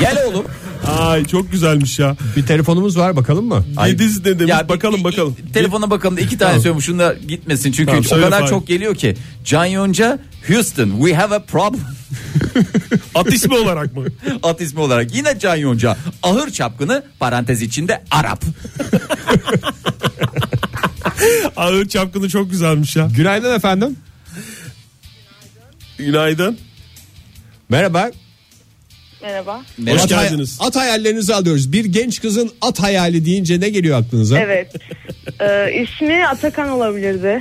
[SPEAKER 4] Gel oğlum.
[SPEAKER 5] Ay çok güzelmiş ya.
[SPEAKER 3] Bir telefonumuz var bakalım mı?
[SPEAKER 4] Ay-
[SPEAKER 5] Yediz ne demiş?
[SPEAKER 4] bir-
[SPEAKER 5] bakalım
[SPEAKER 4] bir-
[SPEAKER 5] bakalım.
[SPEAKER 4] Telefona bakalım da iki tane söylüyorum. Şunu da gitmesin çünkü
[SPEAKER 5] Tamam,
[SPEAKER 4] o
[SPEAKER 5] söyle
[SPEAKER 4] kadar
[SPEAKER 5] Fahir.
[SPEAKER 4] çok geliyor ki. Can Yonca Houston we have a problem.
[SPEAKER 5] At ismi olarak mı?
[SPEAKER 4] At ismi olarak yine Can Yonca. Ahır çapkını parantez içinde Arap.
[SPEAKER 5] Ağır çapkını çok güzelmiş ya.
[SPEAKER 3] Günaydın efendim.
[SPEAKER 5] Günaydın.
[SPEAKER 3] Merhaba.
[SPEAKER 9] Merhaba.
[SPEAKER 5] Hoş
[SPEAKER 3] At hay-
[SPEAKER 5] geldiniz.
[SPEAKER 3] At hayallerinizi alıyoruz. Bir genç kızın at hayali deyince ne geliyor aklınıza?
[SPEAKER 9] Evet. ee, ismi Atakan olabilirdi.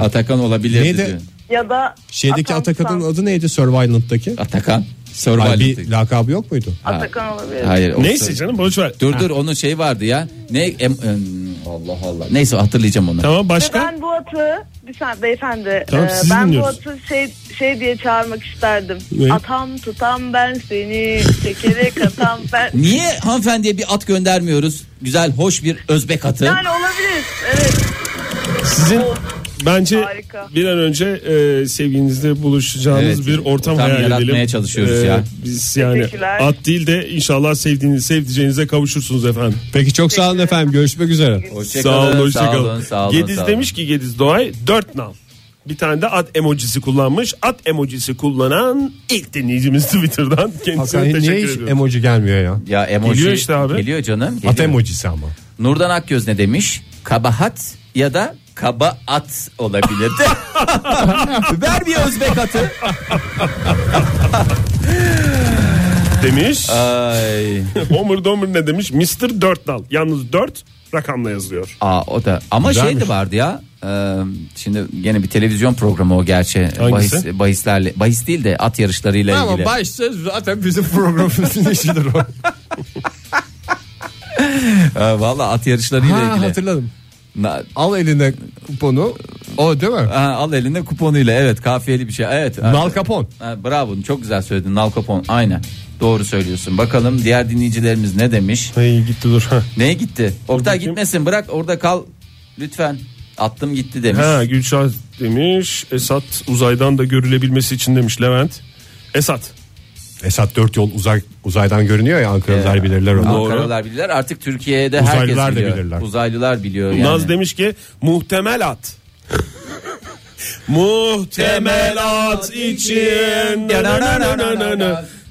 [SPEAKER 4] Atakan olabilir.
[SPEAKER 3] Neydi?
[SPEAKER 4] dedi.
[SPEAKER 9] Ya da
[SPEAKER 3] Şeydeki
[SPEAKER 9] Atansan.
[SPEAKER 3] Atakan'ın adı neydi Survivalent'taki?
[SPEAKER 4] Atakan.
[SPEAKER 3] Hayır,
[SPEAKER 4] Survivor'daki.
[SPEAKER 3] bir lakabı yok muydu?
[SPEAKER 9] Atakan olabilirdi.
[SPEAKER 4] Hayır. o-
[SPEAKER 5] Neyse canım boş ver.
[SPEAKER 4] Dur dur onun şey vardı ya. Ne em- em- Allah Allah. Neyse hatırlayacağım onu.
[SPEAKER 5] Tamam
[SPEAKER 9] Ve
[SPEAKER 5] başka?
[SPEAKER 9] Ben bu atı bir saniye beyefendi.
[SPEAKER 5] Tamam,
[SPEAKER 9] ee,
[SPEAKER 5] sizi
[SPEAKER 9] ben
[SPEAKER 5] dinliyoruz.
[SPEAKER 9] bu atı şey şey diye çağırmak isterdim.
[SPEAKER 5] Ne?
[SPEAKER 9] Atam tutam ben seni çekerek atam ben.
[SPEAKER 4] Niye hanımefendiye bir at göndermiyoruz? Güzel hoş bir Özbek atı.
[SPEAKER 9] Yani olabilir. Evet.
[SPEAKER 5] Sizin bence
[SPEAKER 9] Harika.
[SPEAKER 5] bir an önce e, sevgilinizle buluşacağınız
[SPEAKER 4] Evet,
[SPEAKER 5] bir ortam,
[SPEAKER 4] ortam
[SPEAKER 5] hayal edelim. E,
[SPEAKER 4] yaratmaya çalışıyoruz ya.
[SPEAKER 5] Biz yani
[SPEAKER 9] Teşekkürler.
[SPEAKER 5] at değil de inşallah sevdiğiniz sevdiceğinize kavuşursunuz efendim.
[SPEAKER 3] Peki çok sağ olun efendim. Görüşmek üzere.
[SPEAKER 4] Hoşça
[SPEAKER 5] sağ
[SPEAKER 4] kalın,
[SPEAKER 5] olun, hoşça
[SPEAKER 4] sağ
[SPEAKER 5] kalın.
[SPEAKER 4] olun, sağ olun,
[SPEAKER 5] Gediz
[SPEAKER 4] sağ olun.
[SPEAKER 5] demiş ki Gediz Doğay 4 nal. Bir tane de at emojisi kullanmış. At emojisi kullanan ilk dinleyicimiz Twitter'dan kendisine
[SPEAKER 3] Hakan niye
[SPEAKER 5] teşekkür
[SPEAKER 3] hiç
[SPEAKER 5] ediyorum.
[SPEAKER 3] emoji gelmiyor ya?
[SPEAKER 4] Ya emoji
[SPEAKER 5] Geliyor işte abi.
[SPEAKER 4] Geliyor canım.
[SPEAKER 3] At
[SPEAKER 4] geliyor.
[SPEAKER 3] emojisi ama.
[SPEAKER 4] Nurdan Akgöz ne demiş? Kabahat ya da kaba at olabilirdi. Ver bir Özbek atı.
[SPEAKER 5] demiş.
[SPEAKER 4] Ay.
[SPEAKER 5] Homer Domer ne demiş? Mr. 4 nal. Yalnız 4 rakamla yazılıyor.
[SPEAKER 4] Aa, o da ama
[SPEAKER 5] Güzelmiş.
[SPEAKER 4] şey de vardı ya. Ee, şimdi gene bir televizyon programı o gerçi.
[SPEAKER 5] Hangisi?
[SPEAKER 4] Bahis, bahislerle bahis değil de at yarışlarıyla ilgili.
[SPEAKER 3] başta zaten bizim programımızın işidir o.
[SPEAKER 4] Ee, Valla at yarışlarıyla
[SPEAKER 3] ha,
[SPEAKER 4] ilgili.
[SPEAKER 3] hatırladım.
[SPEAKER 4] Na-
[SPEAKER 3] Al eline kuponu. O değil mi?
[SPEAKER 4] Ha, al elinde kuponuyla evet kafiyeli bir şey. Evet.
[SPEAKER 3] Nal Capone.
[SPEAKER 4] Ha, bravo çok güzel söyledin Nal Capone. Aynen. Doğru söylüyorsun. Bakalım diğer dinleyicilerimiz ne demiş?
[SPEAKER 5] Hey gitti dur. Ha.
[SPEAKER 4] Neye gitti? Oktay gitmesin bırak orada kal lütfen. Attım gitti demiş.
[SPEAKER 5] Ha Gülşah demiş. Esat uzaydan da görülebilmesi için demiş Levent. Esat.
[SPEAKER 3] Esat dört yol uzay, uzaydan görünüyor ya Ankaralılar
[SPEAKER 4] Ee,
[SPEAKER 3] bilirler onu.
[SPEAKER 4] Ankaralılar bilirler artık Türkiye'de
[SPEAKER 3] Uzaylılar
[SPEAKER 4] herkes
[SPEAKER 3] da
[SPEAKER 4] biliyor.
[SPEAKER 3] bilirler.
[SPEAKER 4] Uzaylılar biliyor yani.
[SPEAKER 5] Naz demiş ki muhtemel at. Muhtemelat için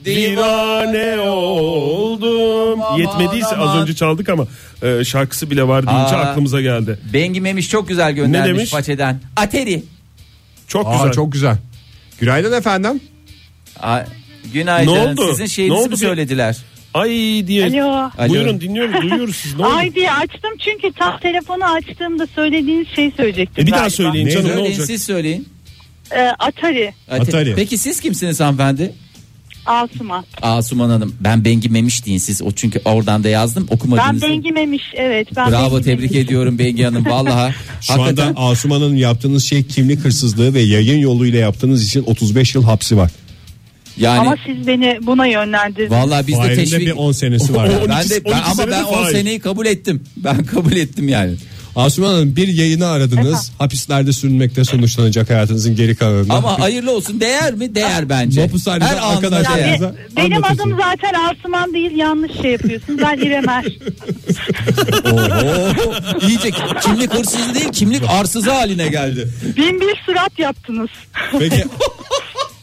[SPEAKER 5] divane oldum. Yetmediyse az önce çaldık ama e, şarkısı bile var deyince
[SPEAKER 4] Aa.
[SPEAKER 5] aklımıza geldi.
[SPEAKER 4] Bengi Memiş çok güzel
[SPEAKER 5] Ne
[SPEAKER 4] göndermiş
[SPEAKER 5] demiş?
[SPEAKER 4] façeden. Ateri.
[SPEAKER 5] Çok
[SPEAKER 3] Aa,
[SPEAKER 5] güzel.
[SPEAKER 3] çok güzel. Günaydın efendim.
[SPEAKER 4] Aa, günaydın.
[SPEAKER 5] Ne oldu?
[SPEAKER 4] Sizin
[SPEAKER 5] Ne
[SPEAKER 4] şeyinizi
[SPEAKER 5] oldu
[SPEAKER 4] mi
[SPEAKER 5] be?
[SPEAKER 4] söylediler?
[SPEAKER 5] Ay diye.
[SPEAKER 9] Alo.
[SPEAKER 4] Alo.
[SPEAKER 5] Buyurun dinliyoruz duyuyoruz siz Şey, ne oldu?
[SPEAKER 9] Ay diye açtım çünkü tam telefonu açtığımda söylediğiniz şeyi söyleyecektim.
[SPEAKER 5] E bir daha
[SPEAKER 9] galiba.
[SPEAKER 5] söyleyin
[SPEAKER 3] Ne?
[SPEAKER 5] canım ne
[SPEAKER 4] Söyleyin
[SPEAKER 5] olacak?
[SPEAKER 4] siz söyleyin.
[SPEAKER 9] Ee, Atari
[SPEAKER 4] Ate-
[SPEAKER 3] Atari.
[SPEAKER 4] Peki siz kimsiniz hanımefendi?
[SPEAKER 9] Asuman.
[SPEAKER 4] Asuman Hanım. Ben Bengi Memiş deyin siz. O çünkü oradan da yazdım
[SPEAKER 9] Ben
[SPEAKER 4] okumadınız.
[SPEAKER 9] Bengimemiş evet. Ben
[SPEAKER 4] Bravo
[SPEAKER 9] Bengi
[SPEAKER 4] tebrik
[SPEAKER 9] Memiş.
[SPEAKER 4] ediyorum Bengi Hanım. Vallahi
[SPEAKER 3] Şu
[SPEAKER 4] hakikaten
[SPEAKER 3] anda Asuman Hanım yaptığınız şey kimlik hırsızlığı ve yayın yoluyla yaptığınız için 35 yıl hapsi var.
[SPEAKER 4] yani
[SPEAKER 9] Ama siz beni buna yönlendirdiniz.
[SPEAKER 4] vallahi biz de
[SPEAKER 3] Fahir'in de
[SPEAKER 4] teşvik
[SPEAKER 3] bir 10 senesi var.
[SPEAKER 5] On-
[SPEAKER 4] ben
[SPEAKER 5] 12
[SPEAKER 4] de ben, ama
[SPEAKER 5] senede
[SPEAKER 4] ben 10
[SPEAKER 5] Fahir.
[SPEAKER 4] seneyi kabul ettim. Ben kabul ettim yani.
[SPEAKER 3] Asuman Hanım bir yayını aradınız. Hapislerde sürünmekte sonuçlanacak hayatınızın geri kalanında.
[SPEAKER 4] Ama hayırlı olsun değer mi? Değer bence.
[SPEAKER 3] Hapishanede
[SPEAKER 4] Her anına
[SPEAKER 3] arkadaşlar-
[SPEAKER 4] değer.
[SPEAKER 9] Be- benim
[SPEAKER 3] Anlatıyorsun.
[SPEAKER 9] adım zaten Asuman değil yanlış şey yapıyorsun. Ben İrem Er.
[SPEAKER 4] Oho, iyice kimlik hırsızı değil kimlik arsızı haline geldi.
[SPEAKER 9] Bin bir surat yaptınız.
[SPEAKER 3] Peki.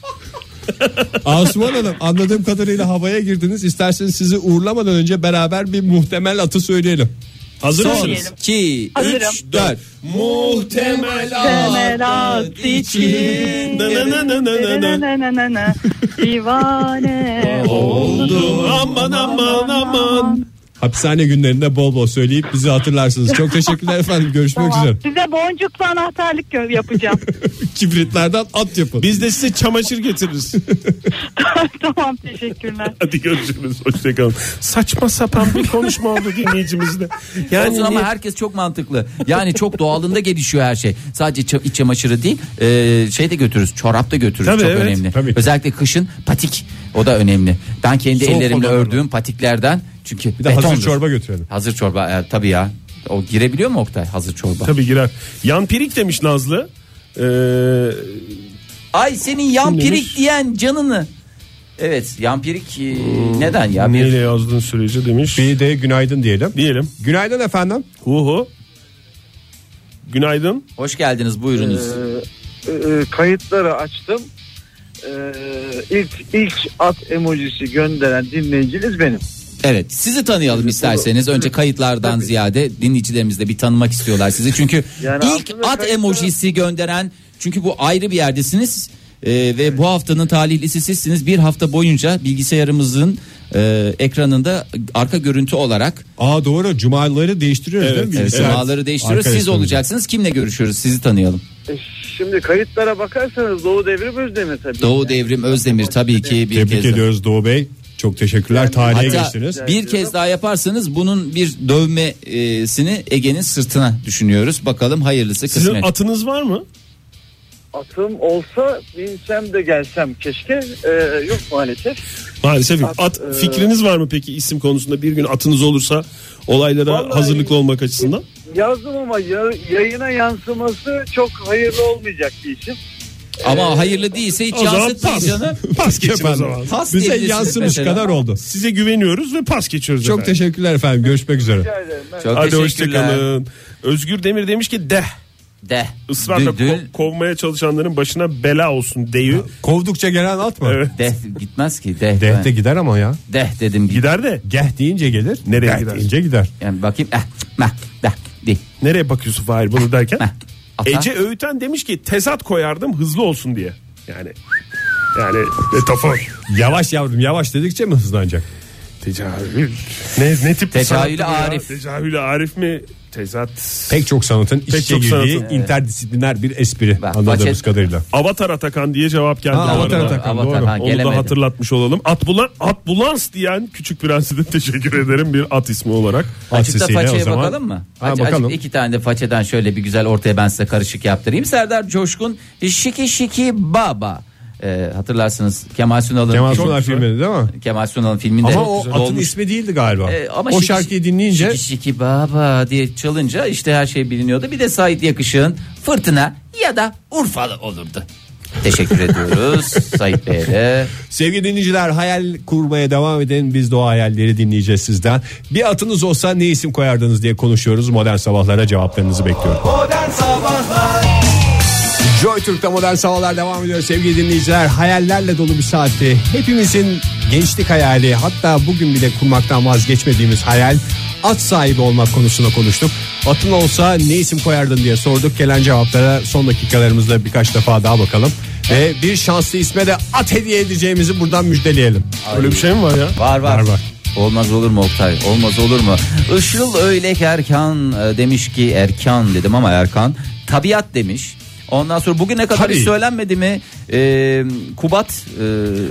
[SPEAKER 3] Asuman Hanım anladığım kadarıyla havaya girdiniz. İsterseniz sizi uğurlamadan önce beraber bir muhtemel atı söyleyelim.
[SPEAKER 5] Hazır
[SPEAKER 4] Son
[SPEAKER 5] mısınız?
[SPEAKER 4] 2
[SPEAKER 9] Hazırım.
[SPEAKER 4] 3 4
[SPEAKER 9] Temelat için.
[SPEAKER 5] Na na na na na na na.
[SPEAKER 9] Na na na na. Divane
[SPEAKER 5] Oldum aman aman aman.
[SPEAKER 3] Hapishane günlerinde bol bol söyleyip bizi hatırlarsınız. Çok teşekkürler efendim. Görüşmek üzere.
[SPEAKER 9] Size boncuklu anahtarlık gö- yapacağım.
[SPEAKER 3] Kibritlerden at yapın.
[SPEAKER 5] Biz de size çamaşır getiririz.
[SPEAKER 9] tamam teşekkürler.
[SPEAKER 5] Hadi görüşürüz. Hoşçakalın. Saçma sapan bir konuşma oldu dinleyicimizle. Yani
[SPEAKER 4] Olsun ama herkes çok mantıklı. Yani çok doğalında gelişiyor her şey. Sadece ça- iç çamaşırı değil, e, şey de götürürüz, çorap da götürürüz.
[SPEAKER 5] Tabii,
[SPEAKER 4] çok
[SPEAKER 5] evet,
[SPEAKER 4] önemli.
[SPEAKER 3] tabii.
[SPEAKER 4] Özellikle kışın patik o da önemli. Ben kendi
[SPEAKER 5] Soğuk
[SPEAKER 4] ellerimle
[SPEAKER 5] olanlar.
[SPEAKER 4] ördüğüm patiklerden çünkü
[SPEAKER 3] Bir de hazır
[SPEAKER 4] betondur.
[SPEAKER 3] çorba götürelim.
[SPEAKER 4] Hazır çorba e, tabii ya. O girebiliyor mu Oktay hazır çorba?
[SPEAKER 5] Tabii girer. Yan pirik demiş Nazlı. Ee,
[SPEAKER 4] Ay senin yampirik
[SPEAKER 5] demiş?
[SPEAKER 4] diyen canını. Evet yampirik e,
[SPEAKER 5] Hmm.
[SPEAKER 4] neden ya? Bir-
[SPEAKER 5] neyle yazdığın süreci demiş.
[SPEAKER 3] Bir de günaydın diyelim.
[SPEAKER 5] Diyelim.
[SPEAKER 3] Günaydın efendim.
[SPEAKER 5] Huhu. Günaydın.
[SPEAKER 4] Hoş geldiniz buyurunuz.
[SPEAKER 10] Ee, e, kayıtları açtım. Ee, ilk ilk at emojisi gönderen dinleyiciniz benim.
[SPEAKER 4] Evet sizi tanıyalım isterseniz. Önce kayıtlardan ziyade dinleyicilerimiz de bir tanımak istiyorlar sizi. Çünkü
[SPEAKER 10] Yani
[SPEAKER 4] ilk at
[SPEAKER 10] aslında kayıtlar-
[SPEAKER 4] emojisi gönderen çünkü bu ayrı bir yerdesiniz. Ee, ve bu haftanın talihlisi sizsiniz. Bir hafta boyunca bilgisayarımızın e, ekranında arka görüntü olarak
[SPEAKER 3] Aa doğru. Cumaları değiştiriyoruz değil mi?
[SPEAKER 4] evet,
[SPEAKER 3] Bilgisayar-
[SPEAKER 4] semaları değiştiriyoruz. Siz
[SPEAKER 3] Arkadaşlarımızla.
[SPEAKER 4] olacaksınız. Kimle görüşüyoruz? Sizi tanıyalım.
[SPEAKER 10] E, şimdi kayıtlara bakarsanız Doğu Devrim Özdemir tabii.
[SPEAKER 4] Doğu Devrim Özdemir tabii ki bir
[SPEAKER 3] Tebrik
[SPEAKER 4] kez daha.
[SPEAKER 3] ediyoruz Doğu Bey. Çok teşekkürler. Tarihe
[SPEAKER 4] Hatta
[SPEAKER 3] geçtiniz.
[SPEAKER 4] bir kez daha yaparsanız bunun bir dövmesini Ege'nin sırtına düşünüyoruz. Bakalım hayırlısı
[SPEAKER 5] Sizin
[SPEAKER 4] kısmet.
[SPEAKER 5] atınız var mı?
[SPEAKER 10] Atım olsa binsem de gelsem keşke. Ee, yok maalesef.
[SPEAKER 5] Maalesef yok.
[SPEAKER 10] At,
[SPEAKER 5] At,
[SPEAKER 10] e,
[SPEAKER 5] fikriniz var mı peki isim konusunda bir gün atınız olursa olaylara
[SPEAKER 10] Vallahi-
[SPEAKER 5] hazırlıklı olmak açısından?
[SPEAKER 10] Yazdım ama ya- yayına yansıması çok hayırlı olmayacak bir isim.
[SPEAKER 4] Ama hayırlı değilse hiç
[SPEAKER 5] O zaman
[SPEAKER 4] yansıtmayın
[SPEAKER 5] pas.
[SPEAKER 4] canım.
[SPEAKER 5] Pas geçin o
[SPEAKER 3] Efendim,
[SPEAKER 5] zaman.
[SPEAKER 4] Pas
[SPEAKER 3] Bize
[SPEAKER 4] diyebilirsiniz
[SPEAKER 3] yansımış
[SPEAKER 4] mesela.
[SPEAKER 3] kadar oldu.
[SPEAKER 5] Size güveniyoruz ve pas geçiyoruz
[SPEAKER 3] Çok
[SPEAKER 5] efendim.
[SPEAKER 3] teşekkürler efendim. Görüşmek üzere.
[SPEAKER 10] Rica ederim. Ben-
[SPEAKER 4] Çok
[SPEAKER 5] Hadi
[SPEAKER 4] teşekkürler.
[SPEAKER 5] hoşçakalın. Özgür Demir demiş ki de
[SPEAKER 4] De.
[SPEAKER 5] ısrarla
[SPEAKER 4] Dü- dü-
[SPEAKER 5] ko- kovmaya çalışanların başına bela olsun deyü.
[SPEAKER 3] Kovdukça gelen at mı?
[SPEAKER 5] Evet.
[SPEAKER 4] de gitmez ki de.
[SPEAKER 3] Deh
[SPEAKER 4] Ben-
[SPEAKER 3] de gider ama ya.
[SPEAKER 4] de dedim.
[SPEAKER 5] Gider de
[SPEAKER 3] Geh deyince gelir.
[SPEAKER 5] Nereye
[SPEAKER 3] geh
[SPEAKER 5] gider?
[SPEAKER 3] deyince gider.
[SPEAKER 4] Yani bakayım. Eh, meh, de, di,
[SPEAKER 5] nereye bakıyorsun Fahir bunu derken?
[SPEAKER 4] meh. Ata.
[SPEAKER 5] Ece Öğüten demiş ki tezat koyardım hızlı olsun diye. Yani yani metafor.
[SPEAKER 3] Yavaş yavrum yavaş dedikçe mi hızlanacak?
[SPEAKER 5] Tecavül. Ne, ne tip
[SPEAKER 4] Tecavülü
[SPEAKER 5] bir sanat bu ya?
[SPEAKER 4] Arif.
[SPEAKER 5] Tecavülü Arif mi? Tezat.
[SPEAKER 3] Pek çok sanatın içe
[SPEAKER 5] çok
[SPEAKER 3] girdiği
[SPEAKER 5] sanatın.
[SPEAKER 3] interdisipliner bir espri
[SPEAKER 4] Bak,
[SPEAKER 3] anladığımız
[SPEAKER 4] façet-
[SPEAKER 3] kadarıyla.
[SPEAKER 5] Avatar Atakan diye cevap geldi.
[SPEAKER 3] Ha,
[SPEAKER 5] bu
[SPEAKER 3] Avatar
[SPEAKER 5] arada.
[SPEAKER 3] Atakan.
[SPEAKER 4] Avatar,
[SPEAKER 3] doğru.
[SPEAKER 4] ha,
[SPEAKER 5] Onu da
[SPEAKER 4] gelemedim.
[SPEAKER 5] hatırlatmış olalım. Atbulan, atbulans diyen Küçük Prens'e de teşekkür ederim bir at ismi olarak.
[SPEAKER 4] Açıkta
[SPEAKER 3] Aksisiyle o
[SPEAKER 4] façaya
[SPEAKER 3] zaman-
[SPEAKER 4] bakalım mı?
[SPEAKER 3] Ha,
[SPEAKER 4] Hadi
[SPEAKER 3] bakalım.
[SPEAKER 4] açık iki tane de façeden şöyle bir güzel ortaya ben size karışık yaptırayım. Serdar Coşkun Şiki Şiki Baba. Ee, hatırlarsınız Kemal Sunal'ın
[SPEAKER 3] Kemal
[SPEAKER 4] Çok-
[SPEAKER 3] Sunal filminde değil mi?
[SPEAKER 4] Kemal Sunal'ın filminde
[SPEAKER 3] Ama o
[SPEAKER 4] güzel
[SPEAKER 3] atın
[SPEAKER 4] olmuş.
[SPEAKER 3] ismi değildi galiba.
[SPEAKER 4] Ee, ama
[SPEAKER 3] o
[SPEAKER 4] şiki-
[SPEAKER 3] şarkıyı dinleyince
[SPEAKER 4] şiki şiki baba diye çalınca işte her şey biliniyordu. Bir de Sait Yakışık'ın Fırtına ya da Urfalı olurdu. Teşekkür ediyoruz Sait Bey'e de.
[SPEAKER 3] Sevgili dinleyiciler hayal kurmaya devam edin. Biz de o hayalleri dinleyeceğiz sizden. Bir atınız olsa ne isim koyardınız diye konuşuyoruz. Modern sabahlara cevaplarınızı bekliyorum.
[SPEAKER 2] Modern Sabahlar
[SPEAKER 3] Joy Türk'te modern sabahlar devam ediyor sevgili dinleyiciler. Hayallerle dolu bir saati. Hepimizin gençlik hayali hatta bugün bile kurmaktan vazgeçmediğimiz hayal at sahibi olmak konusunda konuştuk. Atın olsa ne isim koyardın diye sorduk. Gelen cevaplara son dakikalarımızda birkaç defa daha bakalım. Ve bir şanslı isme de at hediye edeceğimizi buradan müjdeleyelim.
[SPEAKER 5] Öyle bir şey mi var ya?
[SPEAKER 4] Var var.
[SPEAKER 3] Var, var.
[SPEAKER 4] Olmaz olur mu Oktay? Olmaz olur mu? Işıl Öylek Erkan e, demiş ki Erkan dedim ama Erkan tabiat demiş. Ondan sonra bugüne kadar
[SPEAKER 3] Tabii.
[SPEAKER 4] hiç söylenmedi mi? E, Kubat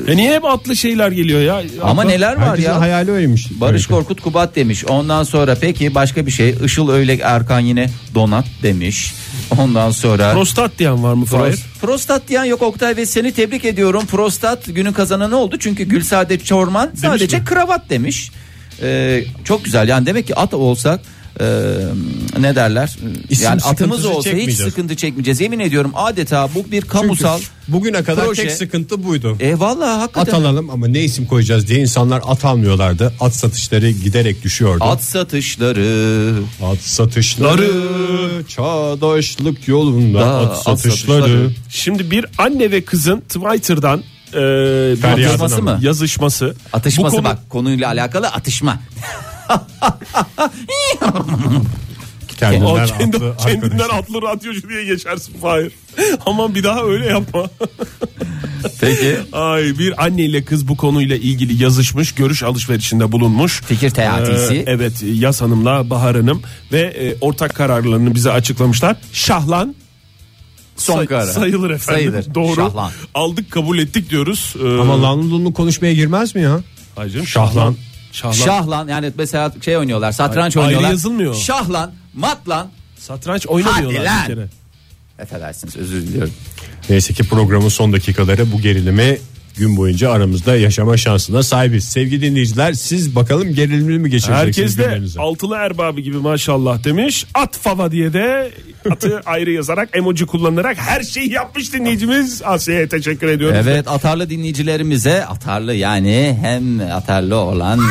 [SPEAKER 4] e,
[SPEAKER 5] E niye hep atlı şeyler geliyor ya?
[SPEAKER 4] ama
[SPEAKER 5] Atla-
[SPEAKER 4] neler var
[SPEAKER 3] Herkesin
[SPEAKER 4] ya?
[SPEAKER 3] hayali öyleymiş.
[SPEAKER 4] Barış Korkut Kubat demiş. Ondan sonra peki başka bir şey. Işıl Öylek Erkan yine Donat demiş. Ondan sonra
[SPEAKER 5] Prostat diyen var mı Fahir?
[SPEAKER 4] Prost- prostat diyen yok Oktay ve seni tebrik ediyorum. Prostat günün kazananı oldu. Çünkü Gülsade Çorman sadece
[SPEAKER 5] mi?
[SPEAKER 4] kravat demiş. Ee, çok güzel yani demek ki at olsak e, ne derler?
[SPEAKER 3] İsim
[SPEAKER 4] yani atımız
[SPEAKER 3] sıkıntısı
[SPEAKER 4] olsa hiç
[SPEAKER 3] çekmeyeceğiz.
[SPEAKER 4] sıkıntı çekmeyeceğiz. Yemin ediyorum adeta bu bir
[SPEAKER 3] Çünkü
[SPEAKER 4] kamusal.
[SPEAKER 3] bugüne kadar
[SPEAKER 4] proje.
[SPEAKER 3] tek sıkıntı buydu.
[SPEAKER 4] E vallahi
[SPEAKER 3] At
[SPEAKER 4] hakikaten at,
[SPEAKER 3] alalım ama ne isim koyacağız diye insanlar at almıyorlardı. At satışları giderek düşüyordu.
[SPEAKER 4] satışları.
[SPEAKER 3] At satışları çağdaşlık yolunda
[SPEAKER 4] Da,
[SPEAKER 3] at
[SPEAKER 4] at
[SPEAKER 3] satışları.
[SPEAKER 4] satışları.
[SPEAKER 5] Şimdi bir anne ve kızın Twitter'dan e,
[SPEAKER 4] Yazışması mı?
[SPEAKER 5] Yazışması.
[SPEAKER 4] Atışması
[SPEAKER 5] Bu konu-
[SPEAKER 4] bak konuyla alakalı atışma.
[SPEAKER 3] Kendinden
[SPEAKER 5] Aa,
[SPEAKER 3] atlı
[SPEAKER 5] kendi-
[SPEAKER 3] arkadaş.
[SPEAKER 5] kendinden atlı radyocu diye geçersin Fahir. Aman bir daha öyle yapma.
[SPEAKER 4] Peki.
[SPEAKER 5] Ay bir anne ile kız bu konuyla ilgili yazışmış, görüş alışverişinde bulunmuş.
[SPEAKER 4] Fikir teatisi.
[SPEAKER 5] Ee, evet, Yaz Hanım'la Bahar Hanım ve e, ortak kararlarını bize açıklamışlar. Şahlan
[SPEAKER 4] Son
[SPEAKER 5] say-
[SPEAKER 4] karar.
[SPEAKER 5] sayılır efendim.
[SPEAKER 4] Sayılır.
[SPEAKER 5] Doğru.
[SPEAKER 4] Şahlan.
[SPEAKER 5] Aldık, kabul ettik diyoruz. Ee,
[SPEAKER 3] Ama Lanlun'un konuşmaya girmez mi ya?
[SPEAKER 5] hayır canım,
[SPEAKER 3] Şahlan.
[SPEAKER 5] Şahlan.
[SPEAKER 4] Şahlan yani mesela şey oynuyorlar satranç
[SPEAKER 5] Ayrı
[SPEAKER 4] oynuyorlar.
[SPEAKER 5] yazılmıyor.
[SPEAKER 4] Şahlan, matlan.
[SPEAKER 5] Satranç oynamıyorlar
[SPEAKER 4] Hadi lan.
[SPEAKER 5] bir kere.
[SPEAKER 4] Affedersiniz özür diliyorum.
[SPEAKER 3] Neyse ki programın son dakikaları bu gerilimi gün boyunca aramızda yaşama şansına sahibiz. Sevgili dinleyiciler siz bakalım gerilimli mi geçireceksiniz
[SPEAKER 5] Herkes de
[SPEAKER 3] günlerinizi?
[SPEAKER 5] altılı erbabı gibi maşallah demiş. At fava diye de atı ayrı yazarak emoji kullanarak her şeyi yapmış dinleyicimiz. Asya'ya teşekkür ediyoruz.
[SPEAKER 4] Evet atarlı dinleyicilerimize atarlı yani hem atarlı olan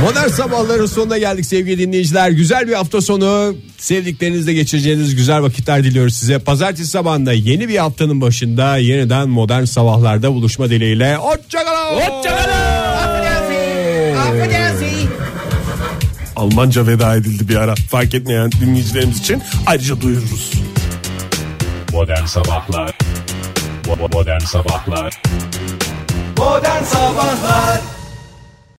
[SPEAKER 3] Modern sabahların sonuna geldik sevgili dinleyiciler. Güzel bir hafta sonu. Sevdiklerinizle geçireceğiniz güzel vakitler diliyoruz size. Pazartesi sabahında yeni bir haftanın başında yeniden modern sabahlarda buluşma dileğiyle. Hoşçakalın.
[SPEAKER 7] Affedersin. Affedersin.
[SPEAKER 5] Almanca veda edildi bir ara. Fark etmeyen dinleyicilerimiz için ayrıca duyururuz.
[SPEAKER 1] Modern Sabahlar Bo- bo- Modern Sabahlar
[SPEAKER 2] Modern Sabahlar